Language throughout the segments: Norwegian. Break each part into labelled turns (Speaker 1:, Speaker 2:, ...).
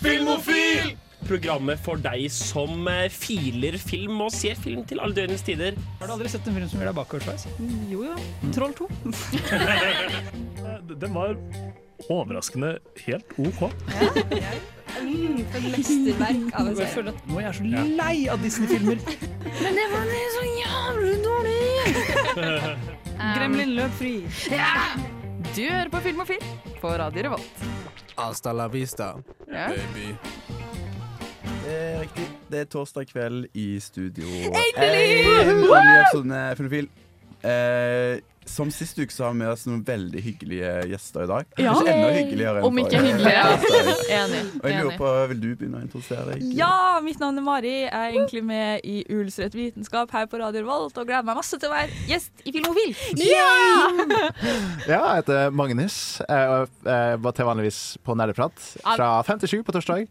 Speaker 1: Filmofil! Programmet for deg som eh, filer film og ser film til alle døgnets tider.
Speaker 2: Har du aldri sett en film som gjør deg bakoversveis?
Speaker 3: Jo jo. Troll 2.
Speaker 4: Eh, Den var overraskende helt OK.
Speaker 3: For mesterverk av
Speaker 2: Jeg
Speaker 3: en serie.
Speaker 2: føler at nå er jeg så lei av Disney-filmer.
Speaker 3: Men det var så jævlig dårlig! Gremlin løp fri.
Speaker 5: Du hører på Film og Film på Radio Revolt.
Speaker 6: Hasta la vista,
Speaker 5: Ja.
Speaker 6: baby.
Speaker 7: Det er Eh, riktig. Det er torsdag kveld i studio. Eh, Endelig! En ny episode med Filmofil. Eh, som sist uke så har vi med oss noen veldig hyggelige gjester i dag.
Speaker 5: Ja.
Speaker 7: Ikke enda hyggeligere enn
Speaker 5: Om ikke
Speaker 7: forrige
Speaker 5: hyggelig. ja.
Speaker 7: torsdag.
Speaker 5: Enig.
Speaker 7: Og jeg lurer
Speaker 5: enig.
Speaker 7: på, Vil du begynne å introdusere deg?
Speaker 3: Ja, mitt navn er Mari. Jeg er egentlig med i Ulsrett vitenskap her på Radio Revolt og gleder meg masse til å være gjest i Filmofil.
Speaker 8: Ja, jeg heter Magnus. Jeg er- jeg var til vanligvis på Nerdeprat fra fem til sju på torsdag.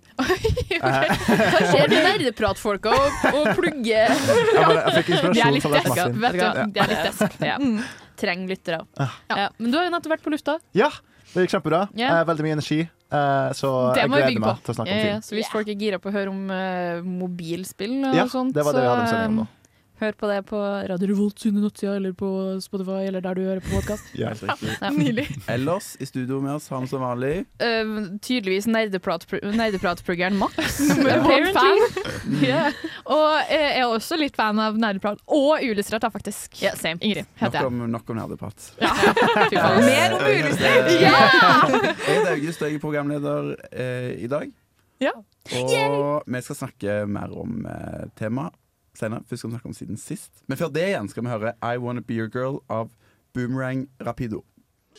Speaker 5: Hva skjer med nerdepratfolka og, og plugge?
Speaker 8: Jeg, bare, jeg fikk
Speaker 5: Det er
Speaker 8: inspirasjon
Speaker 5: litt
Speaker 8: fra Lars
Speaker 5: desk.
Speaker 8: Martin.
Speaker 5: Vet du hva? Det er litt desk. Ja.
Speaker 3: Mm.
Speaker 5: Trenger lyttere. Ja. Men du har jo nettopp vært på lufta.
Speaker 8: Ja, det gikk kjempebra.
Speaker 5: Ja.
Speaker 8: Eh, Veldig mye energi. eh, Så
Speaker 5: Det
Speaker 8: jeg
Speaker 5: må vi
Speaker 8: gleder
Speaker 5: bygge
Speaker 8: meg til å
Speaker 5: på.
Speaker 8: snakke om
Speaker 5: Ja, ja.
Speaker 8: film.
Speaker 5: Eh, Så hvis folk er gira på å høre om eh, mobilspill og sånn,
Speaker 8: Ja,
Speaker 5: sånt,
Speaker 8: det var det vi hadde en sending om nå.
Speaker 5: eh, hør på det på Radio Revolt sine nettsider eller på Spotify eller der du hører på podkast.
Speaker 8: Ja.
Speaker 7: Helt riktig.
Speaker 5: Ja.
Speaker 7: Ellers i studio med oss har vi som vanlig
Speaker 5: Eh, tydeligvis nerdepratpluggeren Max. Apparently. Yeah. Og eh, jeg er også litt fan av nerdeprat og uillustrert, da, faktisk. Ingrid
Speaker 7: Nok
Speaker 5: heter jeg.
Speaker 7: om, nok om nerdeprat.
Speaker 5: Fy faen.
Speaker 3: Mer om
Speaker 7: Ulystrett!
Speaker 5: Ja!
Speaker 7: Jeg heter August, og jeg er programleder eh, i dag.
Speaker 5: Ja.
Speaker 7: Og vi skal snakke mer om eh, temaet senere. Først skal vi snakke om siden sist. Men før det igjen skal vi høre I Wanna Be Your Girl av Boomerang Rapido.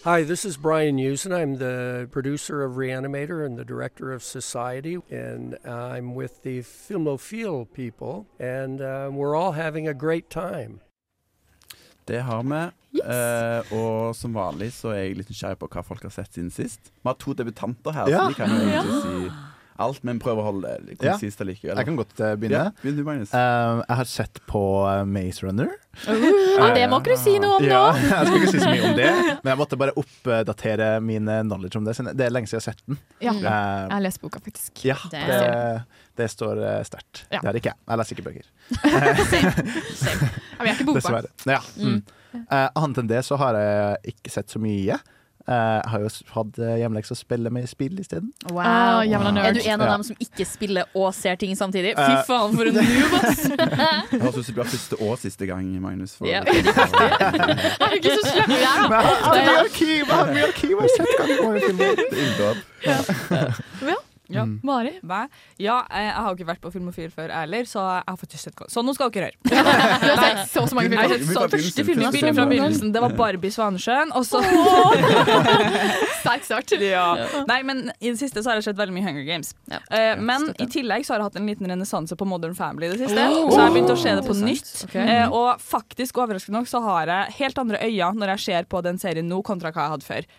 Speaker 9: Hi, this is Brian Usen. I'm the producer of Reanimator and the director of Society, and I'm with the Filmophile people, and uh, we're all having a great time.
Speaker 7: Det har vi.
Speaker 5: Yes.
Speaker 7: Eh, og som vanlig så er jeg litt nysgjerrig på hva folk har sett siden sist. Vi har to debutanter her,
Speaker 8: Ja.
Speaker 7: så de kan jo egentlig si alt, men prøv å holde det litt
Speaker 8: Ja.
Speaker 7: konsist allikevel.
Speaker 8: Jeg kan godt eh,
Speaker 7: Ja,
Speaker 8: begynne.
Speaker 7: begynn du, Magnus.
Speaker 8: Eh, Jeg har sett på eh, Maze Runner.
Speaker 5: Ja, Uh, det må ikke du si noe om nå.
Speaker 8: Ja, jeg skulle ikke si så mye om det, men jeg måtte bare oppdatere min eh, knowledge om det. siden Det er lenge siden jeg har sett den.
Speaker 5: Ja. Jeg
Speaker 8: Eh,
Speaker 5: har lest boka, faktisk.
Speaker 8: Ja,
Speaker 5: Mm. Det er
Speaker 8: det, det står eh, sterkt.
Speaker 5: Ja.
Speaker 8: Det har ikke jeg. Jeg leser ikke bøker.
Speaker 5: Ja, men jeg er ikke bokbarn.
Speaker 8: Dessverre. Ja. Mm. Eh, annet enn det så har jeg ikke sett så mye. Eh, jeg har jo s- hatt eh, hjemmelekse å spille med spill isteden.
Speaker 5: Ah, jævla
Speaker 3: Er
Speaker 5: nerd.
Speaker 3: du en av
Speaker 8: Ja.
Speaker 3: dem som ikke spiller og ser ting samtidig? Fy
Speaker 8: Eh.
Speaker 3: faen, for en noob, ass!
Speaker 7: Det høres ut som det blir første og siste gang, Magnus. For
Speaker 3: Ja.
Speaker 7: sånn.
Speaker 5: Herregud, så slemme vi er, da.
Speaker 8: Hva
Speaker 7: Det er ille.
Speaker 5: Ja. Mari.
Speaker 3: Hva? Ja, eh, jeg har jo ikke vært på Filmofil før jeg heller, så jeg har faktisk sett Så nå skal dere høre.
Speaker 5: Du har sett så så mange
Speaker 3: Jeg har
Speaker 5: filmer.
Speaker 3: sett
Speaker 7: Vi
Speaker 3: så
Speaker 7: tar
Speaker 3: sånn
Speaker 7: begynnelsen.
Speaker 3: første filmen. Vi begynner fra begynnelsen. Det var Barbie Svanesjøen, og så
Speaker 5: Sterk start.
Speaker 3: ja. Nei, men i det siste så har jeg sett veldig mye Hunger Games.
Speaker 5: Ja.
Speaker 3: Eh, men i tillegg så har jeg hatt en liten renessanse på Modern Family i det siste. Så jeg har begynt å se det på nytt. Eh, og faktisk overraskende nok så har jeg helt andre øyne når jeg ser på den serien nå, kontra hva jeg hadde før.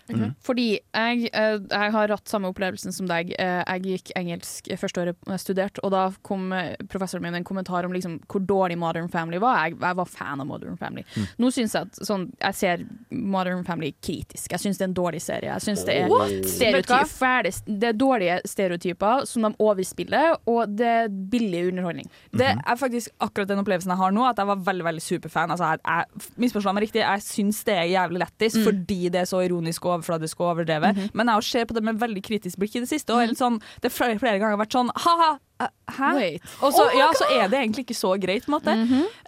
Speaker 5: Fordi jeg, eh, jeg har hatt samme opplevelsen som deg. Eh, Jeg gikk engelsk eh, første året jeg studerte, og da kom eh, professoren min med en kommentar om liksom hvor dårlig Modern Family var. Jeg, jeg var fan av Modern Family. Nå syns jeg at sånn, jeg ser Modern Family kritisk. Jeg syns det er en dårlig serie. Jeg synes det er
Speaker 3: Vet du hva?
Speaker 5: stereotyp, fæle, det er dårlige stereotyper som de overspiller, og det er billig underholdning.
Speaker 3: Det er faktisk akkurat den opplevelsen jeg har nå, at jeg var veldig veldig superfan. Altså, jeg, jeg misforstå meg riktig, jeg syns det er jævlig lættis fordi det er så ironisk og overfladisk og overdrevet. Men jeg ser på det med veldig kritisk blikk i det siste, og er litt sånn, det er flere, flere ganger vært sånn ha-ha, eh, hæ?
Speaker 5: Wait.
Speaker 3: Og så, ja, så er det egentlig ikke så greit, på en måte.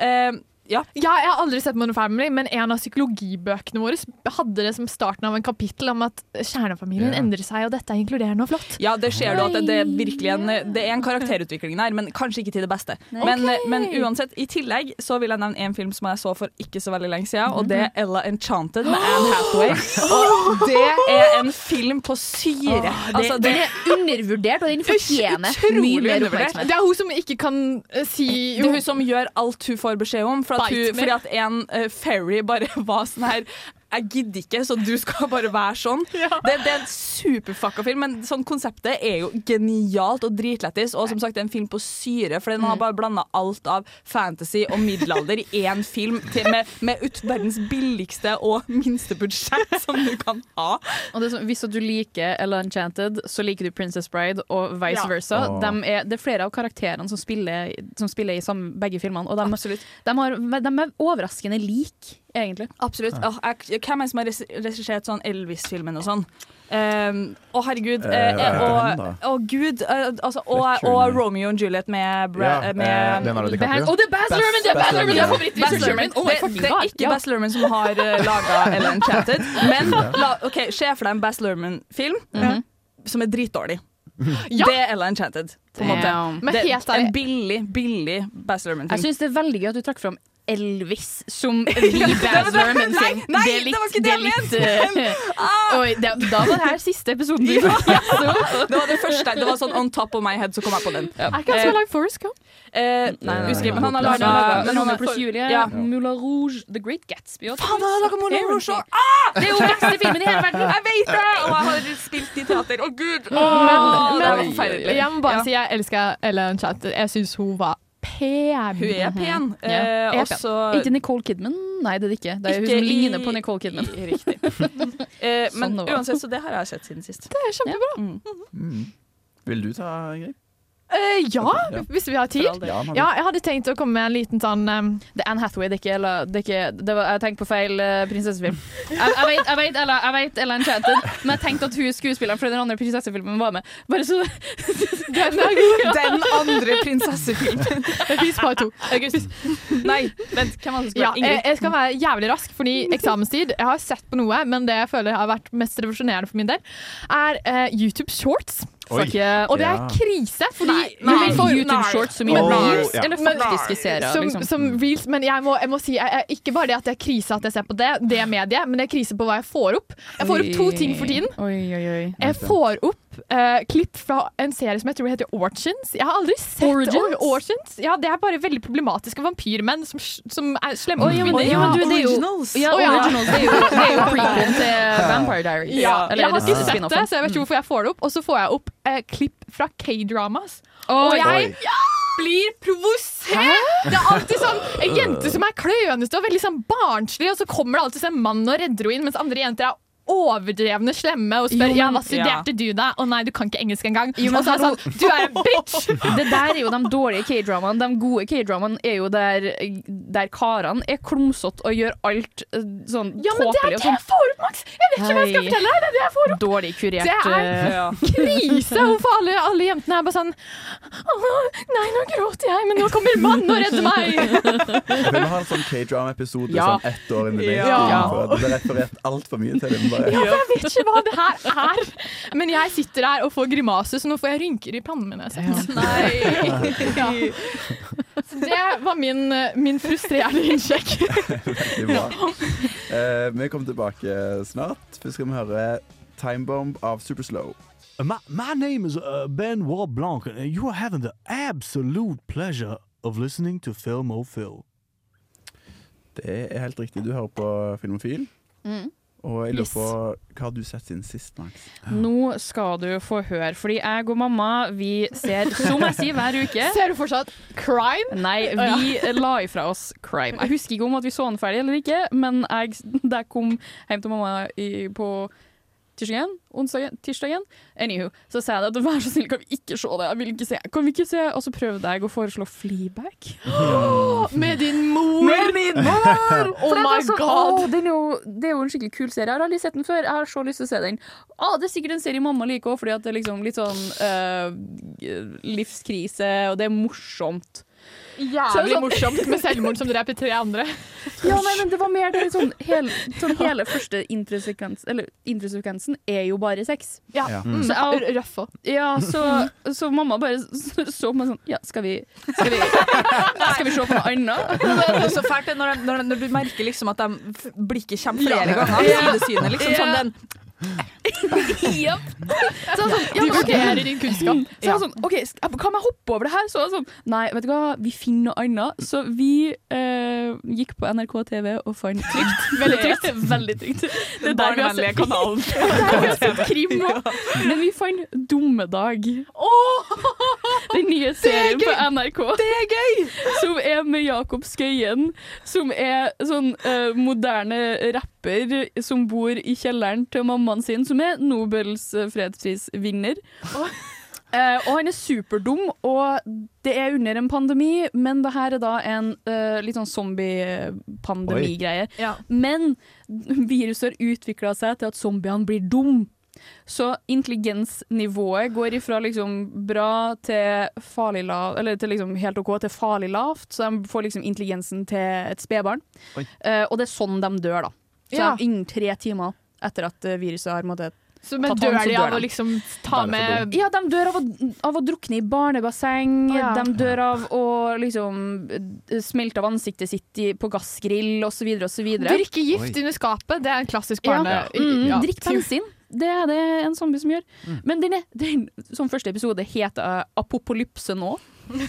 Speaker 3: Eh, ja.
Speaker 10: Ja, jeg har aldri sett Modern Family, men en av psykologibøkene våre hadde det som starten av en kapittel om at kjernefamilien
Speaker 7: Ja.
Speaker 10: endrer seg, og dette er inkluderende og flott.
Speaker 3: ja, det ser du at det, det er virkelig en, det er en karakterutvikling der, men kanskje ikke til det beste. Men, eh, men uansett, i tillegg så vil jeg nevne en film som jeg så for ikke så veldig lenge siden, og det er Ella Enchanted med Anne Hathaway. Og det er en film på syre. Altså, det,
Speaker 5: Den er undervurdert, og den fortjener mye mer
Speaker 3: undervurdert.
Speaker 5: oppmerksomhet.
Speaker 10: Det er hun som ikke kan eh, si
Speaker 3: det er hun som gjør alt hun får beskjed om, for at
Speaker 10: Bite
Speaker 3: hun,
Speaker 10: me.
Speaker 3: fordi at en eh, fairy bare var sånn her jeg gidder ikke, så du skal bare være sånn. Det, det er en superfucka film, men sånn konseptet er jo genialt og dritlættis. Og som sagt, det er en film på syre, for
Speaker 10: Mm.
Speaker 3: den har bare blanda alt av fantasy og middelalder i én film til, med, med ut verdens billigste og minste budsjett som du kan ha.
Speaker 5: Og det er sånn, hvis at du liker Ella Enchanted, så liker du Princess Bride og vice
Speaker 3: Ja.
Speaker 5: versa.
Speaker 7: Åh.
Speaker 5: Dem er, det er flere av karakterene som spiller, som spiller i samme, begge filmene, og de,
Speaker 3: Absolutt.
Speaker 5: har, dem er overraskende like, egentlig.
Speaker 3: Absolutt. Åh, jeg, hvem er det som har res- regissert sånn Elvis-filmen og sånn? Ehm, Å, herregud.
Speaker 7: Eh,
Speaker 3: eh,
Speaker 7: hva heter
Speaker 3: og,
Speaker 7: han da?
Speaker 3: å, gud. eh, altså, og,
Speaker 7: Vet ikke
Speaker 3: og
Speaker 7: hun.
Speaker 3: Romeo og Juliet med, Bra,
Speaker 7: Ja,
Speaker 3: eh, med
Speaker 8: Leonardo
Speaker 5: Det her,
Speaker 8: DiCaprio.
Speaker 5: og det er Baz
Speaker 7: Baz-
Speaker 5: Luhrmann! Det er
Speaker 7: Baz
Speaker 5: Baz Luhrmann, det er
Speaker 7: Luhrmann, ja.
Speaker 5: favorittviseren
Speaker 3: Baz Luhrmann.
Speaker 5: min! Oh my
Speaker 3: Det,
Speaker 5: fucking
Speaker 3: det er
Speaker 5: God.
Speaker 3: ikke
Speaker 5: Ja.
Speaker 3: Baz Luhrmann som har uh, laga Ellen Enchanted. Men la, ok, se for deg en Baz Luhrmann-film
Speaker 5: Mhm.
Speaker 3: som er dritdårlig.
Speaker 10: Ja.
Speaker 3: Det er Ellen Enchanted. På en måte.
Speaker 5: Damn.
Speaker 10: Men
Speaker 3: Det
Speaker 10: helt
Speaker 3: er
Speaker 10: ærlig,
Speaker 3: en billig, billig Baz
Speaker 5: Jeg
Speaker 3: Luhrmann-film.
Speaker 5: syns det er veldig gøy at du trakk fram Elvis som vi Baz Luhrmann
Speaker 3: Nei,
Speaker 5: sin.
Speaker 3: nei,
Speaker 5: er litt-
Speaker 3: det var ikke det
Speaker 5: er
Speaker 3: jeg
Speaker 5: litt, eh, Oi, det, da var det her siste episoden du gjorde.
Speaker 3: Det var det første. Det var sånn on top of my head, så kom jeg på den.
Speaker 10: er ikke han som har lagd Forest Gump?
Speaker 3: Eh,
Speaker 7: nei, nei.
Speaker 3: Usikker, men han har
Speaker 5: Lars
Speaker 3: laga
Speaker 5: Laga,
Speaker 3: men han har-
Speaker 5: Romeo pluss Julie,
Speaker 3: Ja.
Speaker 5: Moulin Rouge, The Great Gatsby og
Speaker 3: Faen, han har laga Moulin Rouge òg!
Speaker 5: Det er jo den beste filmen i hele verden!
Speaker 3: Jeg vet det! Og jeg har spilt i teater. Å,
Speaker 5: Mm.
Speaker 3: gud!
Speaker 10: Men,
Speaker 3: det var
Speaker 10: men
Speaker 3: forferdelig.
Speaker 10: jeg må bare
Speaker 3: Ja.
Speaker 10: si jeg elsker Ellen Chatter. Jeg syns hun var pen.
Speaker 3: Hun er pen.
Speaker 5: Ja,
Speaker 3: Eh,
Speaker 10: er
Speaker 3: og så
Speaker 5: Ikke Nicole Kidman? Nei, det er det ikke. Det er hun
Speaker 3: Ikke
Speaker 5: som
Speaker 3: i-
Speaker 5: ligner på Nicole Kidman.
Speaker 3: i- Riktig. Eh, men
Speaker 5: Sånn det var.
Speaker 3: uansett, så det har jeg sett siden sist.
Speaker 10: Det er kjempebra.
Speaker 7: Vil du Mm. ta en greie?
Speaker 10: Eh,
Speaker 7: Ja.
Speaker 10: ja, hvis vi har tid.
Speaker 7: Ja, Marie.
Speaker 10: Ja, jeg hadde tenkt å komme med en liten sånn em,
Speaker 5: Det er Anne Hathaway, det er ikke Ella det er ikke, det var, Jeg tenkte på feil eh, prinsessefilm. Jeg, jeg vet, jeg vet, Ella, jeg vet Ella Enchanted, men jeg tenkte at hun skuespilleren fra den andre prinsessefilmen var med. Bare så Den er god!
Speaker 3: Den andre prinsessefilmen.
Speaker 10: Vis bare to.
Speaker 3: August. Nei, vent. Hvem var det som
Speaker 10: Ja,
Speaker 3: skulle
Speaker 10: jeg,
Speaker 5: eh,
Speaker 3: Ingrid.
Speaker 10: jeg skal være jævlig rask, fordi eksamenstid Jeg har sett på noe, men det jeg føler har vært mest revolusjonerende for min del, er eh, YouTube shorts.
Speaker 8: Oi.
Speaker 10: Og det er
Speaker 7: Ja.
Speaker 10: krise, fordi
Speaker 3: nei,
Speaker 10: for- Eh,
Speaker 5: YouTube
Speaker 10: nei.
Speaker 5: shorts som i
Speaker 8: Åh,
Speaker 5: reels,
Speaker 8: ja.
Speaker 5: eller faktiske serier,
Speaker 10: som,
Speaker 5: liksom.
Speaker 10: som reels, men jeg må, jeg må si jeg, jeg, ikke bare det at det er krise at jeg ser på det, det mediet, men det er krise på hva jeg får opp. Jeg får opp to ting for tiden.
Speaker 5: Oi, oi, oi.
Speaker 10: Jeg får opp eh, klipp fra en serie som jeg tror heter Orchins. Jeg har aldri sett
Speaker 5: Origins?
Speaker 10: Or- Origins. Ja, det er bare veldig problematiske vampyrmenn som, som er slemme.
Speaker 5: ja, men det- ja, men du, det er jo- Ja,
Speaker 10: Å, ja.
Speaker 5: Originals, det er jo, det er jo prequel til Vampire Diaries.
Speaker 10: Ja,
Speaker 5: Eller
Speaker 10: jeg har ikke sett
Speaker 5: spin-offen.
Speaker 10: det, så jeg vet ikke hvorfor jeg får det opp. Og så får jeg opp eh, klipp fra K-dramas.
Speaker 5: Oi.
Speaker 10: Og jeg
Speaker 8: Oi.
Speaker 10: blir provosert! Det er alltid sånn en jente som er klønete og veldig sånn barnslig, og så kommer det alltid sånn en mann og redder henne inn, mens andre jenter er overdrevne slemme og spør
Speaker 5: Jo, men-
Speaker 10: ja, hva studerte du da? Å nei, du kan ikke engelsk engang.
Speaker 5: Jo, men
Speaker 10: Og så er det
Speaker 5: hallo.
Speaker 10: sånn, du er en bitch!
Speaker 5: Det der er jo de dårlige K-dramaene. De gode K-dramaene er jo der, der karene er klumsete og gjør alt eh, sånn
Speaker 10: Ja, men det er
Speaker 5: tåpelig
Speaker 10: det
Speaker 5: og sånn.
Speaker 10: jeg får opp, Max! Jeg vet ikke hva jeg skal
Speaker 5: Hei.
Speaker 10: fortelle deg, det er det jeg får opp!
Speaker 5: Dårlig kurert
Speaker 10: Det er-
Speaker 5: eh,
Speaker 3: Ja.
Speaker 10: Krise! Hvorfor alle, alle jentene er bare sånn «Åh, Nei, nå gråter jeg, men nå kommer mannen og redder meg!
Speaker 7: Jeg vil ha en sånn K-drama-episode
Speaker 5: Ja.
Speaker 7: sånn ett år inn i
Speaker 3: Ja.
Speaker 7: making, for Det ble referert altfor mye til det. men Bare.
Speaker 10: Jeg vet ikke hva det her er. Men jeg sitter her og får grimase, så nå får jeg rynker i pannen min. Jeg ser.
Speaker 3: Nei.
Speaker 10: Ja. Så det var min, eh, min frustrerende innsjekk.
Speaker 7: Vi, må. Eh, vi kommer tilbake snart. Først skal vi høre Timebomb av Superslow.
Speaker 11: My, my name is uh, Benoit Blanc, and you are having the absolute pleasure of listening to Film O Phil.
Speaker 7: Det er helt riktig. Du hører på Filmofil.
Speaker 5: Mm.
Speaker 7: Og jeg lurer
Speaker 10: Yes.
Speaker 7: på hva har du sett siden sist, Max?
Speaker 5: Nå skal du få høre, fordi jeg og mamma vi ser, som jeg sier hver uke
Speaker 10: Ser du fortsatt crime?
Speaker 5: Nei, vi la ifra oss Crime. Jeg husker ikke om at vi så den ferdig eller ikke, men jeg, da jeg kom hjem til mamma i, på tirsdagen, onsdagen, tirsdagen Anywho, så sa jeg det at vær så snill, kan vi ikke se det? Jeg vil ikke se. Kan vi ikke se? Og så prøvde jeg å foreslå Fleabag.
Speaker 10: Med din mor! Oh
Speaker 5: For det
Speaker 10: my
Speaker 5: var sånn,
Speaker 10: god!
Speaker 5: «Åh, den er jo, det er jo en skikkelig kul serie. Jeg har aldri sett den før. Jeg har så lyst til å se den. Å, det er sikkert en serie mamma liker òg, fordi at det er liksom litt sånn eh, livskrise, og det er morsomt.
Speaker 10: Jævlig morsomt med selvmord som dreper tre andre.
Speaker 5: Ja, nei, men det var mer det sånn, hel, sånn Hele første introsekvens, eller, introsekvensen er jo bare sex.
Speaker 10: Ja.
Speaker 7: Ja.
Speaker 10: Mm.
Speaker 5: Så jeg-
Speaker 10: Røff òg.
Speaker 5: Ja, så, så mamma bare så, så på meg sånn Ja, skal vi Skal vi, skal vi se på noe annet?
Speaker 3: Det er så fælt det når, de- når, de- når du merker liksom at de f- blikket kommer flere ganger. Sidesynet, liksom. Sånn den
Speaker 10: Jepp. Så han sånn, ja,
Speaker 5: De
Speaker 10: men ok.
Speaker 5: vurderer din kunnskap.
Speaker 10: Så han
Speaker 5: sånn, ok, sk- Kan jeg hoppe over det her? Så var det sånn, Nei, vet du hva, vi finner noe annet. Så vi eh, gikk på NRK TV og fant trygt. Veldig trygt. Veldig trygt. Det er der vi har sett-
Speaker 3: Barnevennlige kanalen.
Speaker 5: Det er der vi har sett krim nå. Men vi fant Dummedag. Den nye serien på NRK. Det er gøy! Som er med Jakob Skøyen, som er sånn eh, moderne rapper som bor i kjelleren til mammaen sin, som er Nobels eh, fredsprisvinner. Eh, og han er superdum, og det er under en pandemi, men det her er da en eh, litt sånn zombie-pandemigreie. Men viruset har utvikla seg til at zombiene blir dum. Så intelligensnivået går ifra liksom bra til farlig lav, eller til liksom helt OK til farlig lavt, så de får liksom intelligensen til et spedbarn.
Speaker 10: Oi.
Speaker 5: Eh, og det er sånn de dør, da. Så
Speaker 10: Ja.
Speaker 5: de, innen tre timer etter at eh, viruset har på en måte,
Speaker 10: Så, men
Speaker 5: tatt hånd,
Speaker 10: dør
Speaker 5: så
Speaker 10: de av
Speaker 5: dør
Speaker 10: å liksom ta med
Speaker 5: ja, de dør av å, av å drukne i barnebasseng.
Speaker 10: Ja.
Speaker 5: De dør av å liksom eh, smelte av ansiktet sitt i, på gassgrill osv. osv.
Speaker 10: Drikke gift under skapet, det er en klassisk barne...
Speaker 5: Ja. Mm,
Speaker 10: ja.
Speaker 5: Drikk bensin. Det er det en zombie som gjør. Men den, er, den som første episode heter eh, Apopolypse nå.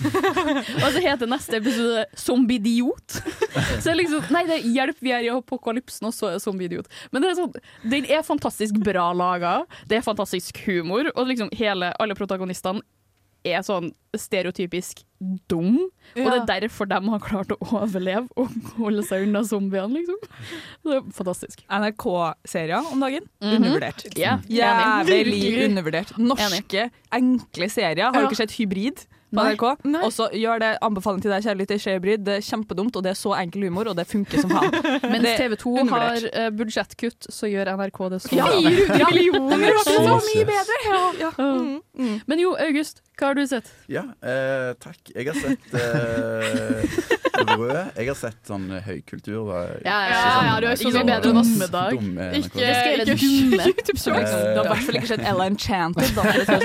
Speaker 5: og så heter neste episode Zombidiot. så jeg liksom Nei, det er hjelp, vi er i apokalypsen, og så er jeg zombieidiot. Men det er sånn, den er fantastisk bra laga. Det er fantastisk humor, og liksom hele, alle protagonistene er sånn stereotypisk dum, og det er derfor de har klart å overleve og holde seg unna zombiene, liksom. Det er fantastisk.
Speaker 3: NRK-serier om dagen.
Speaker 5: Mhm.
Speaker 3: Undervurdert.
Speaker 5: Ja, enig.
Speaker 3: Jævlig
Speaker 5: Virkelig.
Speaker 3: undervurdert. Norske, enkle serier. Har
Speaker 5: Ja.
Speaker 3: du ikke sett Hybrid på
Speaker 5: Nei.
Speaker 3: NRK? Også gjør det anbefaling til deg, kjære lytter, se Hybrid. Det er kjempedumt, og det er så enkel humor, og det funker som faen.
Speaker 5: Mens
Speaker 3: Det-
Speaker 5: TV 2 har
Speaker 3: undervurdert.
Speaker 5: eh, budsjettkutt, så gjør NRK det så
Speaker 3: Ja.
Speaker 5: bra.
Speaker 10: 400 millioner, Mm. det var ikke så mye
Speaker 5: bedre! Men jo, August, hva har du sett?
Speaker 7: Ja, eh, takk. Jeg har sett eh, Rød. Jeg har sett sånn høykultur. eh,
Speaker 10: Ja, ja,
Speaker 7: ikke
Speaker 10: ja,
Speaker 7: sånn-
Speaker 10: ja, du er
Speaker 7: ikke
Speaker 10: så mye
Speaker 7: sånn
Speaker 10: bedre enn oss.
Speaker 7: dumme- dumme
Speaker 10: Ikke-
Speaker 7: NRK.
Speaker 10: ikke
Speaker 7: Eh,
Speaker 3: Du har i hvert fall ikke sånn. sett Ella Enchanted. Da, for å si det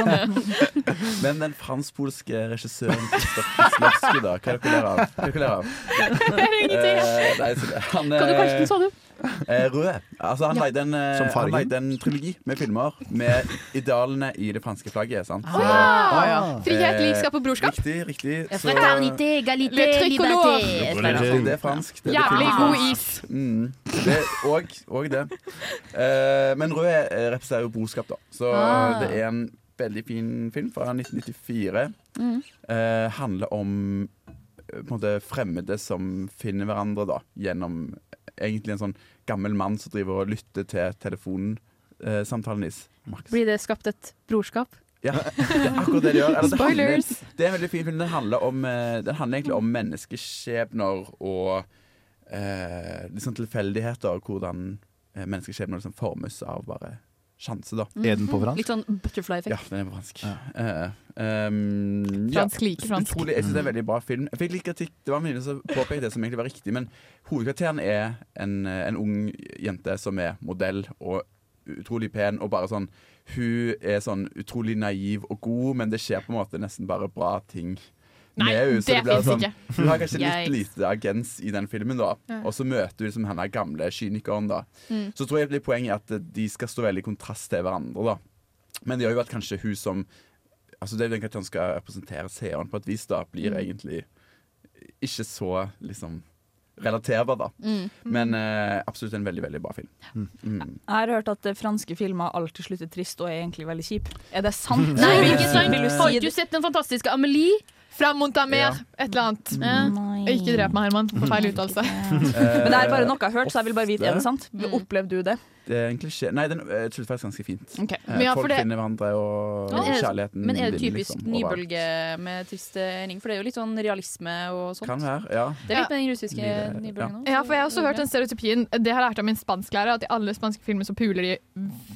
Speaker 3: sånn.
Speaker 7: Men den fransk-polske regissøren Kristoffer Slavsky, da? Hva er dere ler av? Hva er dere ler av? Eh, nei, så det- han,
Speaker 5: Hva du kalte
Speaker 7: eh,
Speaker 10: sånn?
Speaker 5: den, sa du?
Speaker 7: Eh, Rød. Altså, han,
Speaker 5: Ja.
Speaker 7: lagde en, eh,
Speaker 8: Som
Speaker 7: han
Speaker 8: fargen?
Speaker 7: lagde en trilogi med filmer med idealene i det franske flagget. Sant? Så,
Speaker 10: Ah. Frihet,
Speaker 7: eh,
Speaker 10: likskap og brorskap.
Speaker 7: Riktig, riktig. Så-
Speaker 10: Le tricolore.
Speaker 7: Riktig, Det er fransk. Det er
Speaker 10: altså. Jævlig
Speaker 7: definitivt
Speaker 10: god
Speaker 7: fransk.
Speaker 10: is.
Speaker 7: Mm. Det, og, og det. Eh, men Rød eh, representerer jo broskap, da. Så
Speaker 10: Ah.
Speaker 7: det er en veldig fin film fra 1994.
Speaker 10: Mm.
Speaker 7: Eh, handler om eh, på en måte fremmede som finner hverandre da, gjennom egentlig en sånn gammel mann som driver og lytter til telefonsamtalen deres. Max.
Speaker 5: Blir det skapt et brorskap?
Speaker 7: Ja, det er akkurat det de gjør. Eller, det handler,
Speaker 5: Spoilers!
Speaker 7: det er en veldig fin film. Den handler, om, eh, den handler egentlig om menneskeskjebner og eh, litt sånn tilfeldigheter. og Hvordan eh, menneskeskjebner liksom formes av bare sjanse, da.
Speaker 8: Er den på fransk?
Speaker 5: Litt sånn butterfly-effekt.
Speaker 7: Ja, den er på fransk. Eh, um, ja.
Speaker 10: Fransk liker fransk.
Speaker 7: Utrolig, jeg synes det er en veldig bra film. Jeg fikk litt kritikk, Det var en venninne som påpekte det som egentlig var riktig, men hovedkarakteren er en, eh, en ung jente som er modell og utrolig pen og bare sånn Hun er sånn utrolig naiv og god, men det skjer på en måte nesten bare bra ting.
Speaker 10: Nei,
Speaker 7: med henne, så
Speaker 10: det
Speaker 7: blir sånn,
Speaker 10: finnes ikke.
Speaker 7: Hun har kanskje litt
Speaker 10: Yikes.
Speaker 7: lite agens i den filmen, da.
Speaker 10: Ja.
Speaker 7: Og så møter hun liksom henne gamle kynikeren, da.
Speaker 10: Mm.
Speaker 7: Så tror jeg det blir poenget er at de skal stå veldig i kontrast til hverandre, da. Men det gjør jo at kanskje hun som Altså det er jo den karakteren som skal representere seeren på et vis, da, blir
Speaker 10: Mm.
Speaker 7: egentlig ikke så liksom relaterbar, da.
Speaker 5: Mm.
Speaker 7: Men eh, absolutt en veldig, veldig bra film. Mm.
Speaker 3: Jeg har hørt at eh, franske filmer alltid slutter trist og er egentlig veldig kjip. Er det sant?
Speaker 10: Nei,
Speaker 3: Vil du-
Speaker 10: ikke sant.
Speaker 3: Vil du
Speaker 5: Har
Speaker 3: si
Speaker 5: ikke
Speaker 3: det?
Speaker 5: du sett den fantastiske Amelie? Mm.
Speaker 10: Fra Montamer, et eller annet.
Speaker 3: Nei. Eh.
Speaker 10: Ikke drep meg, Herman. For feil uttalelse.
Speaker 3: Men det er bare noe jeg har hørt, så jeg vil bare vite er det sant. Opplevde du det?
Speaker 7: Det er egentlig ikke Nei, den eh, slutter faktisk ganske fint.
Speaker 3: Ok.
Speaker 7: Eh,
Speaker 10: Men ja, for
Speaker 7: Folk
Speaker 10: det-
Speaker 7: finner hverandre, og
Speaker 5: Men er det-
Speaker 7: kjærligheten
Speaker 5: Men er det
Speaker 7: vinner,
Speaker 5: typisk
Speaker 7: liksom, overalt.
Speaker 5: nybølge med trist ending? For det er jo litt sånn realisme og sånt.
Speaker 7: Kan være, ja.
Speaker 5: Det er litt med den russiske
Speaker 7: Mye-
Speaker 5: nybølgen nå,
Speaker 10: Ja,
Speaker 5: så-
Speaker 10: for jeg har også hørt den stereotypien. Det har jeg lært av min spansklærer, at i alle spanske filmer så puler de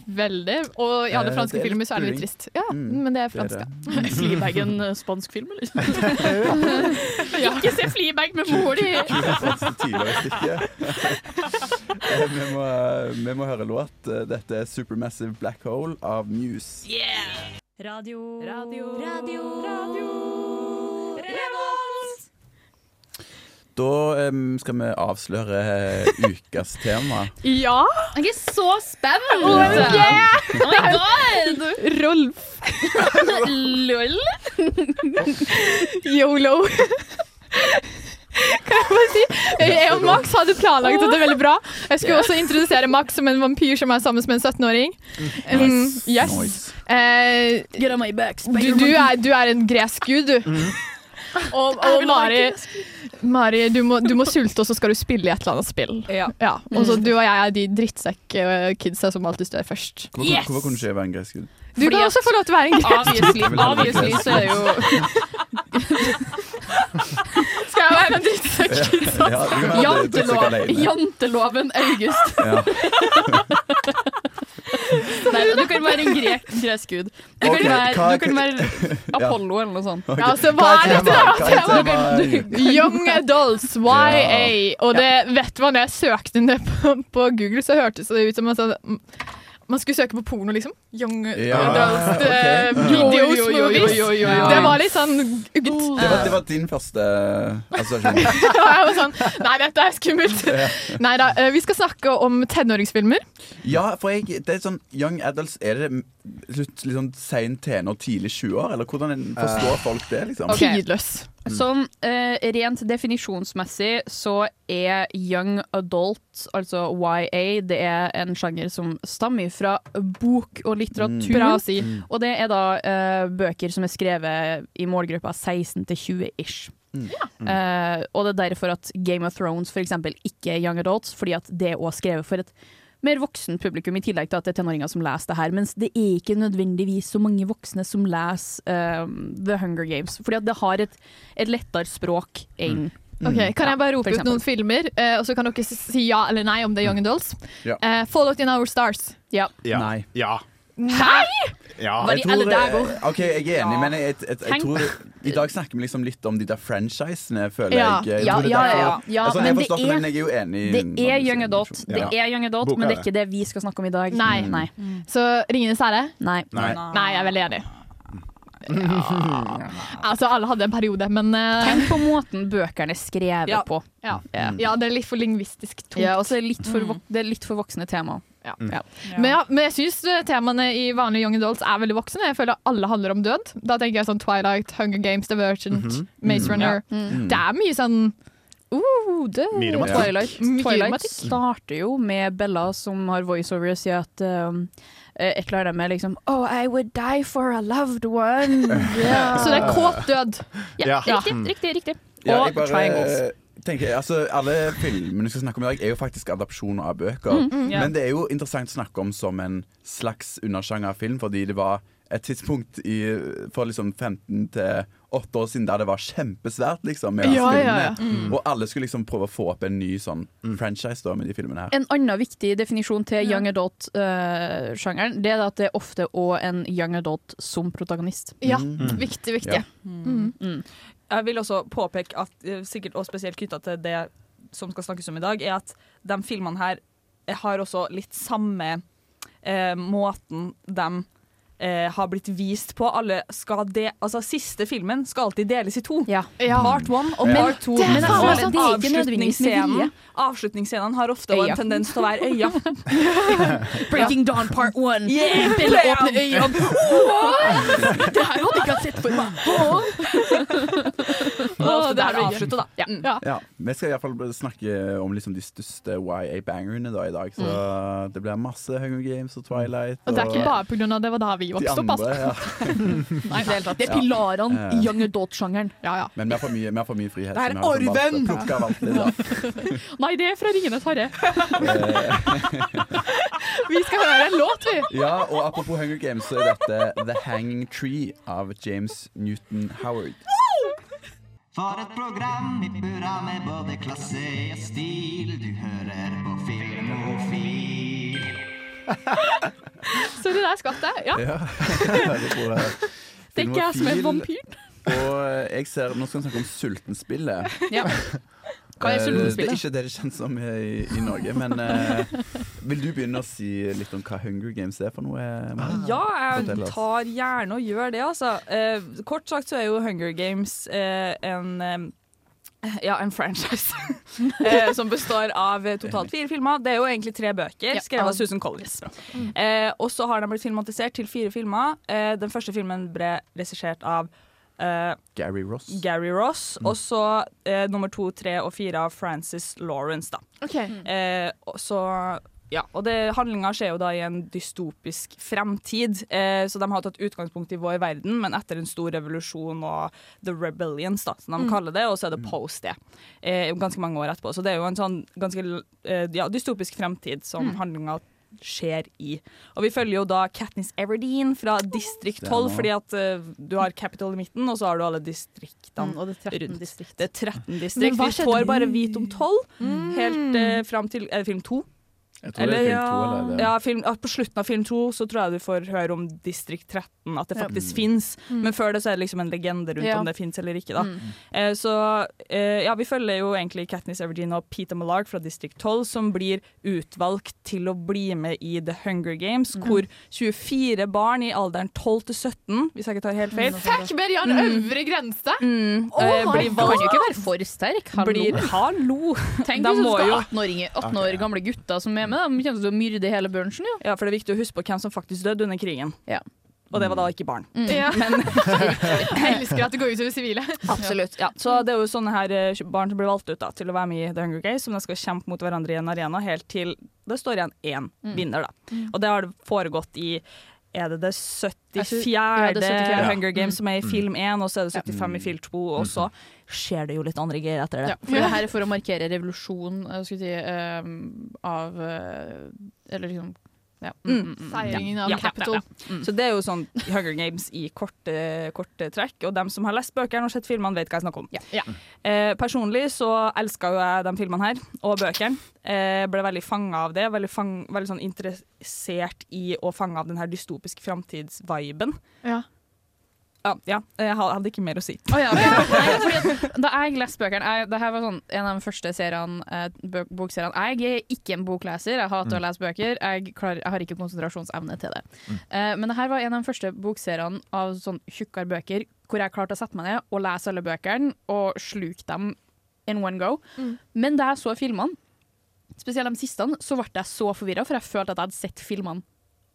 Speaker 10: veldig. Og i alle
Speaker 7: Eh,
Speaker 10: franske
Speaker 7: det er litt
Speaker 10: filmer så er det litt
Speaker 7: puling.
Speaker 10: trist. Ja,
Speaker 7: Mm,
Speaker 10: men det er
Speaker 7: det er
Speaker 10: fransk, ja.
Speaker 5: Fleabag en eh, spansk film, eller?
Speaker 10: Ikke se Fleabag med mor di!
Speaker 7: Kuleste tidligere stykke. Eh, vi, må, vi må høre låt. Eh, Dette er 'Supermassive Black Hole' av Muse.
Speaker 12: Radio
Speaker 5: Radio.
Speaker 12: Radio. Radio. Revolt!
Speaker 7: Da em, skal vi avsløre eh, ukas tema.
Speaker 10: Ja? Jeg er så spent!
Speaker 12: OMG!
Speaker 10: Oh
Speaker 12: my god!
Speaker 10: Rolf.
Speaker 12: Lol.
Speaker 10: Yolo. Kan jeg bare si? Jeg og Max hadde planlagt dette veldig bra. Jeg skulle også introdusere Max som en vampyr som er sammen med en 17-åring. Mm, yes. Eh, du, du, er, du er en gresk gud, du. Og,
Speaker 12: Jeg
Speaker 10: og
Speaker 12: vil være
Speaker 10: Mari, Mari du, må, du må sulte, og så skal du spille i et eller annet spill.
Speaker 3: Ja.
Speaker 10: Og så du og jeg er de drittsekk-kidsa som alltid står først.
Speaker 7: Hvorfor, hvorfor kunne ikke jeg være en gresk gud?
Speaker 10: Du kan også få lov til å være en gresk
Speaker 5: Obviously,
Speaker 7: Jeg vil ha det
Speaker 5: obviously,
Speaker 7: gresk.
Speaker 5: så er det jo
Speaker 10: Skal jeg være en drittsekk?
Speaker 7: Ja, ja, du kan være en drittsekk
Speaker 12: Jantelov,
Speaker 7: alene.
Speaker 12: janteloven August.
Speaker 7: Ja.
Speaker 5: Nei, du kan være en grek, gresk gud. Du
Speaker 12: Ok,
Speaker 5: kan være,
Speaker 12: hva-
Speaker 5: du kan være Apollo eller noe sånt.
Speaker 12: Ok, Ja, altså, hva hva er er dette temaet? da? Hva er
Speaker 5: Du kan- du-
Speaker 10: Young Adults, YA. Og det vet man, når jeg søkte det på, på Google, så hørtes det ut som man sa man skulle søke på porno, liksom. Young
Speaker 7: Ja,
Speaker 10: Adults
Speaker 7: ok.
Speaker 10: eh,
Speaker 7: Jo,
Speaker 10: Videos,
Speaker 5: jo, jo, jo,
Speaker 10: movies.
Speaker 5: jo, jo, jo.
Speaker 10: Det var litt sånn ugget.
Speaker 7: Det var, det var din første eh, assosiasjon.
Speaker 10: Og jeg var sånn Nei, dette er skummelt.
Speaker 7: Ja.
Speaker 10: Nei da. eh, Vi skal snakke om tenåringsfilmer.
Speaker 7: Ja, for jeg, det er sånn Young adults, er det litt, litt sånn sein tenår, tidlig 20-år? Eller hvordan en- forstår folk det, liksom?
Speaker 5: Ok. Sånn eh, rent definisjonsmessig så er young adult, altså YA, det er en sjanger som stammer fra bok og litteratur.
Speaker 10: Mm. Bra å si.
Speaker 5: Mm. Og det er da eh, bøker som er skrevet i målgruppa 16 til 20 ish.
Speaker 7: Mm.
Speaker 5: Eh, og det er derfor at Game of Thrones for eksempel ikke er young adults, fordi at det er også skrevet for et mer voksen publikum, i tillegg til at det er tenåringer som leser det her. Mens det er ikke nødvendigvis så mange voksne som leser eh, The Hunger Games, fordi at det har et, et lettere språk enn
Speaker 7: Mm.
Speaker 10: Ok, Kan jeg bare rope
Speaker 5: Ja, for
Speaker 10: ut
Speaker 5: eksempel.
Speaker 10: noen filmer, eh, og så kan dere s- si ja eller nei om det er Young Adults?
Speaker 7: Ja.
Speaker 10: Eh, Fallout in Our Stars.
Speaker 5: Ja.
Speaker 7: Nei.
Speaker 8: Ja.
Speaker 10: Nei!
Speaker 8: Ja.
Speaker 10: Var de alle der
Speaker 7: eh, OK, jeg er enig, men jeg, jeg, jeg,
Speaker 10: Tenk-
Speaker 7: tror I dag snakker vi liksom litt om de der franchisene, føler
Speaker 5: Ja.
Speaker 7: jeg. jeg
Speaker 5: Ja,
Speaker 7: eh, tror det er
Speaker 5: ja, ja, ja.
Speaker 7: derfor-
Speaker 5: Ja,
Speaker 7: altså,
Speaker 5: men
Speaker 7: jeg
Speaker 5: det
Speaker 7: forstår ikke,
Speaker 5: er-
Speaker 7: men jeg er jo enig. i
Speaker 5: Det
Speaker 7: hva
Speaker 5: er
Speaker 7: du
Speaker 5: young
Speaker 7: sier.
Speaker 5: adult, det
Speaker 7: Ja.
Speaker 5: er young adult
Speaker 7: Boka
Speaker 5: men det
Speaker 7: er
Speaker 5: er ikke det vi skal snakke om i dag.
Speaker 10: Nei.
Speaker 5: Nei.
Speaker 10: Så Ringenes herre?
Speaker 5: Nei.
Speaker 10: Nei.
Speaker 5: Nei.
Speaker 10: jeg er veldig enig. Altså, alle hadde en periode, men eh,
Speaker 5: Tenk på måten bøkene er skrevet
Speaker 10: Ja.
Speaker 5: på.
Speaker 10: ja.
Speaker 5: Ja.
Speaker 10: ja, det er litt for lingvistisk tungt.
Speaker 5: Ja, og så er det litt for,
Speaker 12: Mm.
Speaker 5: vok det er litt for voksne temaer. Ja.
Speaker 10: Men, ja, men jeg syns temaene i vanlige Young Adults er veldig voksne. Jeg føler alle handler om død. Da tenker jeg sånn Twilight, Hunger Games, Divergent,
Speaker 5: Mhm.
Speaker 10: Maze
Speaker 5: Mhm.
Speaker 10: Runner.
Speaker 5: Ja.
Speaker 12: Mm.
Speaker 7: Mm.
Speaker 5: Mhm.
Speaker 10: Det er mye sånn
Speaker 5: Oh, det
Speaker 10: Mye romantikk.
Speaker 5: Twilight,
Speaker 10: Mye
Speaker 5: Mm. Twilight
Speaker 10: romantikk.
Speaker 5: starter jo med Bella som har voiceover og sier at um, eh, et eller annet med liksom Oh, I would die for a loved one. Yeah.
Speaker 10: Så det er kåt død.
Speaker 5: Ja,
Speaker 10: Ja.
Speaker 5: Riktig,
Speaker 10: Mm.
Speaker 5: riktig. riktig.
Speaker 7: Ja,
Speaker 5: og
Speaker 7: jeg bare,
Speaker 5: triangles.
Speaker 7: Tenker, altså, alle filmene vi skal snakke om i dag, er jo faktisk adopsjon av
Speaker 5: Mm,
Speaker 7: bøker.
Speaker 5: mm. Ja.
Speaker 7: Men det er jo interessant å snakke om som en slags undersjanger av film, fordi det var et tidspunkt i, for liksom 15 til 8 år siden der det var kjempesvært, liksom, med disse
Speaker 5: Ja, ja, ja.
Speaker 7: filmene.
Speaker 10: Mm.
Speaker 7: Og alle skulle liksom prøve å få opp en ny sånn franchise da, med de filmene her.
Speaker 5: En annen viktig definisjon til young adult-sjangeren Det er at det er ofte òg en young adult som protagonist.
Speaker 10: Ja, Mm. viktig, viktig. Ja. Mm.
Speaker 3: Jeg vil også påpeke at eh, sikkert og spesielt knytta til det som skal snakkes om i dag, er at de filmene her eh, har også litt samme eh, måten de eh, har blitt vist på. Alle skal de, altså, siste filmen skal alltid deles i to.
Speaker 10: Ja.
Speaker 3: Part one og
Speaker 10: Men
Speaker 3: part two. altså,
Speaker 10: det er faen meg sant. Det er ikke nødvendigvis med vilje.
Speaker 3: avslutningsscenen, avslutningsscenen har ofte også
Speaker 10: Øya.
Speaker 3: en tendens til å være øya.
Speaker 12: Breaking Dawn part one.
Speaker 3: Yeah,
Speaker 12: Bella
Speaker 3: bam!
Speaker 12: åpner øynene. Åh! Det her hadde jeg ikke hatt sett for meg. Åh!
Speaker 3: Og ofte
Speaker 12: Åh, det
Speaker 3: der
Speaker 12: er
Speaker 3: det
Speaker 12: gøy.
Speaker 3: avslutter, da. Mm.
Speaker 7: Ja, Vi skal iallfall snakke om liksom de største YA-bangerne da i dag, så det blir masse Hunger Games og Twilight.
Speaker 10: Mm. Og det er ikke bare pga. det var da vi vokste opp, altså. Nei, i det hele tatt. Eh.
Speaker 5: Det er pilarene i
Speaker 7: Ja.
Speaker 5: young adult-sjangeren.
Speaker 7: Men vi har for mye, vi har for mye frihet.
Speaker 5: Det her er
Speaker 7: så vi har liksom
Speaker 5: arven!
Speaker 7: valgt å plukke av alt det der.
Speaker 10: Nei, det er fra Ringenes herre. vi skal høre en låt, vi.
Speaker 7: Ja, og apropos Hunger Games, så er dette The Hanging Tree av James Newton Howard.
Speaker 13: For et program i burra med både klasse og stil. Du hører på Filmofil.
Speaker 10: Sorry, der skvatt jeg. Ja. Det er ikke jeg som er vampyren.
Speaker 7: Og eh, jeg ser, nå skal vi snakke om Sultenspillet.
Speaker 10: Ja.
Speaker 5: Hva er
Speaker 7: Eh, Det
Speaker 5: Sultenspillet?
Speaker 7: er ikke det det kjennes som i, i Norge, men eh, vil du begynne å si litt om hva Hunger Games er for noe? Maren?
Speaker 3: Ja, jeg
Speaker 7: Fortell oss.
Speaker 3: tar gjerne og gjør det, altså. Eh, kort sagt så er jo Hunger Games eh, en eh, Ja, en franchise. Eh, som består av totalt fire filmer. Det er jo egentlig tre bøker
Speaker 5: Ja.
Speaker 3: skrevet av Susan Collins.
Speaker 5: Mm.
Speaker 3: Eh, og så har den blitt filmatisert til fire filmer. Eh, den første filmen ble regissert av eh,
Speaker 7: Gary Ross.
Speaker 3: Gary Ross. Og så eh, nummer to, tre og fire av Francis Lawrence, da. Eh, og så ja, og det, Handlinga skjer jo da i en dystopisk fremtid. Eh, så de har tatt utgangspunkt i vår verden, men etter en stor revolusjon og the rebellions, da, som de
Speaker 5: Mm.
Speaker 3: kaller det. Og så er det post det. Eh, ganske mange år etterpå. Så det er jo en sånn ganske eh, ja, dystopisk fremtid som
Speaker 5: Mm.
Speaker 3: handlinga skjer i. Og vi følger jo da Katniss Everdeen fra distrikt
Speaker 5: Stemmer.
Speaker 3: 12, fordi at eh, du har Capital i midten, og så har du alle distriktene
Speaker 5: Mm, og det er 13
Speaker 3: rundt.
Speaker 5: distrikt.
Speaker 3: Det er 13
Speaker 5: Men
Speaker 3: distrikt.
Speaker 5: hva
Speaker 3: Vi
Speaker 5: skjedde Mm.
Speaker 3: får
Speaker 5: nå?
Speaker 3: bare vite om 12, helt eh, fram til Er det film 2?
Speaker 7: Jeg tror det er film to, eller er det-
Speaker 3: ja, film, ja, På slutten av film 2 så tror jeg du får høre om distrikt 13, at det
Speaker 5: Ja. Mm.
Speaker 3: faktisk finnes
Speaker 5: Mm.
Speaker 3: Men før det så er det liksom en legende rundt
Speaker 5: Ja.
Speaker 3: om det fins eller ikke. da.
Speaker 5: Mm.
Speaker 3: Eh, så eh, ja, vi følger jo egentlig Katniss Everdeen og Peter Millark fra District 12, som blir utvalgt til å bli med i The Hunger Games, hvor 24 barn i alderen 12 til 17, hvis jeg ikke tar helt feil
Speaker 10: Fuck, Merian, øvre grense!
Speaker 3: Mm.
Speaker 10: Oh
Speaker 3: Eh,
Speaker 10: my
Speaker 3: blir
Speaker 10: God.
Speaker 3: valgt-
Speaker 10: Kan jo ikke
Speaker 5: være for sterk. Hallo.
Speaker 3: Blir, hallo.
Speaker 5: Tenk
Speaker 3: Da
Speaker 5: hvis du
Speaker 3: må
Speaker 5: skal
Speaker 3: jo-
Speaker 5: ha 18-åringer, 18 år gamle gutter som er med. De kommer til å myrde hele bunchen, jo.
Speaker 3: Ja, for det er viktig å huske på hvem som faktisk døde under krigen. Og det var da ikke barn.
Speaker 5: Mm.
Speaker 10: Ja.
Speaker 3: Men
Speaker 10: Jeg elsker at det går utover sivile.
Speaker 3: Absolutt. ja. Så det er jo sånne her eh, barn som blir valgt ut da, til å være med i The Hunger Games, som de skal kjempe mot hverandre i en arena helt til det står igjen én
Speaker 5: Mm.
Speaker 3: vinner. da.
Speaker 5: Mm.
Speaker 3: Og det har foregått i er det det 74.
Speaker 5: Ja, det er 74, ja.
Speaker 3: Hunger Games
Speaker 5: Mm.
Speaker 3: som er i film 1, og så er det
Speaker 5: Ja.
Speaker 3: 75 i film 2, og så skjer det jo litt andre greier etter det.
Speaker 5: Ja, for det her er for å markere revolusjon eh, skulle jeg si, eh, av eh, Eller liksom ja.
Speaker 3: Mm.
Speaker 5: mm, mm,
Speaker 10: Seiringen
Speaker 5: ja.
Speaker 10: av
Speaker 5: Ja, ja,
Speaker 10: Capital.
Speaker 5: ja, ja. Mm.
Speaker 3: Så det er jo sånn Hunger Games i korte, korte trekk. Og dem som har lest bøkene og sett filmene, vet hva jeg snakker om. Eh, personlig så elska jo jeg de filmene her, og bøkene. Eh, ble veldig fanga av det. Veldig, fang, veldig sånn interessert i å fange av den her dystopiske framtidsviben.
Speaker 10: Ja.
Speaker 3: Ja, ja, eh, jeg ha- hadde ikke mer å si.
Speaker 5: Å ja, ok. Nei, fordi at da jeg leste bøkene jeg, Det her var sånn en av de første seriene, eh, bøk, bokseriene. Jeg er ikke en bokleser, jeg hater
Speaker 10: Mm.
Speaker 5: å lese bøker. Jeg, klarer, jeg har ikke konsentrasjonsevne til det. Eh, men det her var en av de første bokseriene av sånn tjukkere bøker hvor jeg klarte å sette meg ned og lese alle bøkene og sluke dem in one go.
Speaker 10: Mm.
Speaker 5: Men da jeg så filmene, spesielt de siste, så ble jeg så forvirra, for jeg følte at jeg hadde sett filmene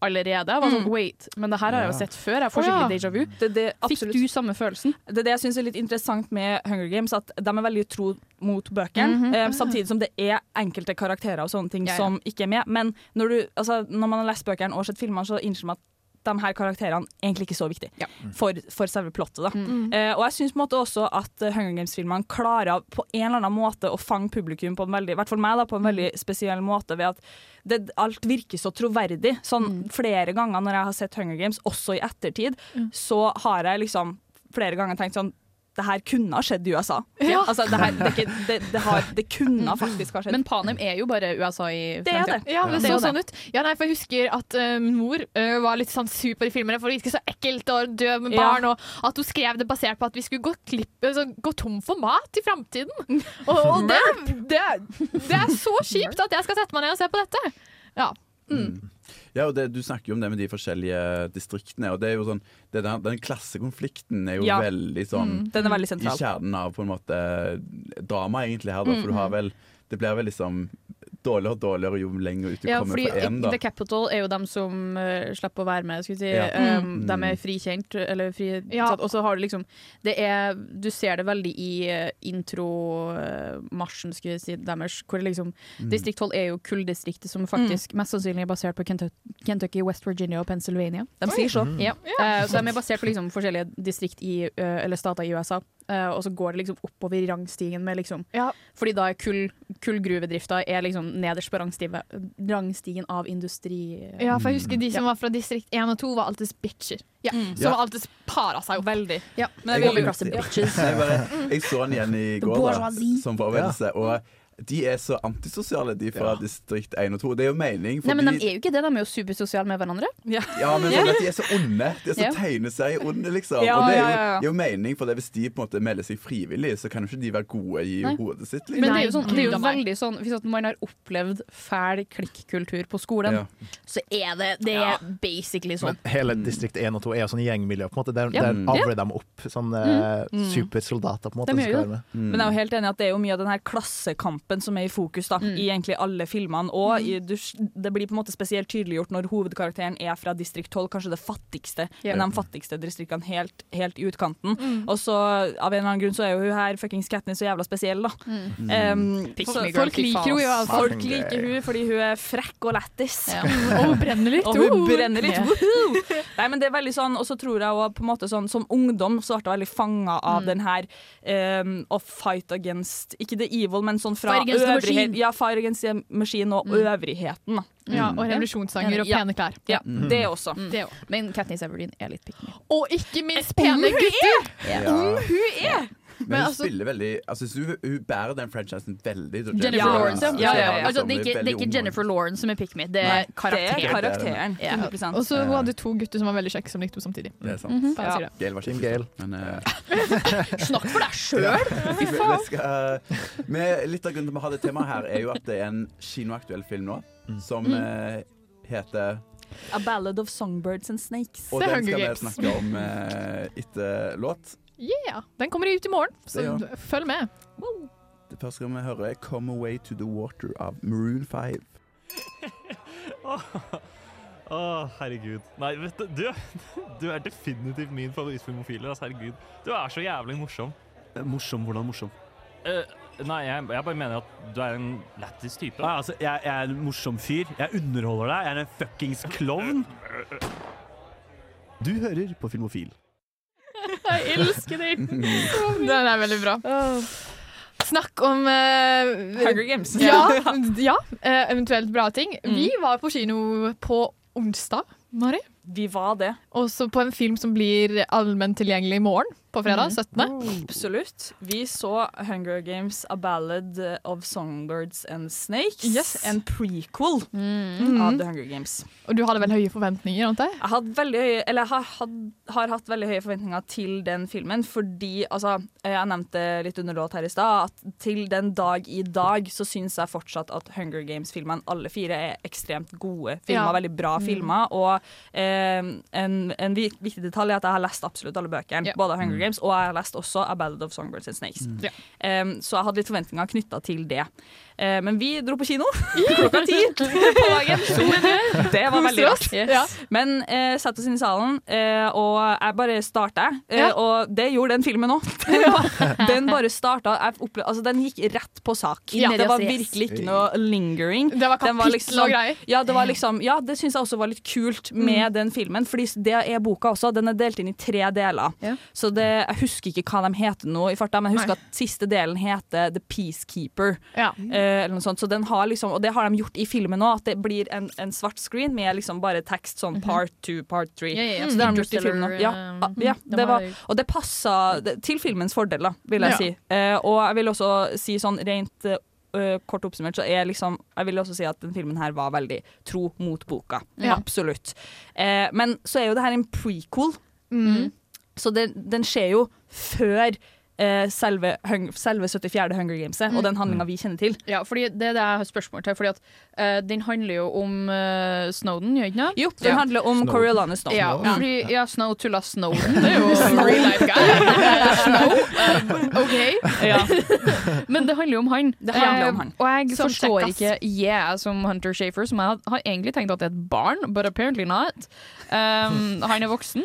Speaker 5: allerede. Jeg var sånn, wait, Men det her har jeg jo sett før, jeg får
Speaker 3: Ja.
Speaker 5: skikkelig déjà vu.
Speaker 3: Det, det,
Speaker 5: Fikk du samme følelsen?
Speaker 3: Det er det jeg syns er litt interessant med Hunger Games, at de er veldig tro mot bøkene.
Speaker 5: Mhm.
Speaker 3: eh, samtidig som det er enkelte karakterer og sånne ting
Speaker 5: Ja, ja.
Speaker 3: som ikke er med. Men når, du, altså, når man har lest bøkene og sett filmene, så innser man at de her karakterene egentlig ikke er så viktige for, for selve plottet. Da.
Speaker 5: Mm.
Speaker 3: Eh, og jeg syns på en måte også at eh, Hunger Games-filmene klarer på en eller annen måte å fange publikum på en veldig, i hvert fall meg, da, på en
Speaker 5: Mm.
Speaker 3: veldig spesiell måte ved at det, alt virker så troverdig. Sånn
Speaker 5: Mm.
Speaker 3: flere ganger når jeg har sett Hunger Games, også i ettertid, så har jeg liksom flere ganger tenkt sånn det her kunne ha skjedd i USA.
Speaker 5: Ja. Mm.
Speaker 3: Altså, det, her, det, er ikke, det, det, har, det kunne faktisk ha skjedd.
Speaker 5: Men Panem er jo bare USA i
Speaker 3: Det er det.
Speaker 10: Ja, det
Speaker 3: er
Speaker 10: så
Speaker 3: jo
Speaker 10: sånn ut. Ja, nei, for Jeg husker at eh, min mor eh, var litt sånn sur på de filmene, for det virket så ekkelt å dø med
Speaker 3: Ja.
Speaker 10: barn. Og at hun skrev det basert på at vi skulle gå, klipp, eh, sånn, gå tom for mat i framtiden. Og, og det, det, det er så kjipt at jeg skal sette meg ned og se på dette. Ja.
Speaker 7: Mm. Ja, og det, Du snakker jo om det med de forskjellige distriktene. og det er jo sånn, det der, Den klassekonflikten er jo
Speaker 3: Ja.
Speaker 7: veldig sånn
Speaker 3: Mm, den er veldig
Speaker 7: i
Speaker 3: sentral.
Speaker 7: kjernen av på en måte drama egentlig her. Da,
Speaker 5: Mm,
Speaker 7: for du har vel, Det blir vel liksom dårligere og dårligere jo lenger ut du
Speaker 5: Ja,
Speaker 7: kommer
Speaker 5: fordi
Speaker 7: fra én. da.
Speaker 5: The Capital er jo dem som eh, slipper å være med. Skal vi si.
Speaker 7: Ja.
Speaker 5: Eh,
Speaker 7: Mm.
Speaker 5: de er frikjent, eller fritatt. Og så har du liksom det er, Du ser det veldig i eh, intromarsjen, skal vi si, deres. Hvor det liksom
Speaker 10: Mm.
Speaker 5: Distrikt 12 er jo kulldistriktet som faktisk mest sannsynlig er basert på Kentu- Kentucky, West Virginia og Pennsylvania.
Speaker 3: De sier så. Mm.
Speaker 5: Ja.
Speaker 3: Ja.
Speaker 5: Eh, så de er basert på liksom forskjellige distrikt i, eh, eller stater i USA. Eh, og så går det liksom oppover i rangstigen med liksom Fordi da er kull, kullgruvedrifta er liksom nederst på rangstigen, rangstigen av industri... eh,
Speaker 10: ja, for jeg husker de som
Speaker 5: Ja.
Speaker 10: var fra distrikt 1 og 2, var alltid bitcher. Ja. Som
Speaker 7: Ja.
Speaker 10: alltid para seg opp.
Speaker 3: Mm. Veldig.
Speaker 5: Ja.
Speaker 7: Jeg,
Speaker 5: Men jeg vil jo kaste bitches.
Speaker 7: jeg, bare, jeg så den igjen i går, da,
Speaker 5: bourgeoisie.
Speaker 7: som forberedelse. Og De er så antisosiale, de fra distrikt 1 og 2. Det er jo mening,
Speaker 5: Nei,
Speaker 7: fordi
Speaker 5: men de er jo ikke det, de er jo supersosiale med hverandre.
Speaker 7: Ja, men sånn at de er så onde. De er så
Speaker 5: Ja.
Speaker 7: tegneserieonde, liksom.
Speaker 5: Ja,
Speaker 7: og det er
Speaker 5: ja, ja,
Speaker 7: jo,
Speaker 5: ja.
Speaker 7: det er jo mening, for det hvis de på en måte melder seg frivillig, så kan jo ikke de være gode i
Speaker 5: Nei.
Speaker 7: hodet sitt. Liksom.
Speaker 5: Men det er jo, sånn, det er jo
Speaker 10: Gud a meg.
Speaker 5: veldig sånn Hvis at man har opplevd fæl klikkultur på skolen,
Speaker 7: Ja.
Speaker 5: så er det Det er basically sånn.
Speaker 8: Hele
Speaker 11: Mm.
Speaker 8: distrikt 1 og 2 er jo sånn gjengmiljø, på en måte. Der,
Speaker 5: Ja.
Speaker 8: der
Speaker 5: Mm.
Speaker 8: avler de opp sånn eh,
Speaker 3: Mm. Mm.
Speaker 8: supersoldater, på en måte.
Speaker 3: De
Speaker 8: som
Speaker 3: gjør
Speaker 8: skal være
Speaker 3: jo det.
Speaker 8: med.
Speaker 7: Mm.
Speaker 3: Men jeg er jo helt enig i at det er jo mye av den her klassekampen som er i fokus da, i egentlig alle filmene. Og i, du, det blir på en måte spesielt tydeliggjort når hovedkarakteren er fra distrikt 12, kanskje det fattigste,
Speaker 5: Ja.
Speaker 3: men de fattigste distriktene helt, helt i utkanten.
Speaker 10: mm.
Speaker 3: Og så av en eller annen grunn så er jo hun her fuckings Katniss så jævla spesiell, da.
Speaker 10: Mm.
Speaker 5: ehm,
Speaker 3: Em,
Speaker 10: Pick
Speaker 3: så-
Speaker 10: me, girl, Folk fy liker faen. henne i hvert fall.
Speaker 3: Folk liker hun fordi hun er frekk og lættis.
Speaker 10: Og hun brenner litt.
Speaker 3: Og hun
Speaker 10: oh.
Speaker 3: brenner litt.
Speaker 10: Ja.
Speaker 3: Woohoo! Nei, men det er veldig sånn, og så tror jeg også, på en måte sånn, Som ungdom så ble jeg veldig fanga av den her um, å fight against Ikke the evil, men sånn fra
Speaker 10: Fire against the machine.
Speaker 3: Ja, fire against the machine og øvrigheten. Da.
Speaker 10: Ja, og revolusjonssanger og
Speaker 3: Ja.
Speaker 10: pene klær.
Speaker 3: Ja,
Speaker 7: Mm.
Speaker 3: det også.
Speaker 10: Det også.
Speaker 5: Men Katniss Everdeen er litt pikk.
Speaker 10: Og ikke minst pene gutter!
Speaker 7: Ja.
Speaker 10: Om Mm, hun er!
Speaker 7: Men hun
Speaker 10: altså-
Speaker 7: spiller veldig altså, hun, hun bærer den franchisen veldig. så
Speaker 10: Jennifer Lawrence, ja. Ja, ja, ja. Altså, det er ikke- det er ikke Jennifer
Speaker 5: Lawrence som er pick me, det
Speaker 10: Nei,
Speaker 5: karakteren.
Speaker 10: det
Speaker 7: er karakteren,
Speaker 5: Ja.
Speaker 3: 100%.
Speaker 10: Og så hun hadde to gutter som var veldig kjekke, som likte henne samtidig.
Speaker 7: Det er sant.
Speaker 10: Mhm. Bare sier det.
Speaker 7: Gail var
Speaker 8: Team
Speaker 7: ikke
Speaker 8: Gale.
Speaker 7: Men, eh,
Speaker 5: Snakk for deg sjøl! Fy
Speaker 7: vi-
Speaker 5: faen.
Speaker 7: vi skal, eh, men litt av grunnen til at vi har det temaet her, er jo at det er en kinoaktuell film nå som
Speaker 3: Mm.
Speaker 7: eh, heter
Speaker 3: A Ballad of Songbirds and Snakes.
Speaker 7: Og den skal vi snakke om eh, etter låt.
Speaker 10: Yeah! Den kommer ut i morgen, så
Speaker 7: Det gjør
Speaker 10: følg med.
Speaker 7: Det første vi hører, er 'Come Away To The Water' av Maroon 5.
Speaker 4: Å, herregud. Nei, vet du, du, du er definitivt min favorittfilmofile. Altså, herregud. Du er så jævlig morsom.
Speaker 11: Morsom, hvordan morsom?
Speaker 4: Eh, nei, jeg, jeg bare mener at du er en lættis type.
Speaker 11: Nei, altså, jeg, jeg er en morsom fyr. Jeg underholder deg. Jeg er en fuckings klovn. Du hører på Filmofil.
Speaker 10: Jeg elsker den! Den er veldig bra. Snakk om eh,
Speaker 3: Hunger Games.
Speaker 10: Ja, ja eh, eventuelt bra ting. Vi
Speaker 3: Mm.
Speaker 10: var på kino på onsdag, Mari.
Speaker 3: Vi var det.
Speaker 10: Også på en film som blir allment tilgjengelig i morgen, på
Speaker 3: Mm.
Speaker 10: fredag 17.
Speaker 3: Absolutt. Vi så Hunger Games A Ballad of Songbirds and Snakes.
Speaker 10: Yes.
Speaker 3: En prequel
Speaker 5: Mm.
Speaker 10: Mm.
Speaker 3: av The Hunger Games.
Speaker 10: Og du hadde vel høye forventninger? Antar jeg?
Speaker 3: Jeg hadde veldig høye, eller jeg har, hatt- har hatt veldig høye forventninger til den filmen, fordi altså, Jeg nevnte litt under låt her i stad at til den dag i dag så syns jeg fortsatt at Hunger Games-filmene, alle fire, er ekstremt gode filmer.
Speaker 10: Ja.
Speaker 3: Veldig bra
Speaker 10: Mm.
Speaker 3: filmer. Og eh, en, en vi- viktig detalj er at jeg har lest absolutt alle
Speaker 10: Ja.
Speaker 3: bøkene, både Hunger
Speaker 10: Mm.
Speaker 3: Games og jeg har lest også A Ballad of Songbirds and Snakes.
Speaker 10: Mm. Ja.
Speaker 3: Em, så jeg hadde litt forventninger knytta til det. Eh, men vi dro på kino klokka ti på dagen. Det var veldig
Speaker 10: Koser
Speaker 3: rart.
Speaker 10: oss. Ja.
Speaker 3: Men eh, satt oss inn i salen, eh, og jeg bare starta. Eh,
Speaker 10: Ja.
Speaker 3: Og det gjorde den filmen òg. Den, ba- den bare starta jeg opple- altså, Den gikk rett på sak.
Speaker 10: Ja.
Speaker 3: Det var
Speaker 10: Yes.
Speaker 3: virkelig ikke noe lingering.
Speaker 10: Det var
Speaker 3: Den
Speaker 10: kapittel
Speaker 3: liksom-
Speaker 10: og greier.
Speaker 3: Ja, det, var liksom, ja, det syns jeg også var litt kult
Speaker 10: Mm.
Speaker 3: med den filmen, Fordi det er boka også. Den er delt inn i tre deler. Så det, jeg husker ikke hva de heter nå i farta, men jeg husker
Speaker 10: Nei.
Speaker 3: at siste delen heter The Peacekeeper.
Speaker 10: Ja.
Speaker 3: Eh, eller noe sånt. Så den har liksom, og det har de gjort i filmen òg, at det blir en, en svart screen med liksom bare tekst sånn part two, part three.
Speaker 10: Mhm. Ja, ja, ja.
Speaker 5: Mm,
Speaker 3: Så det har de gjort i filmen også. Ja,
Speaker 10: Interstellar,
Speaker 5: Mhm.
Speaker 3: ah, ja,
Speaker 10: de
Speaker 3: det var,
Speaker 10: har-
Speaker 3: og det passa det- til filmens fordel, da, vil jeg
Speaker 10: Ja.
Speaker 3: si. Eh, og jeg vil også si sånn rent eh, kort oppsummert, så er liksom Jeg vil også si at den filmen her var veldig tro mot boka.
Speaker 10: Ja.
Speaker 3: Absolutt. Eh, men så er jo det her en prequel.
Speaker 10: Mm.
Speaker 3: Så den, den skjer jo før eh, selve, hung, selve 74. Hunger Gameset og den handlinga vi kjenner til.
Speaker 5: Ja, fordi det er det jeg har spørsmål til. Fordi at eh, Den handler jo om eh, Snowden, gjør den ikke det?
Speaker 3: Jo, den handler om Snowden. Coriolanus Snowden.
Speaker 5: Ja,
Speaker 3: Ja.
Speaker 5: fordi, ja Snow tulla Snowden. Det er jo real life guy. Snow. OK. Men det handler jo om han.
Speaker 3: Det handler om han.
Speaker 5: Eh, Og jeg
Speaker 10: Som
Speaker 5: forstår
Speaker 10: sjekkas.
Speaker 5: ikke yeah som Hunter Shafer, som jeg har egentlig tenkt at det er et barn, but apparently not. Um, han er voksen.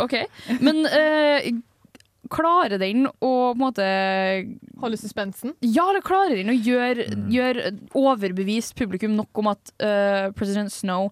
Speaker 5: OK. Men eh, klarer den å på en måte
Speaker 10: Holde suspensen?
Speaker 5: Ja, eller klarer
Speaker 3: Mm.
Speaker 5: den å gjøre, gjøre overbevist publikum nok om at eh, president Snow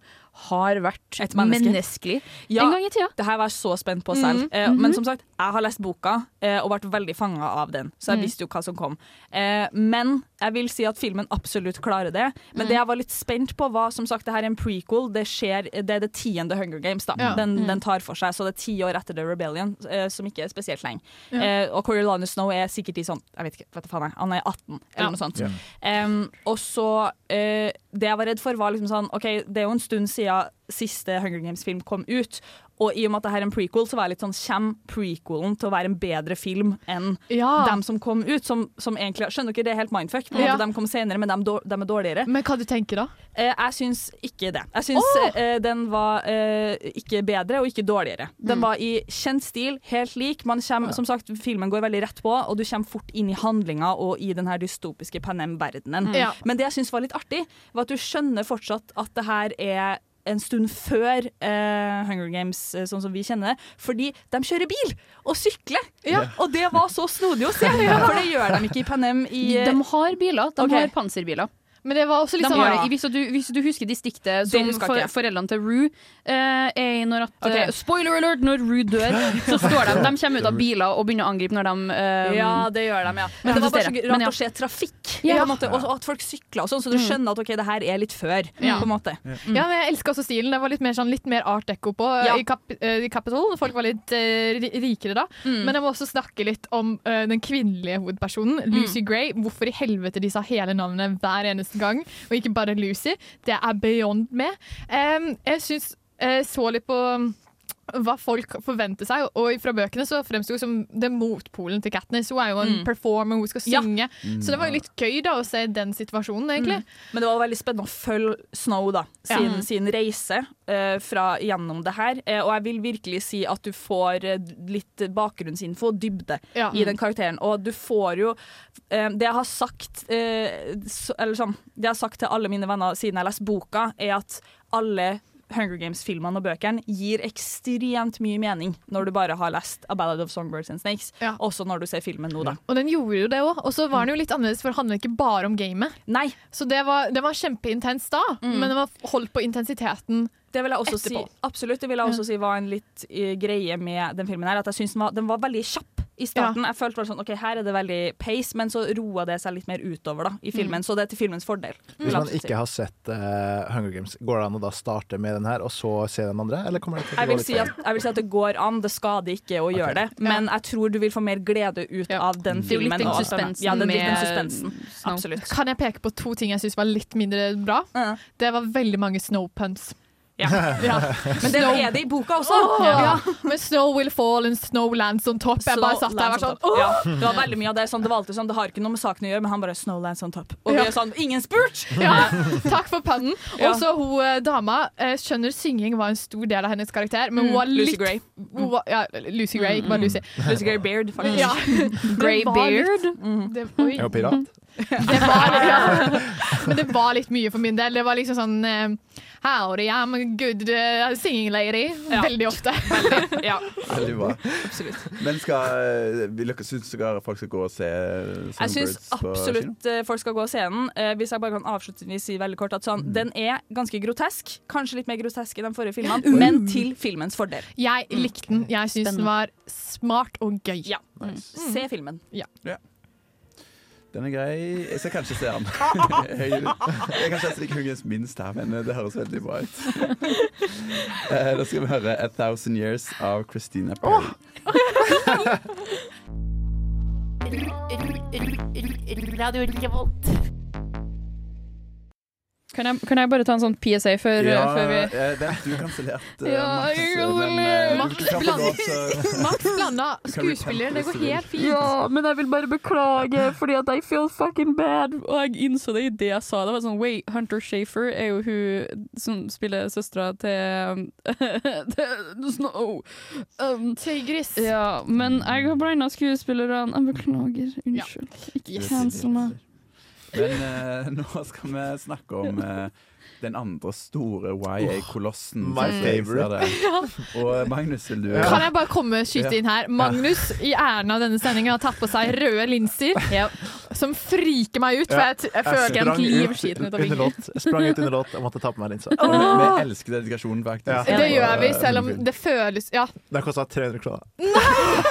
Speaker 5: har vært
Speaker 3: Et menneske.
Speaker 5: menneskelig.
Speaker 3: Ja,
Speaker 5: En gang i tida.
Speaker 3: Det her var jeg så spent på selv.
Speaker 5: Mhm.
Speaker 3: Eh, Men
Speaker 5: Mhm.
Speaker 3: som sagt, jeg har lest boka eh, og vært veldig fanga av den, så jeg
Speaker 5: Mhm.
Speaker 3: visste jo hva som kom. Eh, Men jeg vil si at filmen absolutt klarer det. Men
Speaker 5: Mhm.
Speaker 3: det jeg var litt spent på, var som sagt, det her er en prequel. Det, skjer, det er det tiende Hunger Games, da.
Speaker 5: Ja.
Speaker 3: Den,
Speaker 5: Mhm.
Speaker 3: den tar for seg. Så det er ti år etter The Rebellion, eh, som ikke er spesielt lenge.
Speaker 5: Ja.
Speaker 3: Eh, Og Coriolano Snow er sikkert i sånn Jeg vet ikke, vet du faen jeg, han er 18
Speaker 5: Ja.
Speaker 3: eller noe sånt.
Speaker 5: Ja.
Speaker 3: Em, og så eh, Det jeg var redd for, var liksom sånn OK, det er jo en stund siden siste Hunger Games-film kom ut. Og i og med at det her er en prequel, så var jeg litt sånn Kjem prequelen til å være en bedre film enn
Speaker 10: Ja.
Speaker 3: dem som kom ut? Som, som egentlig, skjønner dere, det er helt mindfuck. På en
Speaker 10: Ah. Ja.
Speaker 3: måte, de kom senere, men de, dår- de er dårligere.
Speaker 10: Men hva du tenker da?
Speaker 3: Eh, jeg syns ikke det. Jeg syns eh, den var eh, ikke bedre og ikke dårligere. Den
Speaker 10: Mm.
Speaker 3: var i kjent stil, helt lik. Man kommer, Som sagt, filmen går veldig rett på, og du kommer fort inn i handlinga og i den her dystopiske Panem-verdenen.
Speaker 10: Mm. Ja.
Speaker 3: Men det jeg syns var litt artig, var at du skjønner fortsatt at det her er en stund før eh, Hunger Games, eh, sånn som vi kjenner det. Fordi de kjører bil og sykler!
Speaker 5: Ja.
Speaker 3: Og det var så snodig å se! For det gjør de ikke i Panem. I,
Speaker 5: De har biler. De
Speaker 3: Ok.
Speaker 5: har panserbiler.
Speaker 10: Men det var også litt
Speaker 5: De
Speaker 10: sånn-
Speaker 5: har
Speaker 10: Ja.
Speaker 5: det. Hvis, du, hvis du husker distriktet
Speaker 10: Det
Speaker 5: som
Speaker 10: husker
Speaker 5: for,
Speaker 10: ikke jeg.
Speaker 5: foreldrene til Rue eh, er i når at,
Speaker 10: Ok.
Speaker 5: eh, Spoiler alert! Når Rue dør, så står de De kommer ut av biler og begynner å angripe når de eh,
Speaker 3: Ja, det gjør de, ja. Men
Speaker 5: Men
Speaker 3: det var bare så
Speaker 5: protesterer.
Speaker 3: gøy-
Speaker 5: Men
Speaker 3: rart
Speaker 5: ja.
Speaker 3: å se trafikk,
Speaker 5: Ja.
Speaker 3: på en måte, og at folk sykler og sånn, så du
Speaker 10: Mm.
Speaker 3: skjønner at ok, det her er litt før,
Speaker 10: Ja.
Speaker 3: på en måte.
Speaker 10: Ja, men Jeg elska også stilen. Det var litt mer, sånn, litt mer art deco på eh,
Speaker 3: Ja.
Speaker 10: i, kap eh, i Capitol. Folk var litt eh, ri- rikere da.
Speaker 3: Mm.
Speaker 10: Men jeg må også snakke litt om eh, den kvinnelige hovedpersonen, Lucy Gray. Hvorfor i helvete de sa hele navnet hver eneste gang, og ikke bare Lucy. Det er beyond meg. Em, jeg syns jeg så litt på mm, hva folk forventer seg, og fra bøkene så fremsto hun som den motpolen til Katniss. Hun er jo en
Speaker 3: Mm.
Speaker 10: performer, hun skal
Speaker 3: Ja.
Speaker 10: synge.
Speaker 7: Mm.
Speaker 10: Så det var jo litt gøy da å se den situasjonen, egentlig.
Speaker 3: Men det var veldig spennende å følge Snow da, sin,
Speaker 10: Ja.
Speaker 3: sin reise eh, fra, gjennom det her. Eh, og jeg vil virkelig si at du får eh, litt bakgrunnsinfo og dybde
Speaker 10: Ja.
Speaker 3: i den karakteren. Og du får jo eh, Det jeg har sagt eh, så, Eller sånn Det jeg har sagt til alle mine venner siden jeg leste boka, er at alle Hunger Games-filmene og bøkene gir ekstremt mye mening når du bare har lest A Ballad of Songbirds and Snakes, også når du ser filmen nå, da.
Speaker 10: Og den gjorde jo det òg. Og så var den jo litt annerledes, for det handler ikke bare om gamet.
Speaker 3: Nei.
Speaker 10: Så det var, det var kjempeintens da,
Speaker 3: Mm.
Speaker 10: men den var holdt på intensiteten
Speaker 3: Det vil jeg også
Speaker 10: etterpå.
Speaker 3: si, absolutt, det vil jeg også si var en litt eh, greie med den filmen her. At jeg synes den var, den var veldig kjapp i starten. Jeg følte bare sånn, ok, her er det veldig pace, men så roa det seg litt mer utover da,
Speaker 5: Mm.
Speaker 3: i filmen. Så det er til filmens fordel.
Speaker 8: Hvis man ikke har sett eh, Hunger Games, går det an å da starte med den her, og så se den andre? Eller kommer det til å
Speaker 3: jeg
Speaker 8: gå
Speaker 3: vil,
Speaker 8: litt
Speaker 3: si at, jeg vil si at det går an, det skader ikke å gjøre det. Men jeg tror du vil få mer glede ut av
Speaker 8: Mm.
Speaker 3: den
Speaker 5: Det er jo litt
Speaker 3: filmen.
Speaker 5: den
Speaker 3: og alt annet. ja, det er litt den suspensen.
Speaker 5: suspensen med Snow.
Speaker 3: Absolutt.
Speaker 10: Kan jeg peke på to ting jeg syns var litt mindre bra? Det var veldig mange snowpumps.
Speaker 3: Ja. Men det er det i boka også.
Speaker 10: ja. Men 'Snow will fall and snow lands on top'. Jeg bare satt der og var sånn
Speaker 3: Åh!
Speaker 10: «Åh!»
Speaker 3: ja, Det var veldig mye av det. Sånn, det var alltid sånn, det har ikke noe med saken å gjøre, men han bare 'Snowlands on top'. Og vi
Speaker 10: Ja.
Speaker 3: er sånn 'Ingen spurt!'
Speaker 10: Ja, takk for pannen.
Speaker 3: Ja.
Speaker 10: Og så hun eh, dama eh, skjønner synging var en stor del av hennes karakter, men hun
Speaker 3: Mm,
Speaker 10: var
Speaker 3: Lucy
Speaker 10: litt
Speaker 3: Gray. Mm.
Speaker 10: Hun var, ja, Lucy Gray, Mm. ikke bare Lucy.
Speaker 3: Lucy Gray Beard, faktisk.
Speaker 10: Ja.
Speaker 5: Grey
Speaker 10: Det var litt-
Speaker 5: beard.
Speaker 10: Det, oi.
Speaker 8: Er hun pirat?
Speaker 10: Det var, ja. Men det var litt mye for min del. Det var liksom sånn eh, Howdy, I'm a good eh, singing lady.
Speaker 3: Ja.
Speaker 10: Veldig ofte.
Speaker 7: Veldig bra. Men skal, eh, vil dere synes dere folk skal gå og se
Speaker 3: Jeg syns
Speaker 7: Songbirds på kino?
Speaker 3: absolutt eh, folk skal gå og se den. Eh, hvis jeg bare kan avslutningsvis si veldig kort at sånn, den er ganske grotesk. Kanskje litt mer grotesk i de forrige filmene,
Speaker 10: Oi.
Speaker 3: men til filmens fordel.
Speaker 10: Jeg
Speaker 5: Mm.
Speaker 10: likte den. Jeg syns den
Speaker 3: Spennende.
Speaker 10: var smart og gøy.
Speaker 3: Ja. Se filmen.
Speaker 7: Ja. Den er grei. Jeg skal kanskje se den. Jeg jeg kan kanskje ikke Hungens minst her, men eh, det høres veldig bra ut. Eh, Da skal vi høre 'A Thousand Years' av Christina Perry.
Speaker 12: Radio Revolt.
Speaker 5: Kan jeg, kan jeg bare ta en sånn PSA før,
Speaker 7: Ja,
Speaker 5: før vi
Speaker 7: eh, det er du kansellert, eh,
Speaker 10: Ja,
Speaker 7: Max.
Speaker 10: jeg
Speaker 7: Men
Speaker 10: kansellert.
Speaker 7: eh, hvis du skal få lov, så
Speaker 10: Max blanda
Speaker 7: Kan vi skuespiller,
Speaker 10: skuespiller.
Speaker 7: det
Speaker 10: Det
Speaker 7: går
Speaker 10: går helt
Speaker 7: pente helt
Speaker 10: fint.
Speaker 5: Ja, men jeg vil bare beklage, fordi at I feel fucking bad. Og jeg innså det idet jeg sa det. Det var sånn, Wait, Hunter Shafer er jo hun som spiller søstera til, til Snow. Um,
Speaker 10: Tigris.
Speaker 5: Ja, men jeg har blanda skuespillerne. Jeg beklager. Unnskyld. Ikke
Speaker 7: Det er
Speaker 5: cancel meg.
Speaker 7: Men eh, nå skal vi snakke om eh, den andre store YA-kolossen.
Speaker 8: my
Speaker 7: som jeg ser
Speaker 8: favorite.
Speaker 7: det. Og eh, Magnus, vil du
Speaker 10: Kan jeg bare komme og skyte
Speaker 7: Ja.
Speaker 10: inn her? Magnus i æren av denne sendinga har tatt på seg røde linser. som friker meg ut, for jeg, t- jeg føler jeg
Speaker 8: sprang
Speaker 10: glir
Speaker 8: ut
Speaker 10: skiten ut av
Speaker 8: under
Speaker 10: bygget.
Speaker 8: låt. Jeg Sprang ut under låt og måtte ta på meg linsa.
Speaker 10: Åh!
Speaker 7: Vi elsker dedikasjonen,
Speaker 8: Ja.
Speaker 7: faktisk.
Speaker 10: Det gjør vi, selv om det føles Ja.
Speaker 8: Det kosta 300 kroner.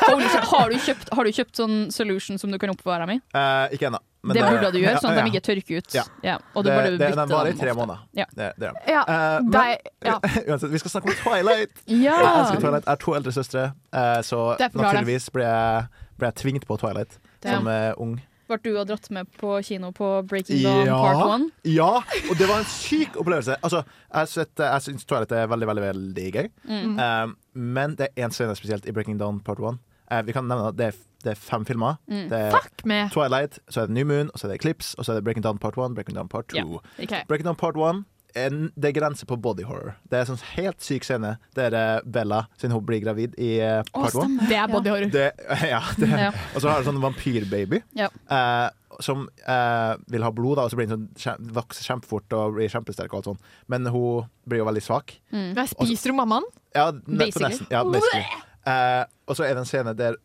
Speaker 5: Holy shit, har, du kjøpt, har du kjøpt sånn solution som du kan oppbevare dem i?
Speaker 8: Eh, ikke ennå. men
Speaker 5: det burde du gjøre, sånn at
Speaker 8: ja,
Speaker 5: de
Speaker 8: ja.
Speaker 5: ikke tørker ut.
Speaker 8: Ja.
Speaker 5: Ja, og du
Speaker 8: det,
Speaker 5: burde
Speaker 8: det,
Speaker 5: bytte
Speaker 8: den varer i
Speaker 5: dem
Speaker 8: tre
Speaker 5: ofte.
Speaker 8: måneder.
Speaker 5: Ja. Ah,
Speaker 8: Det, det. gjør den.
Speaker 10: Ja,
Speaker 8: Eh, men-
Speaker 10: deg, ja.
Speaker 8: Uansett, vi skal snakke om Twilight.
Speaker 10: Ja.
Speaker 8: Jeg elsker Twilight. Jeg har to eldre søstre, eh, så
Speaker 5: Ah. Det forklarer det.
Speaker 8: naturligvis ble jeg, ble jeg tvingt på Twilight
Speaker 5: Det-
Speaker 8: som eh, ung.
Speaker 5: Ble du og dratt med på kino på Breaking Dawn Part 1?
Speaker 8: ja, og det var en syk opplevelse. Altså, jeg sett- jeg syns Twilight er veldig, veldig veldig gøy.
Speaker 5: Mm.
Speaker 8: Eh, men det er én scene spesielt i Breaking Down Part 1. Eh, vi kan nevne at det er, det er fem filmer.
Speaker 10: Mm.
Speaker 8: Det er
Speaker 10: Fuck meg!
Speaker 8: Twilight, så er det New Moon, og så er det Eclipse, og så er det Breaking Down Part 1, Breaking Down Part 2.
Speaker 10: Ja, riktig.
Speaker 8: Breaking Down Part 1 en, det er grenser på body horror. Det er en sånn helt syk scene der eh, Bella siden hun blir gravid i eh, Part 1.
Speaker 10: Det er body horror.
Speaker 8: Det, ja,
Speaker 5: Mm,
Speaker 8: det,
Speaker 10: Ja.
Speaker 8: Og så har du sånn vampyrbaby
Speaker 10: Ja.
Speaker 8: eh, som eh, vil ha blod, da, og så blir hun sånn, kjem- vokser kjempefort og blir kjempesterk. Og alt sånn. Men hun blir jo veldig svak.
Speaker 5: Mm.
Speaker 10: Der
Speaker 8: Altså-
Speaker 10: spiser du mammaen.
Speaker 8: Ja, ne- på
Speaker 10: Basically.
Speaker 8: nesten. Ja, basically. Eh, og så er det en scene der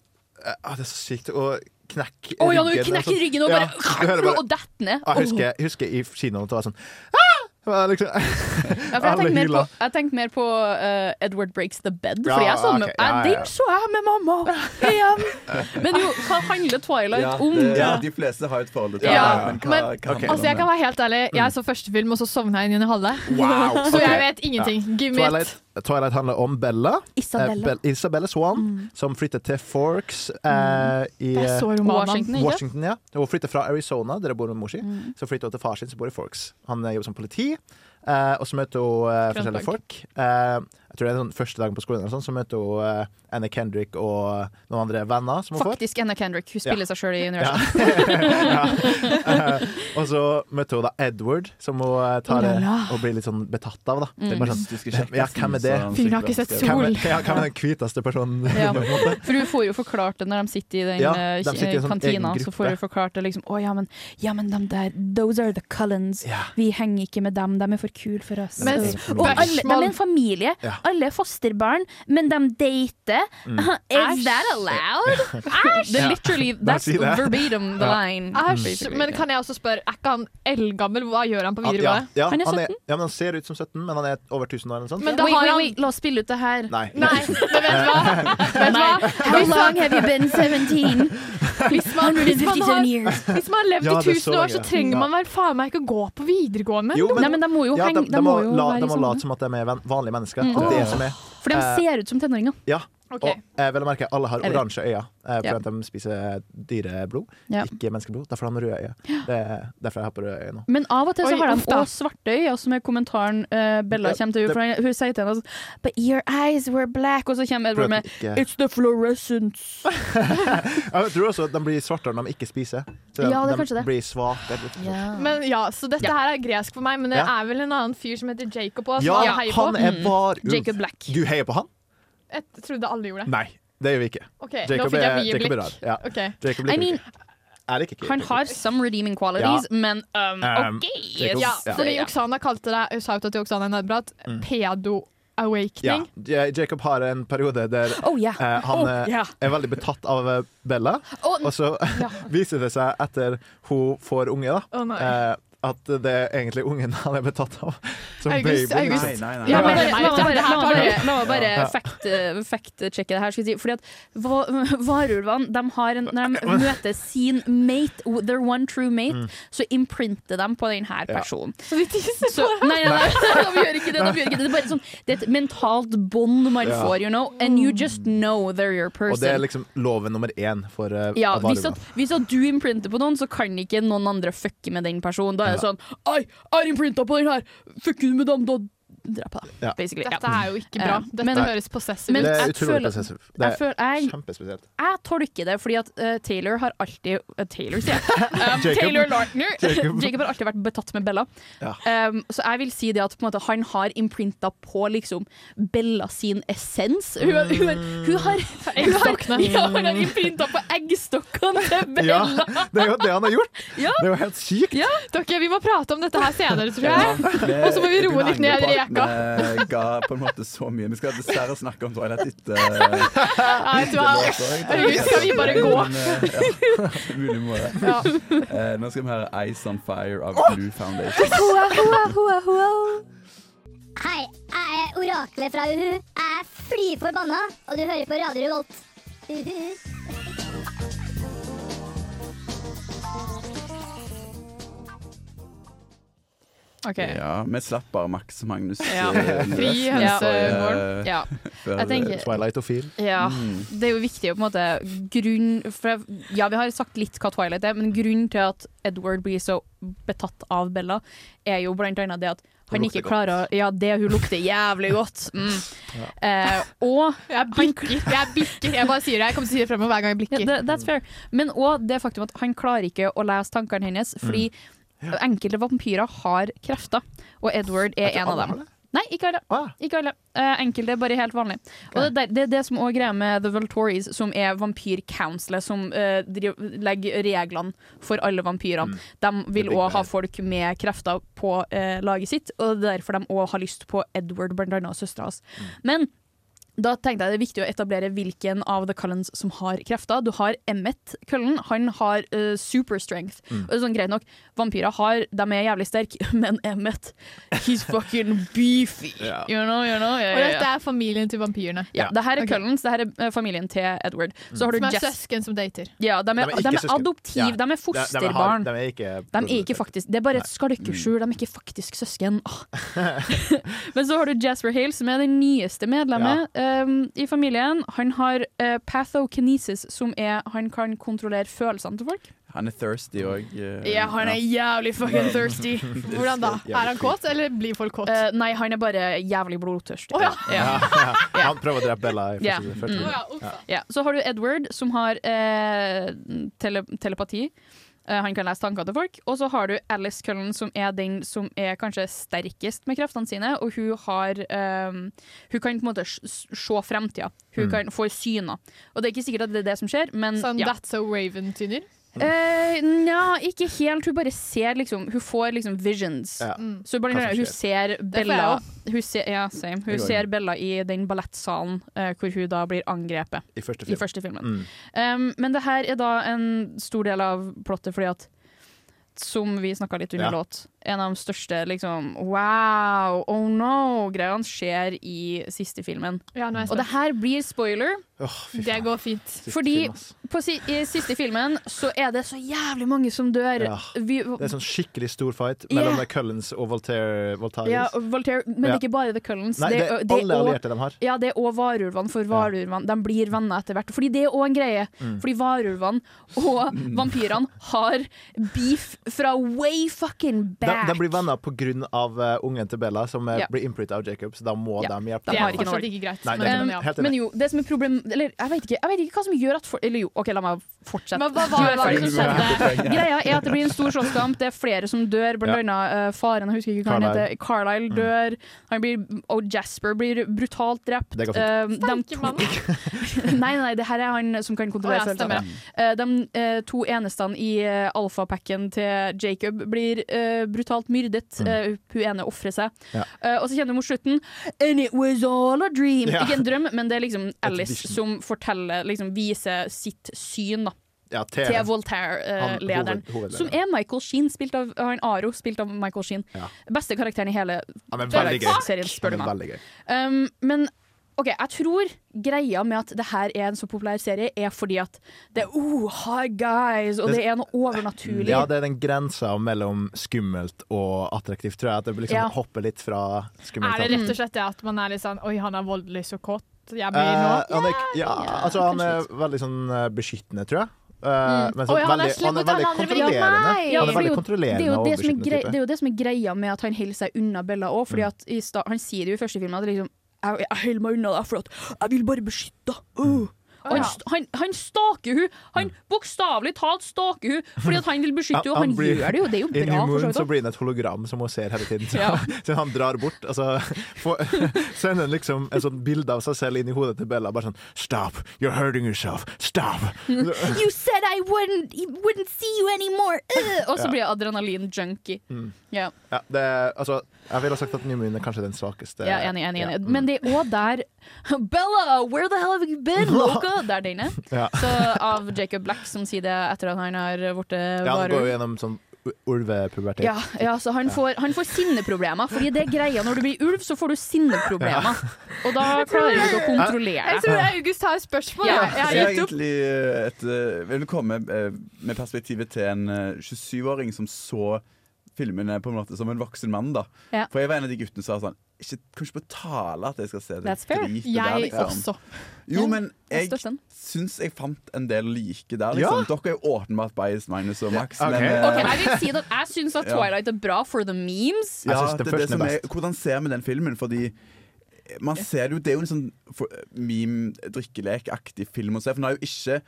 Speaker 8: eh, ah, Det er så sykt å knekke ryggen.
Speaker 5: Å ja, når
Speaker 8: Det
Speaker 5: du
Speaker 8: er
Speaker 5: knekker
Speaker 8: sånn-
Speaker 5: ryggen og
Speaker 8: Ja,
Speaker 5: bare,
Speaker 8: du hører bare
Speaker 5: Og detter ned.
Speaker 8: Ah, jeg,
Speaker 5: Åh.
Speaker 8: husker, jeg husker i kinoen at det var sånn ah! Det var liksom,
Speaker 5: Ja, for jeg
Speaker 8: Alle
Speaker 5: tenkte mer på,
Speaker 8: hyler.
Speaker 5: jeg tenkte mer på eh, Edward Breaks the Bed.
Speaker 8: Ja,
Speaker 5: fordi jeg så den
Speaker 8: ok,
Speaker 5: med,
Speaker 8: ja, ja, ja.
Speaker 5: Den så jeg med mamma igjen! Men jo, hva handler Twilight
Speaker 7: Ja,
Speaker 5: om?
Speaker 7: det, de fleste har et forhold til
Speaker 10: Ja,
Speaker 7: men hva,
Speaker 10: men
Speaker 7: hva handler
Speaker 10: altså, jeg
Speaker 7: det
Speaker 10: kan
Speaker 7: om?
Speaker 10: være helt ærlig. Jeg så første film, og så sovna jeg inn i en halve.
Speaker 8: Wow,
Speaker 10: Så jeg
Speaker 8: ok.
Speaker 10: vet ingenting.
Speaker 8: Ja.
Speaker 10: Give me it.
Speaker 8: Twilight, Twilight handler om Bella.
Speaker 10: Isabella.
Speaker 8: Eh, Bell- Isabella Swan, som flytter til Forks eh, i
Speaker 10: Det er så
Speaker 8: eh,
Speaker 10: romanen. Washington, ikke?
Speaker 8: Washington, ja. Hun flytter fra Arizona, der hun bor med mor si. Så flytter hun til far sin, som bor i Forks. Han eh, jobber som politi, eh, og så møter hun eh, forskjellige folk. Eh, jeg tror det er den første dagen på skolen, eller sånn, så møter hun eh, Anna Kendrick og noen andre venner. som hun får.
Speaker 5: Faktisk Anna Kendrick. Hun spiller
Speaker 8: Ja.
Speaker 5: seg sjøl i
Speaker 8: Ja.
Speaker 5: universet.
Speaker 8: Eh, og så møtte hun da Edward, som hun eh, tar,
Speaker 5: Oh la la.
Speaker 8: og blir litt sånn betatt av. Da.
Speaker 5: Mm.
Speaker 8: Det er bare
Speaker 7: mystiske
Speaker 8: sånn, ja, hvem er det?
Speaker 7: kjekkasen som
Speaker 5: Fyren har ikke sett
Speaker 8: Hvem er-
Speaker 5: sol.
Speaker 8: Ja, hvem er den hviteste personen?
Speaker 5: Ja.
Speaker 8: på en måte?
Speaker 5: For hun får jo forklart det når de sitter i den
Speaker 8: Ja,
Speaker 5: eh,
Speaker 8: de sitter i en sånn
Speaker 5: kantina.
Speaker 8: egen
Speaker 5: Så
Speaker 8: gruppe.
Speaker 5: får hun forklart det liksom Å ja, men, ja, men de der Those are the Cullens. Vi henger ikke med dem. De er for kule for oss.
Speaker 10: Mens
Speaker 5: og alle, de er en familie.
Speaker 8: Ja.
Speaker 5: Alle er fosterbarn, men de dater.
Speaker 8: Mm.
Speaker 5: Is that allowed? Æsj! Det er
Speaker 8: Ja.
Speaker 5: literally
Speaker 8: Bare
Speaker 5: That's
Speaker 8: si det.
Speaker 5: verbatim the
Speaker 8: Ja.
Speaker 5: line.
Speaker 10: Æsj. Men kan jeg også spørre, er ikke han eldgammel? Hva gjør han på
Speaker 8: Han-
Speaker 10: videregående?
Speaker 8: Ah, Ja, ja, han er, ja, men han ser ut som 17, men han er over 1000 år. Eller noe sånt.
Speaker 10: Men da har han
Speaker 5: La oss spille ut det her.
Speaker 8: Nei.
Speaker 10: Nei, men vet du hva? Vet du hva? Hvis han-
Speaker 5: have you been 17?
Speaker 10: Hvis man, hvis man, har,
Speaker 5: years.
Speaker 10: hvis man har levd
Speaker 8: Ja,
Speaker 10: i
Speaker 8: det er
Speaker 10: 1000 år,
Speaker 8: så
Speaker 10: så
Speaker 8: lenge.
Speaker 10: trenger
Speaker 8: Ja.
Speaker 10: man vel faen meg ikke å gå på videregående.
Speaker 8: Jo,
Speaker 5: Nei, men de må jo
Speaker 8: ja,
Speaker 5: henge-
Speaker 8: de,
Speaker 5: de må jo
Speaker 8: la,
Speaker 5: være
Speaker 8: de må
Speaker 5: sammen.
Speaker 8: late som at de er ven- vanlige mennesker.
Speaker 5: Mm.
Speaker 8: Det er
Speaker 5: Åh.
Speaker 8: det som er.
Speaker 5: For de
Speaker 8: Eh,
Speaker 5: ser ut som tenåringer.
Speaker 8: Ja.
Speaker 10: Ok.
Speaker 8: Og eh, vel å merke, alle har
Speaker 5: Eller-
Speaker 8: oransje øyne eh, fordi
Speaker 5: Ja.
Speaker 8: at de spiser dyreblod,
Speaker 5: Ja.
Speaker 8: ikke menneskeblod. Derfor har de røde øyne. Det er derfor jeg har på røde øyne nå.
Speaker 5: Men av og til så
Speaker 10: Oi,
Speaker 5: har de
Speaker 10: uff da.
Speaker 5: også svarte øyne, som er kommentaren eh, Bella
Speaker 8: Ja,
Speaker 5: kommer til.
Speaker 8: det-
Speaker 5: For hun, hun sier til henne sånn But your eyes were black. Og så kommer Edward
Speaker 8: Prøv
Speaker 5: med
Speaker 8: at ikke-
Speaker 5: It's the fluorescence.
Speaker 8: Jeg tror også at de blir svartere når de ikke spiser. Så de,
Speaker 5: Ja, det er
Speaker 8: de
Speaker 5: kanskje det.
Speaker 8: blir svake.
Speaker 10: Men ja, Så dette her er gresk for meg, men det
Speaker 8: Ja.
Speaker 10: er vel en annen fyr som heter Jacob òg, som
Speaker 8: Ja,
Speaker 10: alle heier
Speaker 8: han
Speaker 10: på. Mm.
Speaker 8: er var ulv.
Speaker 5: Jacob Black.
Speaker 8: Du heier på han?
Speaker 10: Jeg trodde alle gjorde det.
Speaker 8: Nei, det gjør vi ikke.
Speaker 10: Ok, nå fikk jeg mye
Speaker 8: Jacob er
Speaker 10: blikk.
Speaker 8: rar. Ja.
Speaker 10: Ok.
Speaker 8: Jacob
Speaker 5: I
Speaker 8: liker vi
Speaker 5: mean,
Speaker 8: ikke. Jeg liker ikke
Speaker 5: han
Speaker 8: Jacob.
Speaker 5: har some redeeming qualities, men um,
Speaker 8: Um,
Speaker 5: OK.
Speaker 8: Jacob,
Speaker 10: Ja,
Speaker 8: Ja.
Speaker 10: Fordi Oksana kalte deg Shouta til Oksana Nedbrat.
Speaker 8: Mm. Ja,
Speaker 10: Pedo-awakening.
Speaker 8: Ja, Jacob har en periode der
Speaker 5: Oh, yeah.
Speaker 8: eh, han
Speaker 5: Oh,
Speaker 8: eh,
Speaker 5: yeah.
Speaker 8: er veldig betatt av eh, Bella,
Speaker 5: Å, n-
Speaker 8: og så
Speaker 5: Ja.
Speaker 8: viser det seg etter hun får unge, da,
Speaker 10: Å, nei.
Speaker 8: eh, at det er egentlig ungen han er betatt av. Som
Speaker 10: August,
Speaker 8: babyen.
Speaker 10: August.
Speaker 7: Nei, nei, nei.
Speaker 5: La meg
Speaker 10: Ja,
Speaker 5: bare-
Speaker 10: men-
Speaker 5: la meg bare- la meg bare- la meg
Speaker 8: Ja.
Speaker 5: bare fact- eh, fact-sjekke det her. Skal jeg si. Fordi at va- Varulvene de har en, Når de møter sin mate, their one true
Speaker 8: Mm.
Speaker 5: mate, så imprinter de på denne personen.
Speaker 10: Så de tisser
Speaker 5: Så,
Speaker 10: på deg.
Speaker 5: nei, nei, nei, de gjør ikke det. De gjør ikke det. Det, er bare sånn, det er et mentalt bånd man
Speaker 8: Ja.
Speaker 5: får, you know. And you just know they're your person.
Speaker 8: Og det er liksom loven nummer én for eh,
Speaker 5: ja,
Speaker 8: Avaru.
Speaker 5: hvis, at, hvis at du imprinter på noen, så kan ikke noen andre fucke med den personen. Da er det sånn Oi, jeg har imprinta på den her! Fucker du med dem, da dreper jeg deg.
Speaker 8: Ja.
Speaker 5: Basically.
Speaker 10: Dette
Speaker 5: Ja.
Speaker 10: er jo ikke bra.
Speaker 5: Ja.
Speaker 10: Dette
Speaker 5: Men-
Speaker 10: høres possessive
Speaker 5: men-
Speaker 10: ut.
Speaker 8: det er
Speaker 5: jeg
Speaker 8: utrolig
Speaker 5: føler-
Speaker 8: prosessivt. Det
Speaker 5: Jeg,
Speaker 8: er
Speaker 5: føler, jeg,
Speaker 8: kjempespesielt.
Speaker 5: jeg tolker det fordi at eh, Taylor har alltid eh, Taylor, sier jeg. Um,
Speaker 8: Jacob.
Speaker 5: Taylor Lartner.
Speaker 8: Jacob.
Speaker 5: Jacob har alltid vært betatt med Bella.
Speaker 8: Ja.
Speaker 5: Um, så jeg vil si det at på en måte, han har imprinta på liksom Bella sin essens. Hun, har- hun, har-
Speaker 8: Mm.
Speaker 5: hun har
Speaker 10: Eggstokkene.
Speaker 5: Hun har, ja, hun har imprinta på eggstokkene til
Speaker 8: Ja,
Speaker 5: Bella!
Speaker 8: det er jo det han har gjort!
Speaker 5: Ja.
Speaker 8: Det er jo helt sykt!
Speaker 10: Dere, vi må prate om dette her senere, tror jeg.
Speaker 7: Ja, det-
Speaker 10: Og så må vi
Speaker 7: du
Speaker 10: roe litt ned
Speaker 7: angrer på at-
Speaker 10: reaction
Speaker 7: Vi eh, ga på en måte så mye. Vi skal dessverre snakke om Twilight etter eh, Nei,
Speaker 10: vet du hva? Skal vi bare gå?
Speaker 7: Ja, mulig vi må det.
Speaker 10: Ja.
Speaker 7: Eh, Nå skal vi høre Ice on Fire av Blue Foundation.
Speaker 14: Hoa, hoa, hoa, hoa. Hei, jeg er oraklet fra Uhu. Jeg er fly forbanna, og du hører på Radio Revolt. Uhu.
Speaker 7: Ja, vi slapp bare Max og Magnus.
Speaker 5: Ja.
Speaker 7: eh,
Speaker 5: Fri
Speaker 7: løs.
Speaker 5: hønsegård.
Speaker 7: Eh,
Speaker 5: Ja.
Speaker 7: før,
Speaker 5: Jeg tenker-
Speaker 8: Twilight og Feel.
Speaker 5: Ja,
Speaker 7: Mm.
Speaker 5: Det er jo viktig å på en måte grunn, for jeg, Ja, vi har sagt litt hva Twilight er, men grunnen til at Edward blir så betatt av Bella, er jo blant annet det at
Speaker 10: Hun
Speaker 5: han ikke
Speaker 10: lukter
Speaker 5: klarer å Ja, det hun lukter jævlig godt. Mm. Eh, og
Speaker 10: Jeg blikker. Jeg blikker. Jeg bare sier det. Jeg kommer til å si det fremover hver gang jeg blikker.
Speaker 5: Ja, det- that's fair. Men òg det faktum at han klarer ikke å lese tankene hennes, fordi
Speaker 10: Mm.
Speaker 5: enkelte vampyrer har krefter, og Edward er en av
Speaker 10: alle har
Speaker 5: dem. Nei, ikke alle. Ikke alle. Eh, enkelte er bare helt vanlige. Og det, er der- det er det som òg er greia med The Voltories, som er vampyrcounselet, som eh, driv, legger reglene for alle vampyrene. De vil òg ha folk med krefter på eh, laget sitt, og det er derfor de òg har lyst på Edward, blant annet søstera hans. Men da tenkte jeg det er viktig å etablere hvilken av The Cullens som har krefter. Du har Emmet Cullen. Han har eh, super strength.
Speaker 10: Mm.
Speaker 5: Og det er sånn greit nok, Vampyrer har, de er jævlig sterke, men Emmet He's fucking beefy.
Speaker 10: Ja.
Speaker 5: You know, you know.
Speaker 10: Og dette er familien til vampyrene.
Speaker 5: ja, det her er Cullens, det her er eh, familien til Edward. Så har du
Speaker 10: Som er
Speaker 5: Jess.
Speaker 10: søsken som dater.
Speaker 5: Ja, Mm. de er,
Speaker 8: ikke
Speaker 5: de er
Speaker 8: søsken.
Speaker 5: adoptiv,
Speaker 8: Ja.
Speaker 5: de er Mm. fosterbarn.
Speaker 8: De, de, er, ikke
Speaker 5: De er ikke faktisk Det er bare et skalkeskjul, de er ikke faktisk søsken. Åh. Men så har du Jasper Hale, som er det nyeste medlemmet ehm, i familien. Han har eh, pathokinesis, som er han kan kontrollere følelsene til folk.
Speaker 7: Han er thirsty eh, òg.
Speaker 5: Ja, han er jævlig fucking thirsty.
Speaker 10: Hvordan da? Er han kåt, eller blir folk kåt?
Speaker 5: Eh, nei, han er bare jævlig blodtørstig.
Speaker 8: Ja. Han prøver å drepe Bella i
Speaker 5: Ja.
Speaker 8: første, første
Speaker 5: Mm.
Speaker 8: runde.
Speaker 5: Å Ja, så har du Edward, som har eh, tele telepati. Eh, han kan lese tankene til folk. Og så har du Alice Cullen, som er den som er kanskje sterkest med kreftene sine. Og hun har eh, Hun kan på en måte s- s- se fremtida. Hun
Speaker 10: Mm.
Speaker 5: kan få syner. Og det er ikke sikkert at det er det som skjer, men
Speaker 10: Sånn
Speaker 5: ja.
Speaker 10: That's So Raven-tyner?
Speaker 5: Eh, Nja, ikke helt. Hun bare ser liksom Hun får liksom visions.
Speaker 10: Ja. Mm.
Speaker 5: Så blant
Speaker 10: Hva som
Speaker 5: annet, hun
Speaker 10: skjer.
Speaker 5: ser
Speaker 10: får jeg
Speaker 5: Bella
Speaker 10: også.
Speaker 5: Hun ser, ja, same.
Speaker 8: Jeg
Speaker 5: Hun
Speaker 8: går
Speaker 5: ser
Speaker 8: inn.
Speaker 5: Bella i den ballettsalen eh, hvor hun da blir angrepet.
Speaker 8: I første film.
Speaker 5: filmen.
Speaker 8: Mm.
Speaker 5: Um, men det her er da en stor del av plottet fordi at som vi snakka litt under
Speaker 10: Ja.
Speaker 5: låt, en av de største liksom wow, oh no-greiene skjer i siste filmen.
Speaker 10: Ja, nå er jeg
Speaker 5: Og det her blir spoiler.
Speaker 10: Det går fint.
Speaker 5: Fordi på si i siste filmen så er det så jævlig mange som dør.
Speaker 8: Ja.
Speaker 5: Vi,
Speaker 8: Det er sånn skikkelig stor fight
Speaker 5: Ja.
Speaker 8: mellom The Cullens og Voltaire. Voltaires.
Speaker 5: ja, og Voltaire, men det
Speaker 8: Ja.
Speaker 5: er ikke bare The Cullens.
Speaker 8: Nei, det er alle allierte de har.
Speaker 5: Ja, det er òg varulvene, for varulvene de blir venner etter hvert. Fordi det er òg en greie.
Speaker 10: Mm.
Speaker 5: Fordi varulvene og vampyrene har beef fra way fucking
Speaker 8: de,
Speaker 5: back.
Speaker 8: de blir venner pga. Uh, ungen til Bella, som eh,
Speaker 5: Ja.
Speaker 8: blir imprinta av Jacob, så da må
Speaker 5: Ja,
Speaker 8: de hjelpe
Speaker 5: de har
Speaker 8: dem.
Speaker 5: ikke noe valg.
Speaker 8: Nei, det er
Speaker 5: Um,
Speaker 8: ikke noe. Helt
Speaker 5: men
Speaker 8: enig.
Speaker 5: jo, det som er problem Eller jeg vet ikke, jeg vet ikke hva som gjør at for, Eller jo, OK, la meg fortsette.
Speaker 10: Men hva var-
Speaker 5: Du
Speaker 10: hva
Speaker 5: er
Speaker 10: var det
Speaker 5: ferdig.
Speaker 10: som skjedde?
Speaker 5: Greia er at det blir en stor slåsskamp. Det er flere som dør, blant
Speaker 10: Ja.
Speaker 5: annet eh, faren, jeg husker ikke hva han
Speaker 10: Carlyle.
Speaker 5: heter. Carlisle
Speaker 8: Mm.
Speaker 5: dør. Han blir, og Jasper blir brutalt drept.
Speaker 10: Det går fint.
Speaker 5: Eh, de to- nei, nei, det her er han som kan
Speaker 10: Å,
Speaker 5: kontrollere
Speaker 10: ja,
Speaker 5: følelsene.
Speaker 10: stemmer,
Speaker 8: Mm.
Speaker 5: Eh, de eh, to eneste i eh, alfapacken til Jacob blir eh, brutalt myrdet.
Speaker 10: Mm.
Speaker 5: Eh, hun ene ofrer seg.
Speaker 10: Ja.
Speaker 5: Eh, og så kjenner du mot slutten And it was all a dream.
Speaker 8: Ja.
Speaker 5: Ikke en drøm, men det er liksom Alice
Speaker 8: vision.
Speaker 5: som forteller, liksom viser sitt syn da,
Speaker 8: Ja, til-
Speaker 5: til
Speaker 8: Han
Speaker 5: Voltaire-lederen.
Speaker 8: hoved- hovedlederen.
Speaker 5: eh, som er Michael Sheen, spilt av han Aro, spilt av Michael Sheen.
Speaker 8: Ja.
Speaker 5: Beste karakteren i hele
Speaker 8: Ja, men veldig gøy.
Speaker 5: Twilight-serien, spør du
Speaker 8: Men
Speaker 5: meg.
Speaker 8: veldig gøy.
Speaker 5: Um, men ok, jeg tror greia med at det her er en så populær serie, er fordi at det er oh, hi guys, og
Speaker 8: Det-
Speaker 5: det er noe overnaturlig.
Speaker 8: Ja, det er den grensa mellom skummelt og attraktivt, tror jeg. At det liksom
Speaker 10: Ja.
Speaker 8: hopper litt fra skummelt
Speaker 10: Er det
Speaker 8: til-
Speaker 10: rett og slett det at man er litt sånn Oi, han er voldelig så kåt. Jeg blir
Speaker 8: Eh,
Speaker 10: nå
Speaker 8: han er, ikke- ja, altså, han er veldig sånn eh, beskyttende, tror jeg. Eh,
Speaker 5: Mm.
Speaker 8: men så
Speaker 10: Oi, han er
Speaker 8: veldig,
Speaker 10: slem
Speaker 8: han er
Speaker 10: mot alle
Speaker 8: veldig
Speaker 10: andre, men
Speaker 8: kontrollerende.
Speaker 10: ja,
Speaker 8: Han er
Speaker 5: for det jo-
Speaker 8: veldig
Speaker 5: det er
Speaker 8: kontrollerende
Speaker 5: jo
Speaker 8: og
Speaker 5: det som er grei-
Speaker 8: beskyttende
Speaker 5: Det er
Speaker 8: type. Mm.
Speaker 5: jo det som er greia med at han holder seg unna Bella òg, fordi at i
Speaker 8: Mm.
Speaker 5: sta- han sier det jo i første filmen at liksom, jeg, jeg holder meg unna deg for at jeg vil bare beskytte deg. Uh. Og han, st- han, han staker hun Han bokstavelig talt staker hun fordi at han vil beskytte henne, og han
Speaker 8: blir-
Speaker 5: gjør det jo. Det er jo
Speaker 8: I
Speaker 5: bra.
Speaker 8: New
Speaker 5: for så
Speaker 8: Moon
Speaker 5: vidt
Speaker 8: så
Speaker 5: også.
Speaker 8: blir han et hologram som hun ser hele tiden. Så,
Speaker 5: Ja.
Speaker 8: så han drar bort, og så får- sender han liksom et sånt bilde av seg selv inn i hodet til Bella. Bare sånn Stop! You're hurting yourself! Stop! Mm.
Speaker 14: You said I wouldn't, wouldn't see you anymore.
Speaker 5: Øh, Og så
Speaker 8: Ja.
Speaker 5: blir jeg adrenalin-junkie.
Speaker 8: Mm.
Speaker 5: Ja.
Speaker 8: Ja, det, er- altså, jeg ville ha sagt at New Moon er kanskje den svakeste.
Speaker 5: Ja, enig, enig,
Speaker 8: Ja.
Speaker 5: enig. Men det er òg der Bella, where the hell have you been, loca? Det er den ene.
Speaker 8: Ja.
Speaker 5: Så av Jacob Black som sier det etter at han har blitt
Speaker 8: Ja, han går jo
Speaker 5: varulv.
Speaker 8: gjennom sånn u- ulvepubertet.
Speaker 5: Ja, ja, så han
Speaker 8: Ja.
Speaker 5: får, han får sinneproblemer. Fordi det er greia når du blir ulv, så får du sinneproblemer. Og da
Speaker 10: Jeg tror-
Speaker 5: klarer du ikke å kontrollere
Speaker 10: Jeg tror
Speaker 5: det.
Speaker 10: August har et spørsmål.
Speaker 5: Ja.
Speaker 10: jeg. Jeg har
Speaker 7: Jeg har
Speaker 10: gitt opp.
Speaker 7: egentlig eh, et, eh, vil komme eh, med perspektivet til en eh, 27-åring som så filmene på en måte som en voksen mann. da
Speaker 10: Ja.
Speaker 7: For jeg var en av de guttene som sa sånn ikke, Kan ikke betale at jeg skal se det
Speaker 10: That's fair.
Speaker 7: dritet liksom?"
Speaker 10: Jeg
Speaker 5: også.
Speaker 7: Jo, men
Speaker 5: Jeg
Speaker 7: jeg
Speaker 5: støtter den.
Speaker 7: syns jeg fant en del like der.
Speaker 8: Ja.
Speaker 7: Liksom. Dere er jo åpenbart bias, Magnus og Max.
Speaker 8: Ok.
Speaker 7: Men, eh,
Speaker 5: Ok, jeg vil si at jeg syns at
Speaker 7: Ja.
Speaker 5: Twilight er bra for the memes.
Speaker 7: ja,
Speaker 8: Jeg synes den
Speaker 7: det, er det
Speaker 8: første er
Speaker 7: som er,
Speaker 8: best.
Speaker 7: hvordan ser vi den filmen? Fordi man ser jo, Det er jo en sånn for- meme-drikkelek-aktig film å se. For den har jo ikke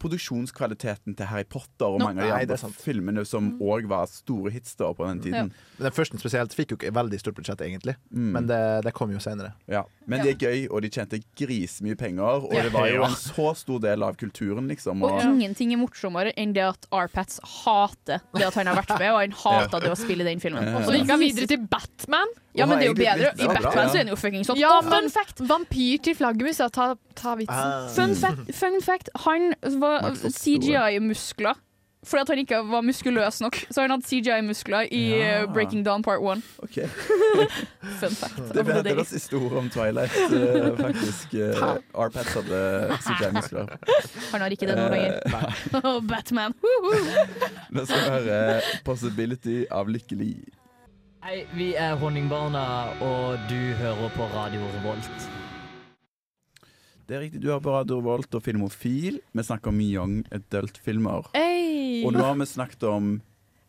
Speaker 7: produksjonskvaliteten til Harry Potter og
Speaker 5: No.
Speaker 7: mange av de
Speaker 8: Nei, det er
Speaker 7: andre
Speaker 8: sant.
Speaker 7: filmene som òg var store hits da på den tiden. Mm.
Speaker 8: Men Den første spesielt fikk jo ikke veldig stort budsjett, egentlig. Men det, det kom jo senere.
Speaker 7: Ja. Men de er gøy, og de tjente grismye penger. Og
Speaker 8: Ja.
Speaker 7: det var jo
Speaker 8: Ja.
Speaker 7: en så stor del av kulturen, liksom.
Speaker 5: Og
Speaker 7: Og,
Speaker 5: ingenting er morsommere enn det at Arpats hater det at han har vært med, og han
Speaker 7: Ja.
Speaker 5: hater det å spille i den filmen.
Speaker 7: Ja.
Speaker 5: Og
Speaker 10: Så
Speaker 5: så
Speaker 10: gikk han
Speaker 5: viser-
Speaker 10: videre til Batman.
Speaker 5: Ja, men det er jo
Speaker 7: Det var egentlig
Speaker 5: bedre.
Speaker 7: litt-
Speaker 5: I
Speaker 7: det var bra,
Speaker 5: Batman
Speaker 7: ja.
Speaker 5: så er han jo fucking sånn.
Speaker 10: Ja,
Speaker 5: Å,
Speaker 10: fun fact. Vampyr til flaggermus. Ja, ta, ta vitsen.
Speaker 8: Ah.
Speaker 5: Fun fact, fun fact han var
Speaker 7: Max var stor.
Speaker 5: CGI-muskler. Fordi at han ikke var muskuløs nok. Så han hadde CGI-muskler i
Speaker 7: Ja.
Speaker 5: eh, Breaking Down Part 1.
Speaker 7: ok.
Speaker 5: Fun fact.
Speaker 7: Det
Speaker 5: of the
Speaker 7: ble
Speaker 5: day.
Speaker 7: det var siste ordet om Twilight, eh, faktisk. Uh, Arpats hadde CJ-muskler.
Speaker 5: Han har ikke det nå lenger. Å, Batman. Woohoo.
Speaker 7: Nå skal vi høre 'Possibility' av Lykkelig.
Speaker 15: Hei, vi er Honningbarna, og du hører på Radio Revolt.
Speaker 7: Det er riktig, du har på Radio Revolt og Filmofil. Vi snakker om young adult-filmer.
Speaker 10: Hey.
Speaker 7: Og nå har vi snakket om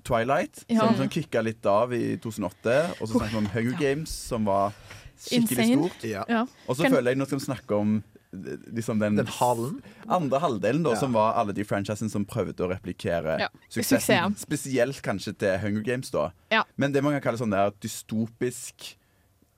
Speaker 7: Twilight,
Speaker 10: Ja.
Speaker 7: som, som kicka litt av i 2008. Og så snakket vi om Hunger Games, som var skikkelig
Speaker 10: Insane.
Speaker 7: stort.
Speaker 10: Ja.
Speaker 7: Og så
Speaker 10: Kan-
Speaker 7: føler jeg nå skal vi snakke om eh, liksom den,
Speaker 8: Den halen?
Speaker 7: andre halvdelen, da,
Speaker 8: Ja.
Speaker 7: som var alle de franchisene som prøvde å replikere
Speaker 10: Ja.
Speaker 7: suksessen.
Speaker 10: Suksessen.
Speaker 7: Spesielt kanskje til Hunger Games, da.
Speaker 10: Ja.
Speaker 7: Men det man kan kalle sånn der dystopisk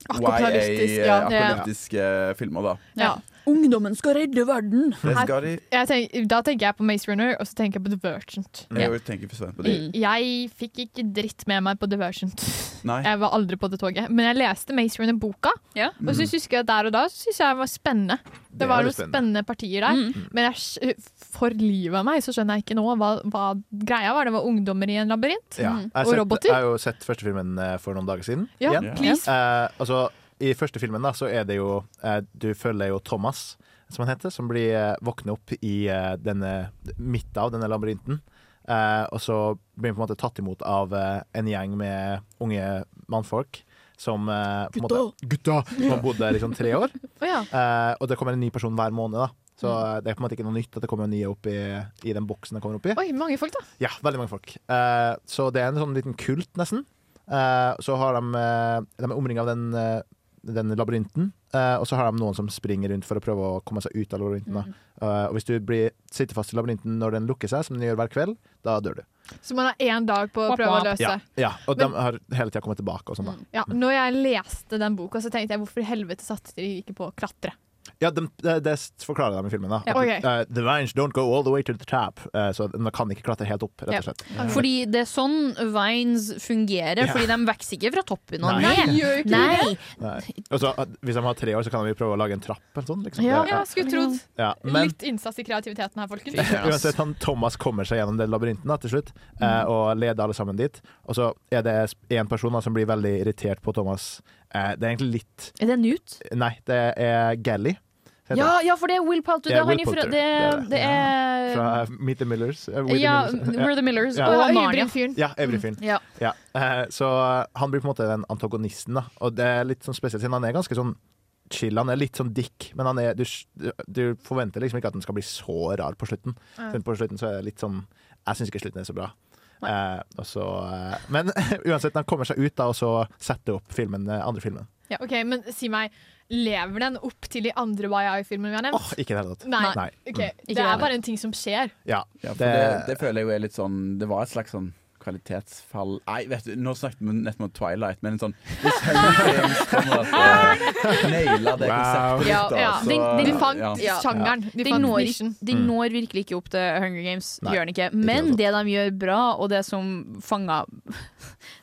Speaker 10: Apokalyptisk, ja.
Speaker 7: YA-apokalyptiske filmer, da.
Speaker 10: Ja.
Speaker 12: Ungdommen skal redde verden.
Speaker 7: Det skal de.
Speaker 10: Jeg tenk, da tenker jeg på Maze Runner, og så tenker jeg på Divergent.
Speaker 7: Jeg tenker for sent på
Speaker 10: Mm.
Speaker 7: de.
Speaker 10: Jeg fikk ikke dritt med meg på Divergent.
Speaker 7: Nei.
Speaker 10: Jeg var aldri på det toget. Men jeg leste Maze Runner-boka,
Speaker 5: Ja.
Speaker 10: og så husker jeg der og da så synes jeg det var spennende. Det,
Speaker 8: Det er
Speaker 10: var
Speaker 8: jo
Speaker 10: noen
Speaker 8: spennende.
Speaker 10: spennende. partier der. Men jeg, skj- for livet av meg så skjønner jeg ikke nå hva, hva greia var. Det var ungdommer i en labyrint.
Speaker 8: Ja.
Speaker 10: Mm.
Speaker 8: Jeg, har
Speaker 10: Og
Speaker 8: sett,
Speaker 10: roboter.
Speaker 8: jeg har jo sett første filmen eh, for noen dager siden.
Speaker 10: Ja,
Speaker 8: igjen.
Speaker 10: please.
Speaker 8: Eh, altså, I første filmen da, så er det jo eh, Du følger jo Thomas, som han heter, som blir eh, våkner opp i eh, denne midten av denne labyrinten. Eh, og så blir han på en måte tatt imot av eh, en gjeng med unge mannfolk. Som eh, på en måte, gutta! Som har bodd der i sånn tre år.
Speaker 10: Å ja.
Speaker 8: Eh, og det kommer en ny person hver måned. da Så
Speaker 10: Mm.
Speaker 8: eh, det er på en måte ikke noe nytt at det kommer nye opp i, i den boksen det kommer opp i.
Speaker 10: Oi, mange folk, da.
Speaker 8: Ja, veldig mange folk. Eh, så det er en sånn liten kult, nesten. Eh, så har de, eh, de er omringa av den, eh, den labyrinten, eh, og så har de noen som springer rundt for å prøve å komme seg ut av
Speaker 10: Mm.
Speaker 8: labyrinten. da. Eh, og hvis du blir, sitter fast i labyrinten når den lukker seg, som den gjør hver kveld, da dør du.
Speaker 10: Så man har én dag på å prøve å løse.
Speaker 8: Ja, ja, og
Speaker 10: Men-
Speaker 8: de har hele tida kommet tilbake og sånn, da.
Speaker 10: Ja, når jeg leste den boka, så tenkte jeg hvorfor i helvete satte de ikke på å klatre?
Speaker 8: Ja, de, det, det forklarer de i filmen, da.
Speaker 10: Ja.
Speaker 8: At,
Speaker 10: Ok.
Speaker 8: eh, the vines don't go all the way to the top. Eh, så de kan ikke klatre helt opp, rett og slett.
Speaker 5: Ja. Fordi det er sånn vines fungerer.
Speaker 8: Ja.
Speaker 5: Fordi de vokser ikke fra toppen og
Speaker 8: Nei.
Speaker 5: ned.
Speaker 10: Nei, gjør ikke
Speaker 5: Nei.
Speaker 8: Nei. Eh, Og så, at hvis de har tre år, så kan de jo prøve å lage en trapp eller sånn. Liksom.
Speaker 10: Ja,
Speaker 8: Det-
Speaker 10: skulle trodd.
Speaker 8: Ja, men
Speaker 10: Litt innsats i kreativiteten her, folkens.
Speaker 8: Uansett, han Thomas kommer seg gjennom den labyrinten da, til slutt, eh,
Speaker 10: Mm.
Speaker 8: og leder alle sammen dit. Og så er det én person da, som blir veldig irritert på Thomas. Eh, det er egentlig litt
Speaker 5: Er det Newt?
Speaker 8: Nei, det er Gally. heter
Speaker 5: Ja,
Speaker 8: han.
Speaker 5: ja, for det er Will Poulter.
Speaker 8: Det er
Speaker 5: Det er han
Speaker 8: Will
Speaker 5: ifra Det,
Speaker 8: Poulter. Det er det.
Speaker 5: det er
Speaker 8: Fra Meet the Millers. Eh, With
Speaker 5: Ja,
Speaker 8: the Millers.
Speaker 5: We're the Millers
Speaker 8: Ja.
Speaker 5: og
Speaker 10: Ja,
Speaker 5: Narnia.
Speaker 10: Øyebrynfyren.
Speaker 8: Ja, Everyfin.
Speaker 5: Ja.
Speaker 8: Ja. Eh, Så han blir på en måte den antagonisten, da. Og det er litt sånn spesielt, siden han er ganske sånn chill. Han er litt sånn dick, men han er, du, du forventer liksom ikke at han skal bli så rar på slutten.
Speaker 10: Ja.
Speaker 8: Men på slutten så er det litt sånn Jeg syns ikke slutten er så bra. Eh, og så, eh, men uansett, han kommer seg ut da, og så setter opp filmen, eh, andre filmen.
Speaker 10: Ja, ok, Men si meg, Lever den opp til de andre YI-filmene vi har nevnt?
Speaker 7: Åh,
Speaker 8: Ikke i det hele tatt.
Speaker 10: Nei. ok,
Speaker 7: Nei. Ah. Mm.
Speaker 10: Det
Speaker 7: Ikke
Speaker 10: er
Speaker 7: det.
Speaker 10: bare en ting som skjer.
Speaker 8: Ja,
Speaker 7: for det, det, føler jeg jo er litt sånn Det var et slags sånn kvalitetsfall Nei, vet du, nå snakket vi nettopp om Twilight, men en sånn Hvis Hunger Games kommer opp og nailer det
Speaker 8: Wow.
Speaker 7: konseptet
Speaker 5: Ja,
Speaker 7: litt, da,
Speaker 5: ja.
Speaker 7: så-
Speaker 5: Den- den-
Speaker 7: Ah,
Speaker 5: ja.
Speaker 7: ja.
Speaker 10: De
Speaker 5: de
Speaker 10: fant
Speaker 5: når,
Speaker 10: nisjen.
Speaker 5: de
Speaker 7: Mm.
Speaker 5: når virkelig ikke opp til Hunger Games,
Speaker 7: Nei,
Speaker 5: gjør den ikke. Men det de gjør bra, og det som fanga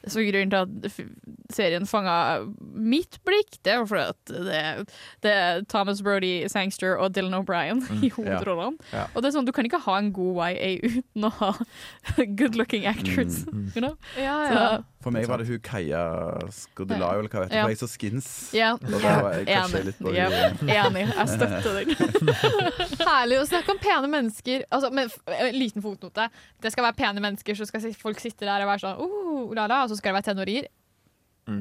Speaker 5: Det som er grunnen til at f- serien fanga mitt blikk, det var fordi at det, det er Thomas Brody Sangster og Dylan O'Brien
Speaker 10: Mm.
Speaker 5: i hovedrollene.
Speaker 10: Ja. Ja.
Speaker 5: Og det er sånn, du kan ikke ha en god YA uten å ha good looking
Speaker 8: Mm.
Speaker 5: actors, you know?
Speaker 10: Ja,
Speaker 5: Så-
Speaker 10: ja.
Speaker 7: For meg var det hun Kaja Skodelaio, eller hva vet du,
Speaker 5: Ja.
Speaker 7: for jeg så Skins.
Speaker 10: Ja.
Speaker 7: Og da var jeg
Speaker 5: Ja.
Speaker 7: kanskje
Speaker 5: Enig.
Speaker 7: litt på
Speaker 5: Ja. Enig. Jeg støtter deg.
Speaker 10: Herlig å snakke om pene mennesker. Altså, men, f- en liten fotnote. Det skal være pene mennesker, så skal si- folk sitte der og være sånn oh, la, la, og så skal det være tenåringer.
Speaker 7: eh,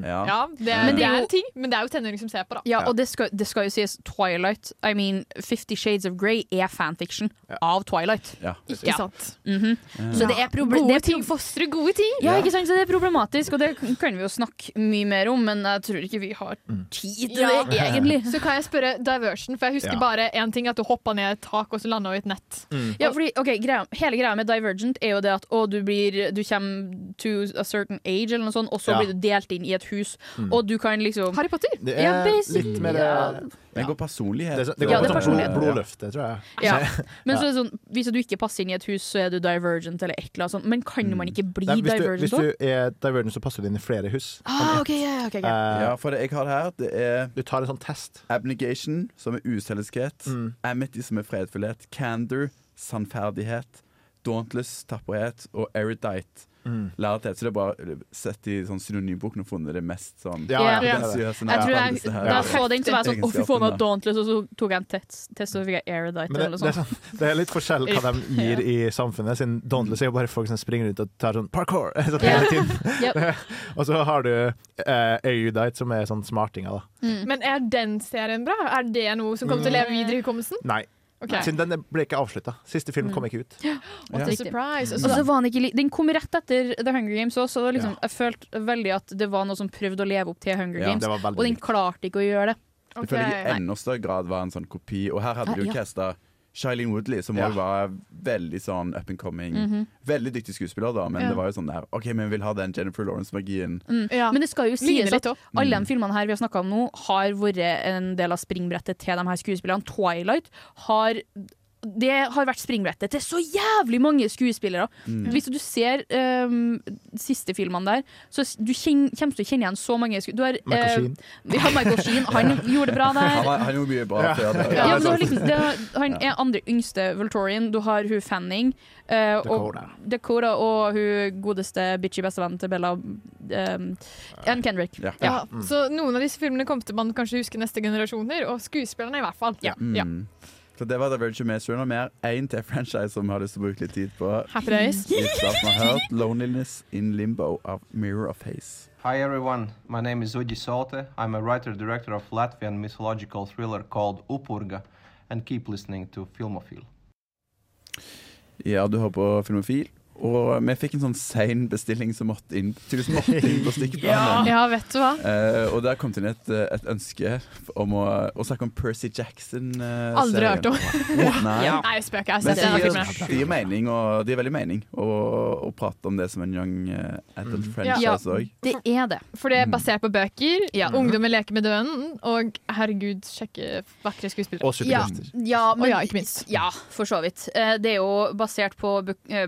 Speaker 10: Ja, det, det
Speaker 5: Men det
Speaker 10: er
Speaker 5: er jo-
Speaker 10: en ting, men det er jo tenåring som ser på, da.
Speaker 5: Ja, og det skal, det skal jo sies Twilight, I mean Fifty Shades of Grey er fanfiction av Twilight.
Speaker 7: Ja.
Speaker 5: Ikke sant? Mhm.
Speaker 7: Ja.
Speaker 5: Så det er proble-
Speaker 10: Gode
Speaker 5: det er pro-
Speaker 10: ting fostrer gode ting.
Speaker 5: Ja, ikke sant? Så det er problematisk, og det kan vi jo snakke mye mer om, men jeg tror ikke vi har
Speaker 8: Mm.
Speaker 5: tid til det,
Speaker 10: Ja.
Speaker 5: egentlig.
Speaker 10: Så kan jeg spørre diversion, for jeg husker
Speaker 5: Ja.
Speaker 10: bare én ting. At du hoppa ned et tak og så landa i et nett.
Speaker 5: Ja, fordi, ok, greia, Hele greia med Divergent er jo det at å, du, blir, du kommer to a certain age, eller noe sånt, og så
Speaker 7: Ja.
Speaker 5: blir du delt inn i et hus.
Speaker 7: Mm.
Speaker 5: Og du kan liksom
Speaker 10: Harry Potter!
Speaker 7: Det er litt mer,
Speaker 8: eh,
Speaker 5: ja.
Speaker 7: Den går personlighet.
Speaker 8: Det, det går
Speaker 5: Ja,
Speaker 8: på
Speaker 5: det er
Speaker 8: sånn blod,
Speaker 5: personlighet.
Speaker 8: blodløfte, tror jeg.
Speaker 5: Ja.
Speaker 8: Så-
Speaker 5: Men
Speaker 8: Ja.
Speaker 5: så er det sånn, hvis du ikke passer inn i et hus, så er du divergent eller et eller annet sånt. Men kan man ikke bli
Speaker 8: Mm. Nei, hvis, du,
Speaker 5: divergent
Speaker 8: hvis
Speaker 5: òg?
Speaker 8: du er divergent, så passer du inn i flere hus. Sånn Eh,
Speaker 5: Ah, ok, ja, ja, ok, greit.
Speaker 7: Ja, for det jeg har her, det er
Speaker 8: Du tar en sånn test. Mm,
Speaker 7: Abnegation, som er uselviskhet. Amity, som er fredfullhet. Candor, sannferdighet. Dauntless, tapperhet. Og erudite,
Speaker 8: Mm.
Speaker 7: lærerthet. Så det er bare sett i sånn synonymboken og funnet det mest sånn
Speaker 8: Ja, ja.
Speaker 5: Ja.
Speaker 7: potensiøse
Speaker 5: Jeg tror jeg,
Speaker 7: nærmeste her.
Speaker 5: da jeg så den, så var jeg sånn Å, fy faen,
Speaker 7: Egenskapene.
Speaker 5: Dauntless. Og så tok jeg en test, test og så fikk jeg Erudite
Speaker 8: Men det,
Speaker 5: eller
Speaker 8: det,
Speaker 5: noe
Speaker 8: er
Speaker 5: sånt.
Speaker 8: sånn, det er litt forskjell hva de gir i samfunnet. Siden Dauntless er jo bare folk som springer rundt og tar sånn parkour sånn hele tiden. og så har du eh, Erudite, som er sånn smartinger, da.
Speaker 10: Men er den serien bra? Er det noe som kommer til å
Speaker 7: Mm.
Speaker 10: leve videre i hukommelsen?
Speaker 8: Nei.
Speaker 10: Ok.
Speaker 8: Siden den ble ikke avslutta. Siste film kom
Speaker 5: Mm.
Speaker 8: ikke ut.
Speaker 10: What a surprise.
Speaker 5: Og
Speaker 10: Og
Speaker 5: altså, så
Speaker 10: så-
Speaker 5: var han ikke li Den kom rett etter The Hunger Games òg, så det var liksom, jeg følte veldig at det var noe som prøvde å leve opp til Hunger
Speaker 7: Ja,
Speaker 5: Games,
Speaker 7: det var veldig
Speaker 5: og den
Speaker 7: likt.
Speaker 5: klarte ikke å gjøre det.
Speaker 7: Altså, Jeg føler i enda større grad var en sånn kopi. Og her hadde
Speaker 5: Ja,
Speaker 7: du
Speaker 5: ja.
Speaker 7: jo casta Shailene Woodley, som
Speaker 5: Ja.
Speaker 7: også var veldig sånn up and coming.
Speaker 5: Mhm.
Speaker 7: Veldig dyktig skuespiller, da, men
Speaker 5: Ja.
Speaker 7: det var jo sånn der OK, men vi vil ha den Jennifer Lawrence-magien.
Speaker 5: Mm. Men det skal jo
Speaker 10: Ligner
Speaker 5: sies
Speaker 10: litt
Speaker 5: at
Speaker 10: også.
Speaker 5: alle de filmene her vi har snakka om nå, har vært en del av springbrettet til de her skuespillerne. Twilight har det har vært springbrettet til så jævlig mange skuespillere.
Speaker 10: Mm.
Speaker 5: Hvis du ser um, siste filmene der, så s- du kjen, kommer du eh, til å kjenne igjen så mange skuespillere.
Speaker 7: Michael Sheen.
Speaker 5: ja, Michael Sheen. Han gjorde det bra der.
Speaker 7: Han, var- han gjorde mye bra
Speaker 5: Ja.
Speaker 7: før det.
Speaker 5: Ja, men du har liksom, det har, han er andre yngste Voltorian. Du har hun Fanning. eh, og,
Speaker 7: Dakota.
Speaker 5: Dakota og hun godeste bitchy bestevennen til Bella. Um, Ann Kendrick.
Speaker 7: Ja. Mm.
Speaker 10: Ja, så noen av disse filmene kommer til man kanskje huske neste generasjoner, og skuespillerne i hvert fall.
Speaker 7: Mm. Så det var The Virgin Master. Nå mer én til franchise som vi har lyst til å bruke litt tid på.
Speaker 10: Happy Days.
Speaker 7: Litt av som har hørt 'Loneliness in Limbo' av Mirror of Haze.
Speaker 16: Hi everyone, my name is Udi Solte. I'm a writer-director of Latvian mythological thriller called Upurga, and keep listening to Filmophile.
Speaker 7: Ja, du hører på Filmofil. Og vi fikk en sånn sein bestilling som måtte inn, tydeligvis måtte inn på stikkplanen.
Speaker 10: Ja, vet du hva?
Speaker 7: Eh, og der kom det inn et, eh, et ønske om å, å snakke om Percy Jackson. eh,
Speaker 10: Aldri
Speaker 7: serien.
Speaker 10: hørt om.
Speaker 7: Nei.
Speaker 10: Nei, jeg spøker. Jeg har
Speaker 7: Men
Speaker 10: sett denne
Speaker 7: det gir,
Speaker 10: filmen.
Speaker 7: det gir mening, og det gir veldig mening å, å prate om det som en young eh, adult
Speaker 10: Mm.
Speaker 7: franchise òg.
Speaker 5: Det er det.
Speaker 10: For det Mm. er basert på bøker. Ungdommer leker med døden. Og herregud, sjekke vakre skuespillere.
Speaker 5: Og superkrefter. Ja,
Speaker 10: Å
Speaker 5: men,
Speaker 10: ja, ikke minst.
Speaker 5: Ja, for så vidt. Eh, det er jo basert på bok- eh,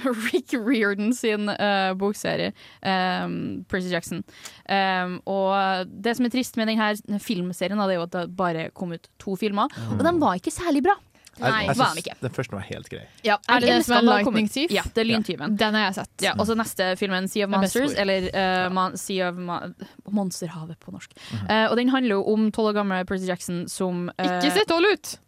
Speaker 5: Rick Reardon sin eh, bokserie, um, Percy Jackson. Um, og det som er trist med denne filmserien, da, det er jo at det bare kom ut to filmer, og
Speaker 8: Mm.
Speaker 5: de var ikke særlig bra.
Speaker 8: Jeg, jeg
Speaker 5: var de
Speaker 8: synes
Speaker 5: ikke.
Speaker 8: den første var helt grei.
Speaker 5: Ja,
Speaker 10: Er det
Speaker 5: jeg
Speaker 10: den som er
Speaker 5: elsker når det kommer-
Speaker 10: Lightning Thief?
Speaker 5: Ja, det er Lyntyven.
Speaker 10: Den har jeg sett.
Speaker 5: Ja, og så neste filmen, Sea of
Speaker 10: Det er best
Speaker 5: Monsters,
Speaker 10: ord.
Speaker 5: eller eh, Ma- Sea of Ma Monsterhavet på norsk. Eh, og den handler jo om tolv år gamle Percy Jackson som eh,
Speaker 10: Mhm. Ikke se dårlig ut!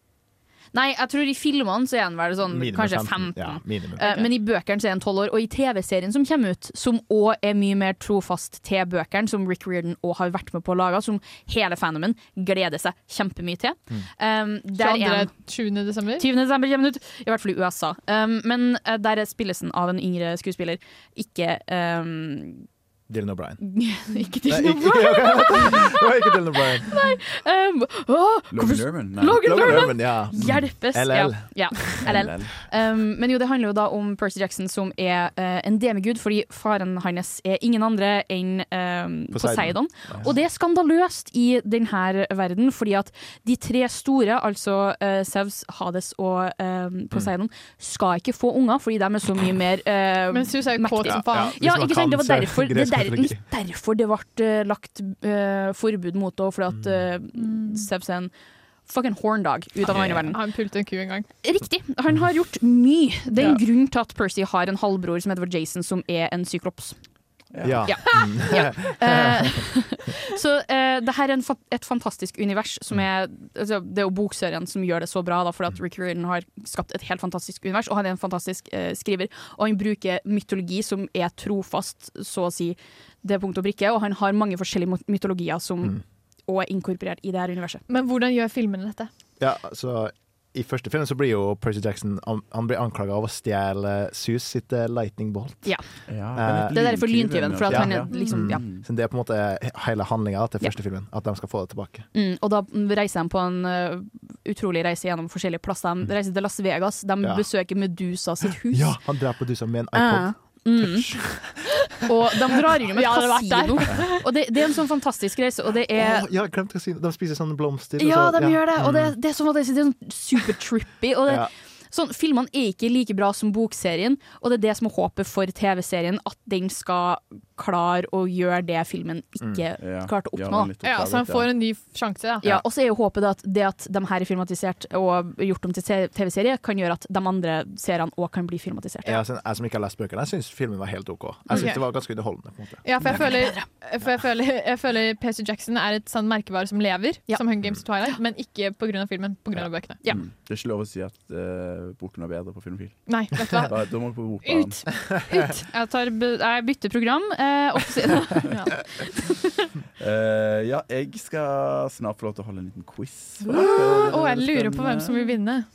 Speaker 5: Nei, jeg tror i filmene så er han vel sånn
Speaker 8: Minimum
Speaker 5: kanskje
Speaker 8: 15.
Speaker 5: 15.
Speaker 8: Ja, minimum.
Speaker 5: Eh, Men i bøkene så er han 12 år. Og i TV-serien som kommer ut, som òg er mye mer trofast til bøkene, som Rick Reardon òg har vært med på å lage, som hele fanomen gleder seg kjempemye til.
Speaker 8: Mm.
Speaker 5: Um, der er
Speaker 10: 22.
Speaker 5: han-
Speaker 10: 20. desember.
Speaker 5: 20. desember kommer den ut, i hvert fall i USA. Ehm, Um, men eh, der er spillelsen av en yngre skuespiller, ikke um,
Speaker 8: Dylan O'Brien.
Speaker 5: Ikke
Speaker 8: Nei,
Speaker 5: Dylan
Speaker 8: ikke- Det var ikke Dylan O'Brien.
Speaker 5: Nei. Um, åh, hvorfor-
Speaker 8: Nei.
Speaker 5: Logan Lerman.
Speaker 8: ja. Mm.
Speaker 5: Hjelpes.
Speaker 8: LL.
Speaker 5: Ja. ja. LL. Um, men jo, det handler jo da om Percy Jackson som er eh, en demigud, fordi faren hans er ingen andre enn um,
Speaker 10: Poseidon.
Speaker 5: Poseidon. Og det er skandaløst i denne verden, fordi at de tre store, altså eh, Zeus, Hades og eh,
Speaker 10: Mm.
Speaker 5: Poseidon, skal ikke få unger, fordi de er så mye mer uh,
Speaker 10: Men Zeus er jo kåt som faen.
Speaker 5: Ja,
Speaker 10: Hvis man
Speaker 5: ikke sant?
Speaker 10: kan,
Speaker 5: Det var
Speaker 10: så er det
Speaker 5: derfor det,
Speaker 10: gresk
Speaker 5: der,
Speaker 10: mytologi.
Speaker 5: litt derfor det ble eh, lagt eh, forbud mot det, fordi at eh,
Speaker 10: Mm.
Speaker 7: Mm.
Speaker 5: Zeus er en fucking horndog ut av den andre verden.
Speaker 10: Han pulte en ku en gang.
Speaker 5: Riktig. Han har gjort mye. Det er en
Speaker 10: Ja.
Speaker 5: grunn til at Percy har en halvbror som heter Jason, som er en syklops.
Speaker 8: Ja. Mm.
Speaker 5: Ja. Ja. Eh, så eh, det her er en fa et fantastisk univers som er altså, Det er jo bokserien som gjør det så bra, da, fordi at Rick Riordan har skapt et helt fantastisk univers, og han er en fantastisk eh, skriver. Og han bruker mytologi som er trofast, så å si, det punkt og brikke, og han har mange forskjellige mo- mytologier som også er inkorporert i det her universet.
Speaker 10: Men hvordan gjør filmene dette?
Speaker 8: Ja, så I første film så blir jo Percy Jackson an- Han blir anklaga av å stjele Zeus sitt eh, lightning bolt.
Speaker 5: Ja.
Speaker 8: Eh,
Speaker 5: Det er derfor lyntyven, for at han er liksom ja.
Speaker 8: Så det er på en måte hele handlinga til første filmen, at de skal få det tilbake.
Speaker 5: Mm, og da reiser de på en ø, utrolig reise gjennom forskjellige plasser. De reiser til Las Vegas, de
Speaker 8: Mm. Ja.
Speaker 5: besøker Medusa sitt hus.
Speaker 8: Ja, han dreper du med en iPod.
Speaker 5: Eh, Mm. Og de drar innom et
Speaker 10: Ah. Ja, det har vært
Speaker 5: kasino.
Speaker 8: der.
Speaker 5: Og det, det er en sånn fantastisk reise, og det er
Speaker 8: Åh, ja, jeg glemte å si det. De spiser sånne blomster. og
Speaker 5: Ja,
Speaker 8: så-
Speaker 5: de gjør det, og det,
Speaker 8: Mm.
Speaker 5: det er sånn, at det er sånn super-trippy. Og det,
Speaker 8: Ja.
Speaker 5: sånn, filmene er ikke like bra som bokserien, og det er det som er håpet for TV-serien, at den skal klare å gjøre det filmen ikke
Speaker 10: Mm, ja.
Speaker 5: klarte å
Speaker 10: Ja,
Speaker 5: oppnå.
Speaker 10: den litt Ja, så han oppdaget, får ja. en ny sjanse, da.
Speaker 5: Ja, og så er jo håpet da at det at de her er filmatisert og gjort om til te- TV-serie, kan gjøre at de andre seriene òg kan bli filmatisert.
Speaker 8: Jeg, altså, jeg som ikke har lest bøkene, jeg syns filmen var helt OK. Jeg syns
Speaker 10: Ok.
Speaker 8: det var ganske underholdende. på en måte.
Speaker 10: Ja, for jeg føler, eh, for jeg føler, jeg føler Percy Jackson er et sånn merkevare som lever, som Hunger Games og Twilight, men ikke pga. filmen, pga. bøkene.
Speaker 7: Mm. Det er ikke lov å si at uh, boken er bedre på filmfil.
Speaker 10: Nei, vet du hva?
Speaker 7: Da, da må du på boka.
Speaker 5: Ut! Ut! Jeg, tar, be- jeg bytter program. Eh, offisi- ja.
Speaker 7: Eh, ja, jeg skal snart få lov til å holde en liten quiz.
Speaker 10: Åh, jeg lurer på hvem som vil vinne.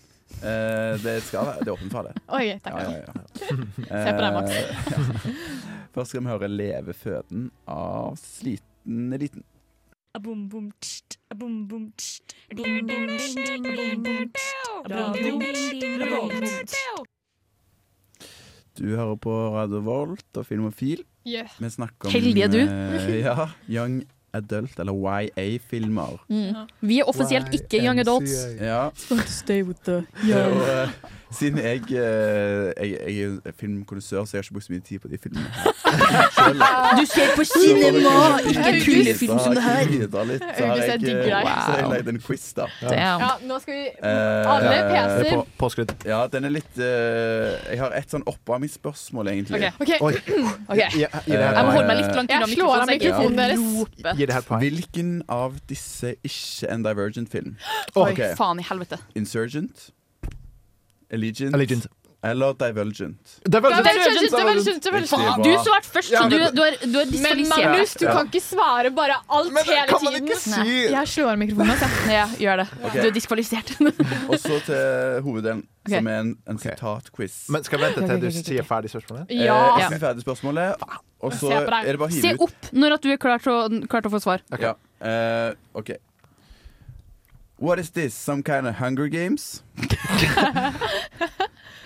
Speaker 7: Eh, det skal være Det er åpent for det.
Speaker 10: Oi, takk.
Speaker 7: Ja, ja, ja.
Speaker 10: Se på deg, Max.
Speaker 7: Eh, ja. Først skal vi høre 'Leve føden' av Sliten eliten. Du hører på Radio Volt og Filmofil.
Speaker 10: Yeah.
Speaker 7: Vi snakker om
Speaker 5: Heldige du.
Speaker 7: eh, ja, Young Adult, eller YA-filmer.
Speaker 5: Mm. Vi er offisielt ikke young adults.
Speaker 7: Ja.
Speaker 5: Stay with the
Speaker 7: Og, eh, siden jeg, eh, jeg, jeg er en filmkondisør, så jeg har ikke brukt så mye tid på de filmene. her selv.
Speaker 5: Du ser på cinema,
Speaker 7: Så må dere
Speaker 5: ikke
Speaker 7: bidra-
Speaker 5: tullefilm som det her.
Speaker 7: bidra litt. Så har
Speaker 10: August, jeg
Speaker 7: jeg, eh,
Speaker 10: digger deg.
Speaker 7: så har jeg lagd en quiz, da.
Speaker 10: Ja, nå skal vi
Speaker 7: Eh,
Speaker 10: Alle
Speaker 7: ja, det er
Speaker 10: PC-er.
Speaker 7: på- Ja, den er litt eh, Jeg har et sånn oppvarmingsspørsmål, egentlig.
Speaker 10: Ok, ok.
Speaker 7: Oi.
Speaker 10: Ok.
Speaker 7: Ja, ja, ja.
Speaker 10: Jeg må holde meg litt langt unna
Speaker 5: Jeg slår av
Speaker 10: mikrofonen, så jeg ikke
Speaker 7: mikrofonen
Speaker 10: roper.
Speaker 7: Hvilken av disse ikke en Divergent-film?
Speaker 5: Oi,
Speaker 7: Ok.
Speaker 5: faen i helvete.
Speaker 7: Insurgent, Allegiant,
Speaker 8: Allegiant.
Speaker 7: eller Divergent?
Speaker 8: Divergent!
Speaker 10: Divergent, Divergent, Divergent.
Speaker 7: Riktig bra.
Speaker 5: Du svarte først, så
Speaker 7: Ja,
Speaker 5: du,
Speaker 7: men-
Speaker 5: du er, du er
Speaker 10: Men
Speaker 5: dyslektisk.
Speaker 10: Magnus, du
Speaker 7: Ja.
Speaker 10: kan ikke svare bare alt hele
Speaker 5: kan man
Speaker 10: tiden.
Speaker 5: ikke si?
Speaker 10: Nei. Jeg slår av mikrofonen. Altså.
Speaker 5: Ja, gjør det.
Speaker 7: Ok.
Speaker 5: Du er diskvalifisert.
Speaker 7: Og så til hoveddelen,
Speaker 5: Ok.
Speaker 7: som er en, en sitatquiz.
Speaker 8: Men skal vi vente til du sier ferdig spørsmålet?
Speaker 5: Ja.
Speaker 7: Eh, jeg sier ferdig spørsmålet, og så
Speaker 5: Se
Speaker 7: er
Speaker 5: på deg.
Speaker 7: det bare å
Speaker 5: Se
Speaker 7: hive ut.
Speaker 5: opp når at du er klar til å, klar til å få svar.
Speaker 7: Ja. Eh, OK. What is this? Some kind of Hunger Games?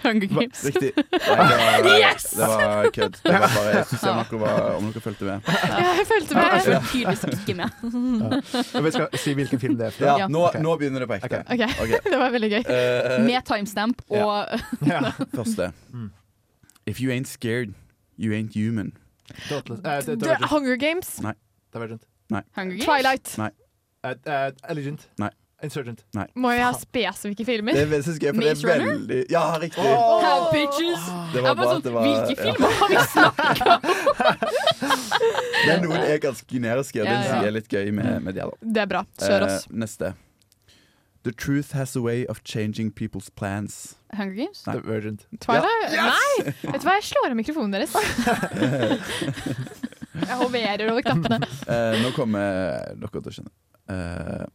Speaker 5: Hunger
Speaker 7: Hva-
Speaker 5: Games.
Speaker 7: Riktig. Nei, det var-
Speaker 5: Yes!
Speaker 7: Det var kødd. Det var bare jeg skulle se om dere, var, om dere fulgte med.
Speaker 5: Jeg fulgte med.
Speaker 7: altså-
Speaker 5: Jeg fulgte tydeligvis ikke med.
Speaker 8: Ja. Vi skal si hvilken film det er fra.
Speaker 7: Ja, nå, nå begynner det på ekte.
Speaker 5: Ok.
Speaker 7: Ok.
Speaker 5: Det var veldig gøy.
Speaker 7: Eh,
Speaker 5: Med timestamp og
Speaker 7: Første. If you ain't scared, you ain't human.
Speaker 8: Dauntless. Eh, det-
Speaker 10: The Hunger Games.
Speaker 7: Nei.
Speaker 8: Divergent.
Speaker 7: Nei.
Speaker 5: Hunger Games?
Speaker 10: Twilight.
Speaker 7: Nei.
Speaker 8: Eh, eh, Allegiant.
Speaker 7: Nei.
Speaker 8: Insurgent.
Speaker 7: Nei.
Speaker 10: Må vi ha spesifikke filmer?
Speaker 7: Det er, synes jeg, for det
Speaker 10: Maze
Speaker 7: er
Speaker 10: Runner?
Speaker 7: veldig Ja, riktig!
Speaker 10: Hell, bitches!
Speaker 7: Det var
Speaker 10: Jeg bare
Speaker 5: altså,
Speaker 7: bra
Speaker 10: sånn,
Speaker 7: at det var
Speaker 10: Hvilke
Speaker 7: ja.
Speaker 10: filmer har vi snakket
Speaker 7: Men noen er ganske generiske, og
Speaker 10: Ja,
Speaker 7: den
Speaker 10: ja.
Speaker 7: sier litt gøy med, med de, da.
Speaker 10: Det er bra. Kjør oss.
Speaker 7: Eh, neste. The truth has a way of changing people's plans.
Speaker 5: Eh,
Speaker 10: Hunger Games?
Speaker 7: Nei.
Speaker 10: Twilight?
Speaker 7: Ja.
Speaker 10: Nei! Vet du hva, jeg slår av mikrofonen deres. Jeg hoverer over knappene.
Speaker 7: Eh, nå kommer dere til å skjønne. Eh,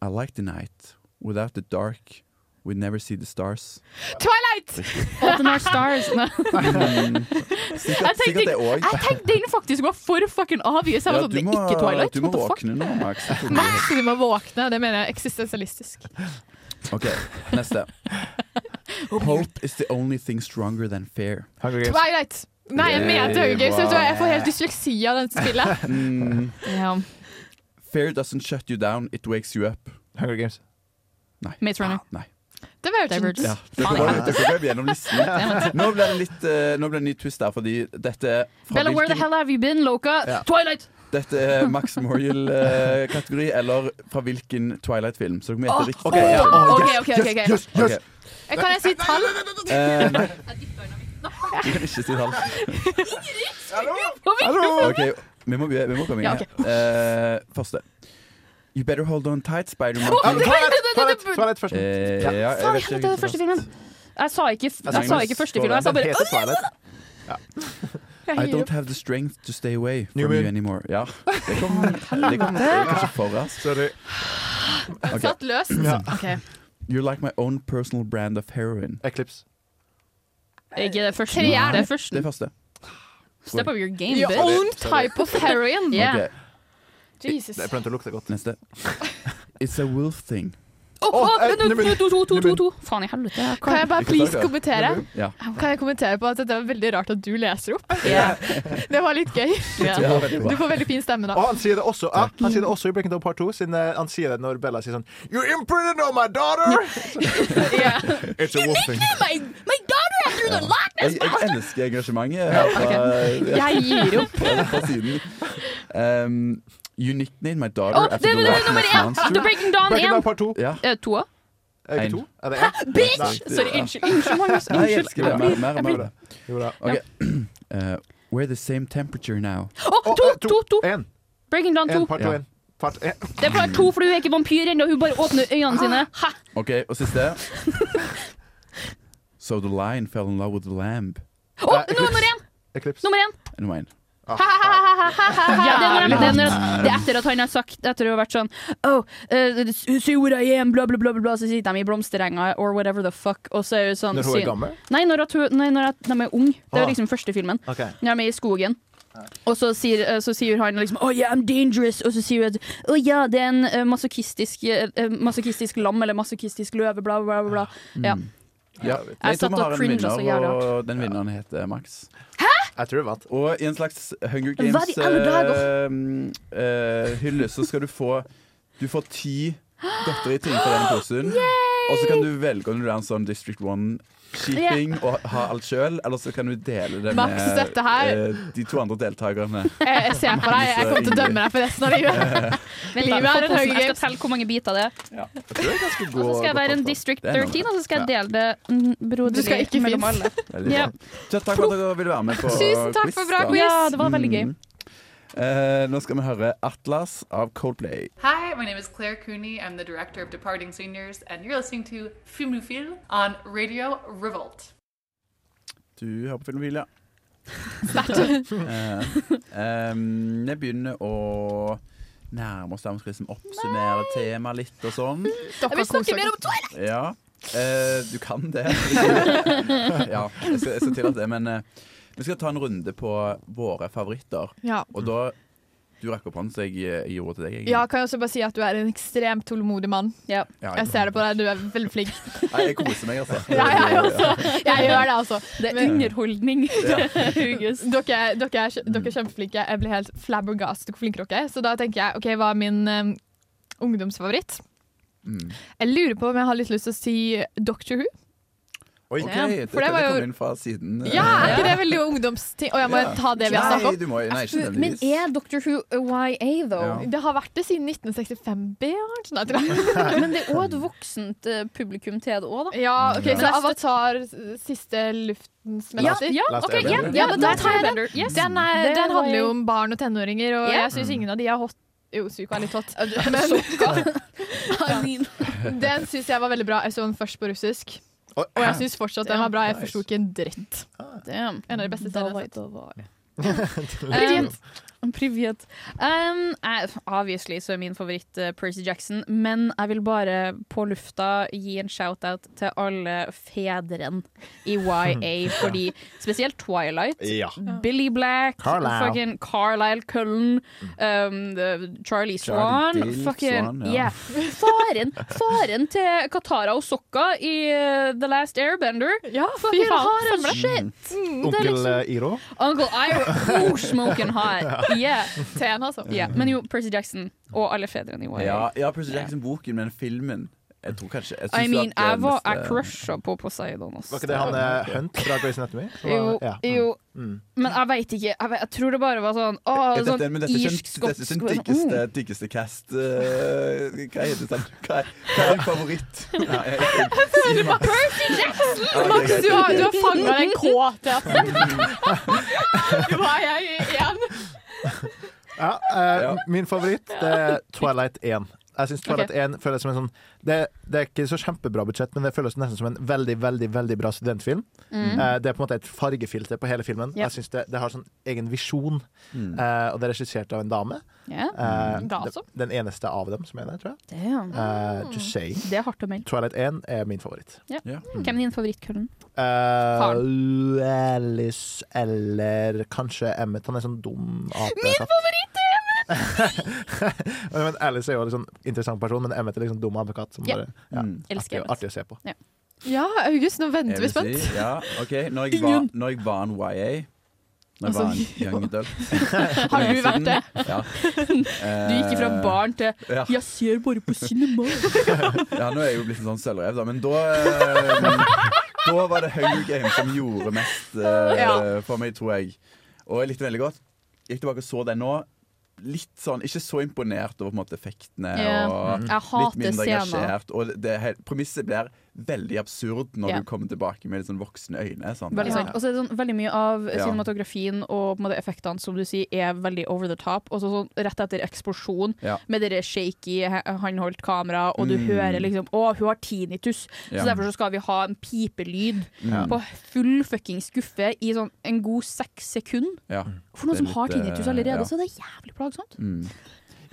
Speaker 7: I like the night. Without the dark, we never see the stars.
Speaker 10: Twilight!
Speaker 5: All the North Stars. Nei.
Speaker 7: Mm.
Speaker 5: Jeg tenkte,
Speaker 7: sikkert det også.
Speaker 5: jeg tenkte den faktisk var for fucking obvious. Jeg var
Speaker 7: Ja,
Speaker 5: sånn,
Speaker 7: du
Speaker 5: det er
Speaker 7: må,
Speaker 5: ikke Twilight.
Speaker 7: du må
Speaker 5: what the fuck?
Speaker 7: våkne nå, Max. Jeg tror
Speaker 5: Nei,
Speaker 7: du-
Speaker 5: så du må våkne. Det mener jeg er eksistensialistisk.
Speaker 7: OK, neste. Hope is the only thing stronger than fear.
Speaker 5: Twilight! Nei, jeg mente Hunger Games. Vet du hva, Jeg får helt dysleksi av dette spillet.
Speaker 7: Mm.
Speaker 5: Ja.
Speaker 7: Fear doesn't shut you down, it wakes you up.
Speaker 8: Hunger Games.
Speaker 7: Nei. Ah,
Speaker 5: Maze Runner.
Speaker 7: Nei.
Speaker 5: Divergent.
Speaker 7: Ja, dere går, dere går gjennom listen.
Speaker 5: Ja.
Speaker 7: Nå blir det litt eh, Nå blir det en ny twist her, fordi dette er fra
Speaker 5: Bella, where the
Speaker 7: hvilken-
Speaker 5: hell have you been, Loka?
Speaker 7: Ja.
Speaker 5: Twilight!
Speaker 7: Dette er Max Moriel-kategori, eller fra hvilken Twilight-film. Så dere må
Speaker 5: Åh,
Speaker 7: gjette riktig.
Speaker 5: ok, ja. Åh, ok, ok, ok, ok.
Speaker 7: Ok.
Speaker 5: Eh, Kan jeg si tall?
Speaker 7: Eh, nei. Du kan ikke si tall. Ok, vi må, vi må komme inn
Speaker 5: Ja,
Speaker 7: her. Eh, første. You better hold on tight, Spiderman.
Speaker 5: Åh, det-
Speaker 7: Eh,
Speaker 5: det- det- det-
Speaker 8: Twilight først.
Speaker 7: ja,
Speaker 5: Faen,
Speaker 7: jeg vet
Speaker 5: helvete,
Speaker 7: ikke.
Speaker 5: det er første filmen. Jeg sa ikke,
Speaker 7: Altså,
Speaker 5: jeg sa ikke første filmen. Jeg sa bare
Speaker 8: Den heter Twilight.
Speaker 5: Jeg
Speaker 7: I
Speaker 5: gir opp.
Speaker 7: don't have the strength to stay away from
Speaker 8: Newman.
Speaker 7: you anymore. Ja, det kom, det kom det var kanskje for raskt. Ok.
Speaker 5: Satt løst.
Speaker 7: Ja.
Speaker 5: Ok.
Speaker 7: You're like my own personal brand of heroin.
Speaker 8: Eclipse.
Speaker 5: Ikke det første.
Speaker 7: Nei,
Speaker 5: Det er
Speaker 7: Det
Speaker 5: første.
Speaker 7: er første.
Speaker 5: Step up your game,
Speaker 7: Your
Speaker 5: bitch.
Speaker 7: own type
Speaker 5: of heroin. Yeah.
Speaker 7: Ok,
Speaker 5: Jesus.
Speaker 8: Det er plenty å lukte godt.
Speaker 7: Neste. It's a wolf thing.
Speaker 5: Åh,
Speaker 8: Åh,
Speaker 5: åh,
Speaker 8: eh,
Speaker 5: to,
Speaker 8: Nubun.
Speaker 5: to, to, to, to, to. Faen i helvete. jeg
Speaker 10: Kan jeg bare
Speaker 7: Vi kan
Speaker 10: please
Speaker 7: ta det.
Speaker 10: kommentere?
Speaker 7: Ja.
Speaker 10: Kan jeg kommentere på at det var veldig rart at du leser opp?
Speaker 5: Ja.
Speaker 10: Det var litt gøy.
Speaker 8: Ja, veldig bra.
Speaker 10: Du får veldig fin stemme
Speaker 8: Og
Speaker 10: da.
Speaker 8: han sier det også ja, Han sier det også i Breaking Down Part 2, siden eh, han sier det når Bella sier sånn You imprinted on my daughter! It's a wolf thing.
Speaker 17: My, my daughter after the lock!
Speaker 7: Jeg, jeg elsker engasjementet her fra,
Speaker 17: ok. Jeg gir opp.
Speaker 7: fra siden. Um, you nicknamed my daughter
Speaker 5: Åh,
Speaker 7: after
Speaker 5: det
Speaker 7: the
Speaker 5: det- det er
Speaker 7: last
Speaker 5: nummer
Speaker 7: Loch
Speaker 5: én.
Speaker 7: Monster.
Speaker 5: The Breaking Dawn
Speaker 8: Breaking Down
Speaker 5: 1.
Speaker 8: Part 2.
Speaker 7: Ja.
Speaker 5: Eh, Toa?
Speaker 8: Er det
Speaker 7: En.
Speaker 8: to? Er det
Speaker 5: Hæ?
Speaker 8: en?
Speaker 5: Bitch!
Speaker 8: Nei.
Speaker 5: Sorry, unnskyld. Unnskyld, Magnus.
Speaker 7: Nei, jeg
Speaker 5: Unnskyld.
Speaker 7: elsker det. Mer, mer, mer av det.
Speaker 8: Jo da.
Speaker 7: Ok. Uh, we're the same temperature now.
Speaker 5: Åh, eh, to, to, to.
Speaker 8: eh, En.
Speaker 5: Breaking Down
Speaker 7: En,
Speaker 5: 2.
Speaker 7: part to, en.
Speaker 8: Part en.
Speaker 5: Det er bare to, for hun er ikke vampyr ennå. Hun bare åpner øynene sine. Ah, Ha!
Speaker 7: Ok, og siste. So the lion fell in love with the lamb.
Speaker 5: Åh, nummer én!
Speaker 8: Eclipse. Ah,
Speaker 5: Nummer én!
Speaker 7: Nummer én.
Speaker 5: Ha-ha-ha-ha-ha-ha! Det er når han- det er når han- det er etter at han har sagt Etter å ha vært sånn Oh, uh, see what I am, bla, bla, bla, bla, bla. Så sitter de i blomsterenga or whatever the fuck. Og så er hun sånn
Speaker 8: Når hun er
Speaker 5: syn-
Speaker 8: gammel?
Speaker 5: Nei, når, at hun, nei, når at de er unge. Det er
Speaker 8: Ah.
Speaker 5: liksom første filmen.
Speaker 8: Ok.
Speaker 5: Når de er i skogen. Og så sier, eh, så sier han liksom Oh yeah, I'm dangerous. Og så sier hun at Å ja, det er en eh, masochistisk, eh, eh, masochistisk lam eller masochistisk løve, bla, bla, bla. bla. Ja.
Speaker 7: Hmm. Ja, jeg tror
Speaker 5: satt
Speaker 7: vi
Speaker 5: og
Speaker 7: har en
Speaker 5: cringe også
Speaker 7: vinner,
Speaker 5: jævlig
Speaker 7: og den vinneren heter Max.
Speaker 8: Jeg tror jeg vant.
Speaker 7: Og i en slags Hunger
Speaker 5: Hva i alle
Speaker 7: Games-hylle så skal du få Du får ti godteri ting fra denne posen. Og så kan du velge om du er en sånn District 1-keeping og ha alt sjøl, eller så kan du dele det
Speaker 10: Max,
Speaker 7: med
Speaker 10: dette her-
Speaker 7: eh, de to andre deltakerne.
Speaker 10: Jeg jeg ser på deg, jeg kommer til å dømme deg for resten av livet.
Speaker 5: Vent da,
Speaker 10: Livet
Speaker 5: få
Speaker 10: er en
Speaker 5: posen.
Speaker 10: Hunger
Speaker 5: Jeg skal
Speaker 10: Games.
Speaker 5: telle hvor mange biter det er.
Speaker 7: Jeg tror det er ganske
Speaker 5: Og så skal jeg være en
Speaker 7: godt
Speaker 5: District
Speaker 7: Det er noe.
Speaker 5: 13, og så skal jeg dele det mm, broderlig
Speaker 10: Du skal ikke
Speaker 5: mellom
Speaker 10: finnes.
Speaker 5: alle.
Speaker 7: Veldig
Speaker 5: Ja.
Speaker 7: bra. Så takk for at dere ville være med på
Speaker 5: Tusen takk
Speaker 7: quiz,
Speaker 5: for bra
Speaker 7: da.
Speaker 5: quiz. Ja, det var veldig gøy.
Speaker 7: Mm. Eh, nå skal vi høre Atlas av Coldplay.
Speaker 18: Hi, my name is Claire Cooney. I'm the director of Departing Seniors, and you're listening to Filmofil on Radio Revolt.
Speaker 7: Du hører på Filmofil, ja. Eh, ehm, jeg begynner å nærme oss der vi skal liksom oppsummere temaet litt og sånn.
Speaker 17: Jeg vil snakke mer om Twilight!
Speaker 7: Ja. Eh, du kan det. ja, jeg skal, jeg skal tillate det. Men eh, vi skal ta en runde på våre favoritter.
Speaker 10: Ja.
Speaker 7: Og da Du rakk opp hånden, så jeg eh, gir ordet til deg. egentlig.
Speaker 10: Ja, kan jeg også bare si at du er en ekstremt tålmodig mann.
Speaker 7: Ja,
Speaker 10: Jeg ser det på deg, du er veldig flink.
Speaker 7: Nei, jeg koser meg, altså.
Speaker 10: Ja, jeg også. Jeg gjør det, altså.
Speaker 5: Det er
Speaker 10: Men-
Speaker 5: underholdning. Hugus.
Speaker 10: Dere, dere, er, kje- dere er kjempeflinke. Jeg blir helt flabbergastet hvor flinke dere er. Så da tenker jeg OK, hva er min eh, ungdomsfavoritt?
Speaker 7: Mm.
Speaker 10: Jeg lurer på om jeg har litt lyst til å si Doctor Who.
Speaker 7: Oi,
Speaker 10: Ja, for det
Speaker 7: dette det
Speaker 10: var jo-
Speaker 7: kom inn fra siden. eh,
Speaker 10: Ja, er ikke det veldig ungdomsting? Å, jeg må
Speaker 7: Ja.
Speaker 10: ta det vi har
Speaker 7: Nei,
Speaker 10: snakket
Speaker 7: du
Speaker 10: om.
Speaker 7: må- nei, ikke
Speaker 10: Men
Speaker 7: nødvendigvis.
Speaker 10: er Doctor Who YA,
Speaker 7: Ja.
Speaker 10: Det har vært det siden 1965, Bjørn. Nei, tror jeg.
Speaker 5: Men det er òg et voksent eh, publikum til det òg, da.
Speaker 10: Ja, OK, så
Speaker 5: Men jeg støtter-
Speaker 10: Avatar, siste luftens
Speaker 5: Ja,
Speaker 10: mennesker.
Speaker 5: ja,
Speaker 8: Last
Speaker 5: ok, ja,
Speaker 8: Airbender.
Speaker 10: Ja, men da
Speaker 5: Last
Speaker 10: tar jeg den.
Speaker 5: Airbender, yes.
Speaker 10: Den, er,
Speaker 5: Det
Speaker 10: den
Speaker 5: var
Speaker 10: handler
Speaker 5: jeg-
Speaker 10: jo om barn og tenåringer, og
Speaker 5: Ja.
Speaker 10: jeg syns ingen av de er hot. Jo, Suko er litt hot. Men den syns jeg var veldig bra. Jeg så den først på russisk. Og jeg syns fortsatt den var bra. Jeg forsto ikke en dritt. En av de beste seriene jeg har sett.
Speaker 5: Privet. Privet. Um, jeg- obviously så er min favoritt eh, Percy Jackson, men jeg vil bare på lufta gi en shout-out til alle fedrene i YA, fordi spesielt Twilight,
Speaker 12: Ja.
Speaker 5: Billy Black,
Speaker 12: Carlyle.
Speaker 5: fucking Carlisle Cullen, um, the Charlie Swan,
Speaker 12: Charlie Dill
Speaker 5: fucking,
Speaker 12: Swan, ja.
Speaker 5: yeah. Faren, faren til Katara og Sokka i eh, The Last Airbender.
Speaker 10: fy faen,
Speaker 5: fucking har en
Speaker 10: stemmer det.
Speaker 5: shit! Mm, det er
Speaker 8: Onkel
Speaker 5: liksom-
Speaker 8: eh, Iro.
Speaker 5: Uncle Ira, oh, smoking hot. Yeah.
Speaker 10: Ten, altså.
Speaker 5: Ja, Men jo, Percy Jackson og alle fedrene i YA.
Speaker 7: Mm. Ja, ja Percy Jackson-boken, men filmen Jeg tror kanskje jeg synes
Speaker 5: I mean,
Speaker 7: at det er
Speaker 5: jeg var jeg
Speaker 7: mest, eh,
Speaker 5: crusha på Poseidon. ass.
Speaker 8: Var ikke det han eh, Hunt fra Grey's Anatomy? Som var-
Speaker 5: Jo,
Speaker 8: ja.
Speaker 5: jo.
Speaker 8: Mm.
Speaker 5: Men jeg veit ikke. Jeg, vet, jeg tror det bare var sånn Å,
Speaker 7: Ja, dette,
Speaker 5: sånn Mm.
Speaker 7: men dette er
Speaker 5: irsk,
Speaker 7: ikke den- dette er
Speaker 5: skotsk
Speaker 7: den diggeste,
Speaker 10: Mm.
Speaker 7: diggeste cast eh, Hva heter det sånn? Hva er, hva er din favoritt? Ja, jeg- jeg- si meg.
Speaker 12: Percy Jackson!
Speaker 7: Ja,
Speaker 10: Max,
Speaker 7: det er
Speaker 10: du har,
Speaker 7: greit.
Speaker 10: du har fanga den kåtheten. Nå er jeg igjen.
Speaker 8: Ja, eh, Min favoritt det er Twilight 1. Jeg synes Twilight 1 føles som en sånn det, det er ikke så kjempebra budsjett, men det føles nesten som en veldig veldig, veldig bra studentfilm.
Speaker 5: Mm.
Speaker 8: Eh, det er på en måte et fargefilter på hele filmen.
Speaker 5: Ja.
Speaker 8: Jeg synes det, det har sånn egen visjon,
Speaker 7: Mm.
Speaker 8: eh, og det er regissert av en dame.
Speaker 5: Ja.
Speaker 8: Eh,
Speaker 5: Da
Speaker 8: det-
Speaker 5: så.
Speaker 8: den eneste av dem som er der, tror jeg.
Speaker 5: Damn. Mm.
Speaker 8: Eh, just saying.
Speaker 5: Det er hardt å melde.
Speaker 8: Twilight 1 er min favoritt.
Speaker 5: Ja.
Speaker 8: Ja.
Speaker 7: Mm.
Speaker 5: Hvem er din favorittkullen?
Speaker 8: Eh, Alice eller kanskje Emmet. Han er sånn dum
Speaker 5: Min
Speaker 8: apekatt.
Speaker 5: favoritt er
Speaker 8: Men Alice er jo en liksom interessant person, men Emmet er liksom dum apekatt. Som
Speaker 10: Ja.
Speaker 8: bare, ja,
Speaker 7: Mm.
Speaker 8: artig,
Speaker 10: Elsker
Speaker 8: artig å se på.
Speaker 10: Ja, August, nå venter vi
Speaker 7: Jeg vil
Speaker 10: spent.
Speaker 7: si, ja, ok Når jeg, var, når jeg var en YA Når jeg var en
Speaker 5: Altså,
Speaker 7: young adult
Speaker 5: Har du
Speaker 7: Siden-
Speaker 5: vært det?
Speaker 7: Ja. Eh,
Speaker 5: Du gikk fra barn til
Speaker 7: Ja.
Speaker 5: 'jeg ser bare på cinema'.
Speaker 7: Ja, nå er jeg jo blitt en sånn sølvrev, da, men da eh, Da var det Hunger Games som gjorde mest eh,
Speaker 12: Ja.
Speaker 7: for meg, tror jeg. Og jeg likte den veldig godt. Gikk tilbake og så den nå. Litt sånn, Ikke så imponert over på en måte, effektene.
Speaker 5: Ja.
Speaker 7: Og
Speaker 5: Mm. Jeg hater
Speaker 7: litt mindre
Speaker 5: scener.
Speaker 7: engasjert. Og det, he- premisset blir veldig absurd når
Speaker 5: Ja.
Speaker 7: du kommer tilbake med litt sånn voksne øyne. Sånn.
Speaker 5: Veldig sant. Og så er det sånn, veldig mye av
Speaker 7: Ja.
Speaker 5: cinematografien og på en måte effektene som du sier, er veldig over the top. Og så sånn, rett etter eksplosjon,
Speaker 12: Ja.
Speaker 5: med det der shaky he- håndholdt kamera, og du
Speaker 12: Mm.
Speaker 5: hører liksom Å, hun har tinnitus!
Speaker 12: Ja.
Speaker 5: Så derfor så skal vi ha en pipelyd
Speaker 7: Mm.
Speaker 12: Ja.
Speaker 5: på full fucking skuffe i sånn en god seks sekunder.
Speaker 7: Ja.
Speaker 5: For noen
Speaker 7: Det
Speaker 5: som
Speaker 7: er
Speaker 5: har
Speaker 7: litt, eh,
Speaker 5: tinnitus allerede,
Speaker 7: ja.
Speaker 5: så er det jævlig plagsomt.
Speaker 7: Mm.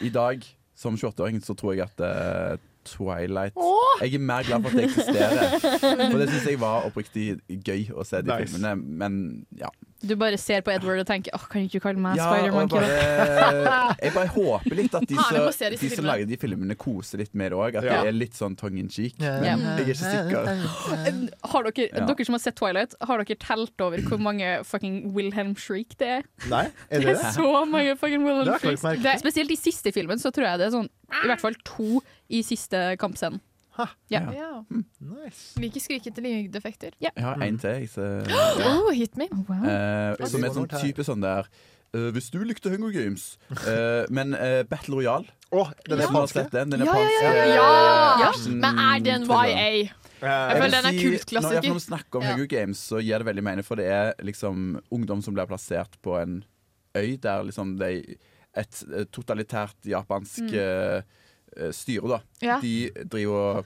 Speaker 7: I dag, som 28-åring, så tror jeg at eh, Twilight
Speaker 5: Åh!
Speaker 7: Jeg er mer glad for at det eksisterer. For det syns jeg var oppriktig gøy å se de
Speaker 8: Nice.
Speaker 7: filmene, men ja.
Speaker 5: Du bare ser på Edward og tenker åh, kan du ikke kalle meg
Speaker 7: ja
Speaker 5: Spiderman?
Speaker 7: og bare,
Speaker 5: kiddo?»
Speaker 7: jeg bare håper litt at de
Speaker 5: Faen, jeg må se
Speaker 7: som-
Speaker 5: disse
Speaker 7: de som
Speaker 5: filmene.
Speaker 7: lager de filmene, koser litt med det òg. At
Speaker 5: Ja.
Speaker 7: det er litt sånn tongue in cheek.
Speaker 5: Ja.
Speaker 7: Men
Speaker 5: Ja.
Speaker 7: jeg er ikke sikker.
Speaker 5: Har dere,
Speaker 7: Ja.
Speaker 5: dere som har sett Twilight, har dere telt over hvor mange fucking Wilhelm Shriek det er?
Speaker 8: Nei, er
Speaker 5: Det
Speaker 8: det
Speaker 5: er så mange fucking
Speaker 8: Det
Speaker 5: Wilhelm
Speaker 8: har jeg ikke
Speaker 5: Shrieks.
Speaker 8: merket.
Speaker 5: Det er- Spesielt i siste filmen så tror jeg det er sånn i hvert fall to i siste kampscenen. Ja.
Speaker 10: Ja.
Speaker 8: Nice.
Speaker 10: Liker skrikete lydeffekter.
Speaker 7: Jeg har én til, jeg. Så,
Speaker 10: Oh, hit me.
Speaker 7: Eh, som er sånn type sånn der eh, Hvis du likte Hunger Games eh, Men eh, Battle Royale
Speaker 8: den er
Speaker 7: Hvis man har
Speaker 8: japanske?
Speaker 7: sett Den,
Speaker 10: Ja,
Speaker 7: den
Speaker 10: ja,
Speaker 7: japanske
Speaker 10: ja, ja,
Speaker 7: eh,
Speaker 10: ja.
Speaker 7: action-
Speaker 10: Men er det en
Speaker 7: thriller.
Speaker 10: YA?
Speaker 8: Eh,
Speaker 10: Jeg
Speaker 7: Jeg
Speaker 10: føler
Speaker 7: vil
Speaker 10: den er
Speaker 7: si- Når,
Speaker 10: kultklassiker.
Speaker 7: når vi snakker om Hunger Games, så gir det veldig mening, for det er liksom ungdom som blir plassert på en øy der liksom de Et eh, totalitært japansk
Speaker 10: Mm.
Speaker 7: eh, eh, styre, da.
Speaker 10: Ja.
Speaker 7: De driver og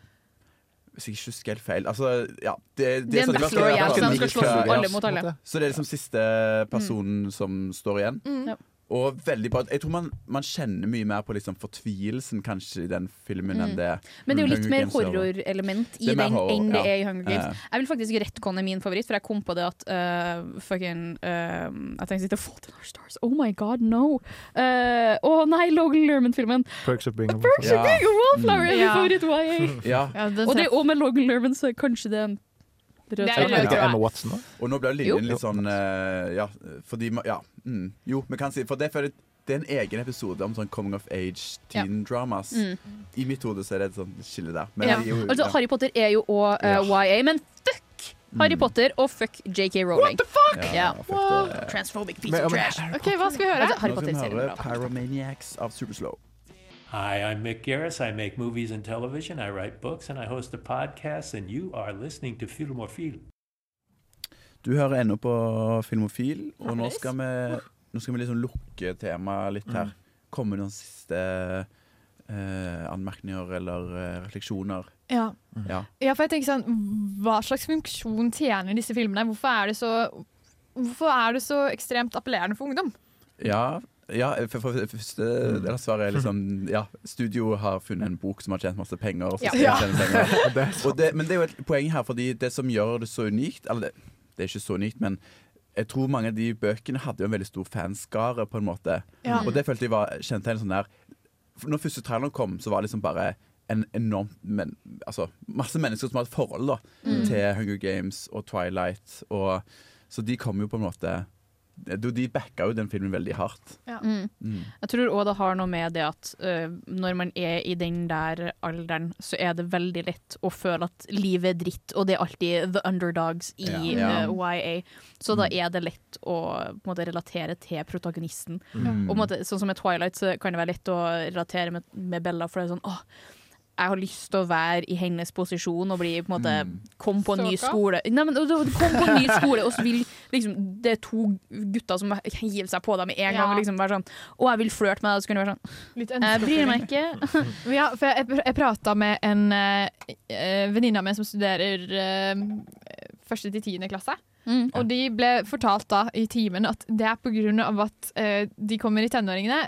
Speaker 7: hvis jeg ikke husker helt feil altså, ja, det,
Speaker 5: Det er en
Speaker 7: sånn-
Speaker 5: battle royale, så de skal slåss
Speaker 7: Ja, ja.
Speaker 5: alle mot alle.
Speaker 7: Så det er liksom siste personen som står igjen.
Speaker 5: Mm. Ja.
Speaker 7: Og veldig bra. Jeg tror man, man kjenner mye mer på liksom fortvilelsen kanskje i den filmen
Speaker 5: Mm.
Speaker 7: enn det
Speaker 5: Men det er jo litt
Speaker 7: Hunger
Speaker 5: mer
Speaker 7: Games gjør.
Speaker 5: horrorelement i
Speaker 7: Det er mer
Speaker 5: den
Speaker 7: horror,
Speaker 5: enn det
Speaker 7: ja.
Speaker 5: er i Hunger Games.
Speaker 7: Ja.
Speaker 5: Jeg vil faktisk retconne min favoritt, for jeg kom på det at øh, fucking øh, Jeg tenkte ikke å få til Our Stars. Oh my god, no! Eh, Å nei, Logan Lerman-filmen!
Speaker 8: Perks of being a
Speaker 5: Perks of
Speaker 8: Wallflower.
Speaker 5: being a Wallflower er min
Speaker 10: Ja.
Speaker 5: favoritt YA!
Speaker 7: Eh, Ja.
Speaker 10: Ja, den
Speaker 5: og, det,
Speaker 10: ser-
Speaker 5: og med Logan Lerman så er kanskje det en rød
Speaker 10: Det er
Speaker 5: tråd.
Speaker 8: Er det ikke Emma Watson, da?
Speaker 7: Og nå ble
Speaker 5: Jo.
Speaker 7: linjen litt sånn eh, Ja, fordi ma- Ja. Mm, jo, vi kan si For det, føler jeg- det er en egen episode om sånn coming of age
Speaker 5: Ja.
Speaker 7: teen dramas.
Speaker 5: Mm.
Speaker 7: I mitt hode så er det et sånt skille der.
Speaker 5: ja.
Speaker 7: det er jo-
Speaker 5: altså,
Speaker 7: ja.
Speaker 5: Harry Potter er jo òg YA, men fuck Harry Potter og fuck JK Rowling. What the
Speaker 7: Mm. Ja,
Speaker 5: fuck?!
Speaker 7: fuck det.
Speaker 5: Transphobic piece
Speaker 7: Men-
Speaker 5: of
Speaker 7: men-
Speaker 5: trash.
Speaker 10: Ok, hva skal vi høre?
Speaker 5: Altså, Harry
Speaker 7: Nå skal
Speaker 5: Potter
Speaker 7: vi
Speaker 5: ser bra.
Speaker 7: høre Pyromaniacs av Superslow.
Speaker 19: Hi, I'm Mick Garris. I make movies and television. I write books and I host a podcast. And you are listening to Filmofil.
Speaker 7: Du hører ennå på Filmofil, og nå skal vi, nå skal vi liksom lukke temaet litt her.
Speaker 8: Mm.
Speaker 7: Kommer det noen siste eh, anmerkninger eller eh, refleksjoner?
Speaker 10: Ja.
Speaker 7: ja.
Speaker 10: Ja, for jeg tenker sånn, Hva slags funksjon tjener disse filmene? Hvorfor er det så Hvorfor er du så ekstremt appellerende for ungdom?
Speaker 7: Ja, ja for, for, for første del av svaret er liksom Ja, studio har funnet en bok som har tjent masse penger. Og så
Speaker 10: Ja.
Speaker 7: skal de
Speaker 10: Ja.
Speaker 7: tjene penger. og det, men det er jo et poeng her, fordi det som gjør det så unikt Eller det, det er ikke så unikt, men jeg tror mange av de bøkene hadde jo en veldig stor fanskare, på en måte.
Speaker 5: Mm.
Speaker 20: Ja.
Speaker 7: Og det følte jeg var kjennetegnet sånn der Når første traileren kom, så var det liksom bare en enormt men, Altså masse mennesker som hadde et forhold da
Speaker 20: Mm.
Speaker 7: til Hunger Games og Twilight, og så de kom jo på en måte de- De backa jo den filmen veldig hardt.
Speaker 5: Mm.
Speaker 7: Mm.
Speaker 5: Jeg tror òg det har noe med det at øh, når man er i den der alderen, så er det veldig lett å føle at livet er dritt, og det er alltid the underdogs i
Speaker 10: Ja.
Speaker 5: øh, YA. Så da er det lett å på en måte, relatere til protagonisten.
Speaker 10: Mm.
Speaker 5: Og på en måte, sånn som med Twilight så kan det være lett å relatere med, med Bella, for det er sånn åh, jeg har lyst til å være i hennes posisjon og bli på en måte Kom på en ny
Speaker 10: Stalka?
Speaker 5: skole. Nei, men, og- og- kom på en ny skole, og så vil liksom Det er to gutter som hiver seg på deg med en
Speaker 10: Ja.
Speaker 5: gang og liksom være sånn Å, jeg vil flørte med deg. Og så kunne du være sånn
Speaker 10: Litt
Speaker 5: Jeg bryr meg ikke.
Speaker 7: Mm.
Speaker 10: ja, for jeg, jeg prata med en eh, eh, venninne av meg som studerer eh, første til tiende klasse.
Speaker 5: Mm.
Speaker 10: Og de ble fortalt da i timen at det er pga. at eh, de kommer i tenåringene.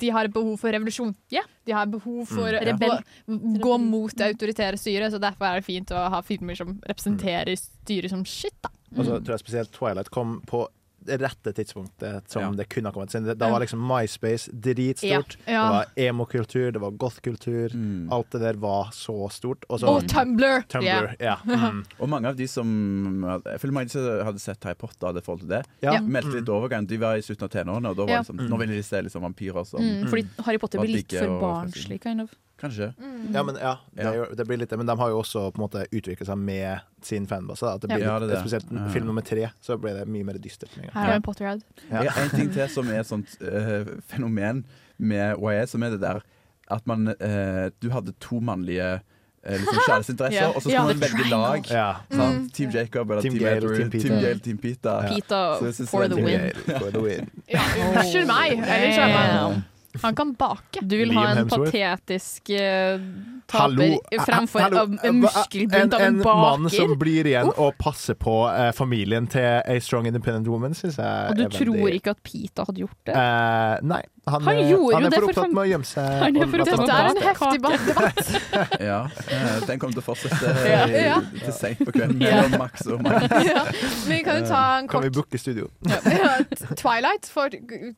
Speaker 10: De har behov for revolusjon. De har behov for å-
Speaker 5: Mm, ja. Rebell. Mm.
Speaker 10: å gå mot det autoritære styret, så derfor er det fint å ha filmer som representerer
Speaker 7: Mm.
Speaker 10: styret som shit, da.
Speaker 8: Og så tror jeg spesielt Twilight kom på det rette tidspunktet som det kunne ha kommet. siden det- Da var liksom MySpace dritstort.
Speaker 10: Ja. Ja.
Speaker 8: Det var emokultur, det var gothkultur.
Speaker 7: Mm.
Speaker 8: Alt det der var så stort. Og, så,
Speaker 7: sånn
Speaker 10: Og Tumblr!
Speaker 8: Tumblr, ja. Mm.
Speaker 7: Og mange av de som Jeg føler mange av de som hadde sett Harry Potter, hadde forhold til det.
Speaker 8: Ja. Mm.
Speaker 7: Meldte litt overgang. De var i slutten av tenårene, og da var
Speaker 5: Mm. Ja.
Speaker 7: det sånn, nå ville de se liksom vampyrer som
Speaker 5: Mm, fordi Harry Potter
Speaker 7: var
Speaker 5: blir litt
Speaker 7: digge
Speaker 5: for
Speaker 7: og
Speaker 5: barnslig, kind of.
Speaker 7: Kanskje.
Speaker 8: Ja, men, ja, det, er jo- det blir litt det. Men de har jo også på en måte utviklet seg med sin fanbase. da. At det
Speaker 5: Ja.
Speaker 8: blir litt,
Speaker 5: Ja, det er det.
Speaker 8: Spesielt
Speaker 5: Ja.
Speaker 8: film nummer tre, så ble det mye mer dystert med en gang.
Speaker 10: Her er en Potterhead.
Speaker 8: Ja.
Speaker 7: Ja. En ting til som er et sånt eh, fenomen med YA, som er det der at man eh, Du hadde to mannlige eh, liksom kjæresteinteresser,
Speaker 5: Ja.
Speaker 7: og så skulle
Speaker 5: Ja,
Speaker 7: man
Speaker 5: the
Speaker 7: velge lag.
Speaker 5: Mm.
Speaker 7: Sant? Team Jacob eller Team, Gale, Edward, Team Peter. Team Gale, Team Peter.
Speaker 5: Ja. Peter
Speaker 7: Så jeg synes
Speaker 5: for
Speaker 7: det er
Speaker 5: the
Speaker 7: litt-
Speaker 5: win.
Speaker 8: For the win.
Speaker 10: Unnskyld meg! Ellers
Speaker 7: Eh,
Speaker 10: er
Speaker 5: Damn.
Speaker 10: man Han kan bake.
Speaker 5: Du vil ha
Speaker 8: Liam
Speaker 5: en
Speaker 8: Hemsworth.
Speaker 5: patetisk eh, taper
Speaker 8: Hallo, eh,
Speaker 5: fremfor
Speaker 8: hallo, eh,
Speaker 5: en- en muskelbunt
Speaker 8: en,
Speaker 5: av en
Speaker 8: en mann
Speaker 5: baker.
Speaker 8: som blir igjen og passer på eh, familien til a strong independent woman, syns jeg
Speaker 5: Og du
Speaker 8: er veldig-
Speaker 5: tror ikke at Pita hadde gjort det?
Speaker 8: Eh, nei. Han,
Speaker 5: Han
Speaker 8: eh,
Speaker 5: gjorde
Speaker 8: han
Speaker 5: jo
Speaker 8: er
Speaker 5: det
Speaker 8: for
Speaker 5: for
Speaker 8: opptatt
Speaker 5: fem-
Speaker 8: med å gjemme seg.
Speaker 5: Han er
Speaker 8: og
Speaker 5: for
Speaker 8: late som
Speaker 5: opptatt-
Speaker 10: Det er
Speaker 8: han
Speaker 10: en
Speaker 8: passer.
Speaker 10: heftig debatt.
Speaker 7: Ja, eh, den kommer til å fortsette eh,
Speaker 10: Ja, ja.
Speaker 7: til seint på kvelden
Speaker 10: Ja.
Speaker 7: mellom Max og meg.
Speaker 10: Ja, men vi kan jo ta en
Speaker 8: Eh, Kan vi
Speaker 10: kort
Speaker 8: booke studio?
Speaker 10: Ja, Twilight for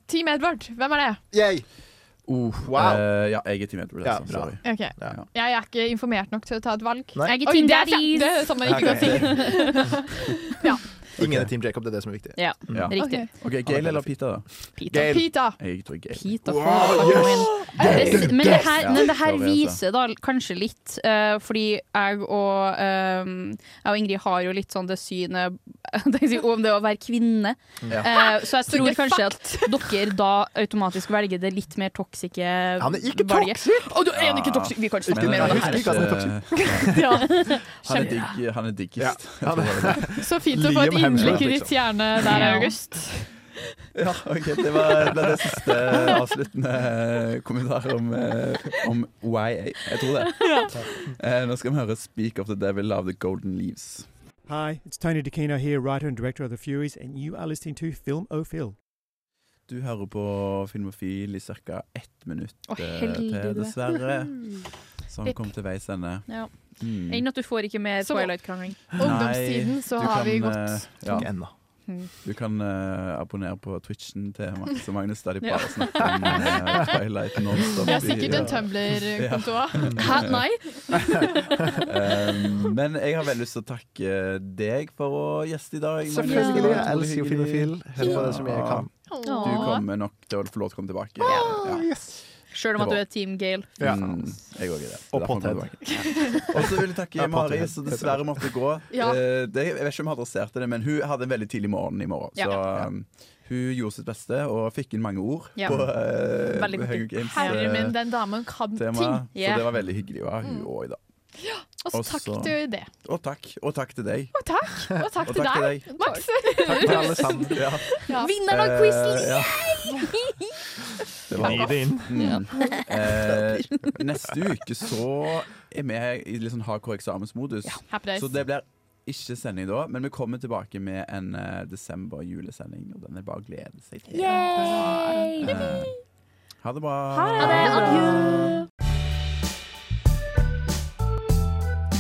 Speaker 10: Team Edward. Hvem er det?
Speaker 7: Oh, eh, ja, jeg er Team Edward.
Speaker 8: Ja,
Speaker 7: altså,
Speaker 8: bra.
Speaker 7: sorry.
Speaker 10: Ok. Jeg er ikke informert nok til å ta et valg.
Speaker 8: Nei. Jeg
Speaker 5: er
Speaker 10: Oi,
Speaker 5: Team
Speaker 10: det er sant.
Speaker 5: Daddies.
Speaker 10: Det er sånn man ikke kan si.
Speaker 8: Ingen er Team Jacob, det er det som er viktig.
Speaker 5: Ja,
Speaker 7: Ja.
Speaker 5: riktig.
Speaker 7: Ok, Gale eller Peter, da?
Speaker 5: Peter.
Speaker 8: Gale.
Speaker 10: Pita.
Speaker 7: Jeg tror Gale.
Speaker 5: Peter
Speaker 7: Wow,
Speaker 5: Falk.
Speaker 7: yes!
Speaker 5: Det- Men det her,
Speaker 7: Ja,
Speaker 5: men det her
Speaker 7: sorry, altså.
Speaker 5: viser da kanskje litt, eh, fordi jeg og, eh, jeg og Ingrid har jo litt sånn det synet tenkte jeg å si, om det å være kvinne.
Speaker 8: Ja.
Speaker 5: Eh, så jeg tror
Speaker 10: Stygge
Speaker 5: kanskje at dere da automatisk velger det litt mer toksike valget.
Speaker 8: Han er ikke
Speaker 5: Å, du er ikke toksik! Vi kan ikke snakke
Speaker 7: Men
Speaker 5: mer om det her.
Speaker 7: jeg husker ikke at han er toksik.
Speaker 5: Ja.
Speaker 7: eh, Han er, digg, han er diggest. Jeg tror det var det.
Speaker 10: Så fint å få et
Speaker 7: Liam Hemsworth,
Speaker 10: innblikk i ditt
Speaker 7: liksom.
Speaker 10: hjerne der, August.
Speaker 7: Ja, ok, det var det, ble det siste avsluttende kommentar om, eh, om YA. Jeg tror det. Eh, Nå skal vi høre 'Speak of the Devil of the Golden Leaves'.
Speaker 21: Hi, it's Tony DeCino here, writer and director of The Furies, and you are listening to Film O'Phil.
Speaker 7: Du hører på Filmofil i ca. ett minutt
Speaker 5: Å,
Speaker 7: eh,
Speaker 5: heldig du er.
Speaker 7: til, dessverre.
Speaker 10: Hmm.
Speaker 7: Som
Speaker 5: Pip.
Speaker 7: kom til veis ende.
Speaker 5: Ja.
Speaker 7: Mm.
Speaker 5: Enn at du får ikke mer
Speaker 10: Som-
Speaker 5: Twilight-krangling.
Speaker 10: Ungdomstiden, så
Speaker 7: du
Speaker 10: har vi gått.
Speaker 7: eh,
Speaker 8: Ikke ennå.
Speaker 5: Mm.
Speaker 7: Du kan eh, abonnere på Twitchen til Max og Magnus, der de
Speaker 10: Ja.
Speaker 7: bare snakker om eh, Twilight nonstop.
Speaker 10: Vi har sikkert
Speaker 7: i-
Speaker 10: en Tumblr-konto også.
Speaker 7: eh, Ja.
Speaker 10: Hæ, nei?
Speaker 7: Um, men jeg har veldig lyst til å takke deg for å gjeste i dag. Magnus.
Speaker 8: Selvfølgelig,
Speaker 7: Det var
Speaker 8: jeg elsker jo
Speaker 7: utrolig
Speaker 8: Filmofil.
Speaker 7: hyggelig.
Speaker 8: Hører på det
Speaker 7: Ja.
Speaker 8: så mye jeg kan.
Speaker 7: Du kommer nok til å få lov til å komme tilbake. Ja.
Speaker 5: Sjøl om at du er Team Gale.
Speaker 7: Mm, jeg òg er det.
Speaker 8: Og
Speaker 7: Derfor kommer jeg
Speaker 8: Pothead.
Speaker 7: tilbake. Og så vil jeg takke
Speaker 8: Ja,
Speaker 7: Mari,
Speaker 8: Pothead.
Speaker 7: som dessverre måtte gå.
Speaker 5: Ja.
Speaker 7: Eh, det, jeg vet ikke om jeg adresserte det, men hun hadde en veldig tidlig morgen i morgen. Så
Speaker 5: Ja.
Speaker 7: um, hun gjorde sitt beste og fikk inn mange ord
Speaker 10: Ja.
Speaker 7: på eh,
Speaker 10: Veldig
Speaker 7: Hunger
Speaker 10: hurtig.
Speaker 7: Games.
Speaker 10: Herre min,
Speaker 7: eh,
Speaker 10: den damen kan ting.
Speaker 7: tema, så det var veldig hyggelig å ha hun òg i dag.
Speaker 10: Og så takk
Speaker 7: Også-
Speaker 10: til det.
Speaker 7: Og takk. Og takk til deg.
Speaker 10: Og takk. Og takk,
Speaker 7: Og
Speaker 10: til, deg, Max.
Speaker 7: Takk til alle sammen. Ja.
Speaker 10: Ja.
Speaker 5: Vinneren av
Speaker 7: Eh,
Speaker 5: quizen!
Speaker 7: ja. Det var
Speaker 8: Gi det inn.
Speaker 5: Ja.
Speaker 7: Mm. Eh, neste uke så er vi i litt sånn hardcore eksamensmodus.
Speaker 10: Happy days.
Speaker 7: Så det blir ikke sending da, men vi kommer tilbake med en eh, desember-julesending. Og den er bare å glede seg til.
Speaker 22: Yay!
Speaker 7: Eh, ha det bra.
Speaker 22: Ha det. Adjø.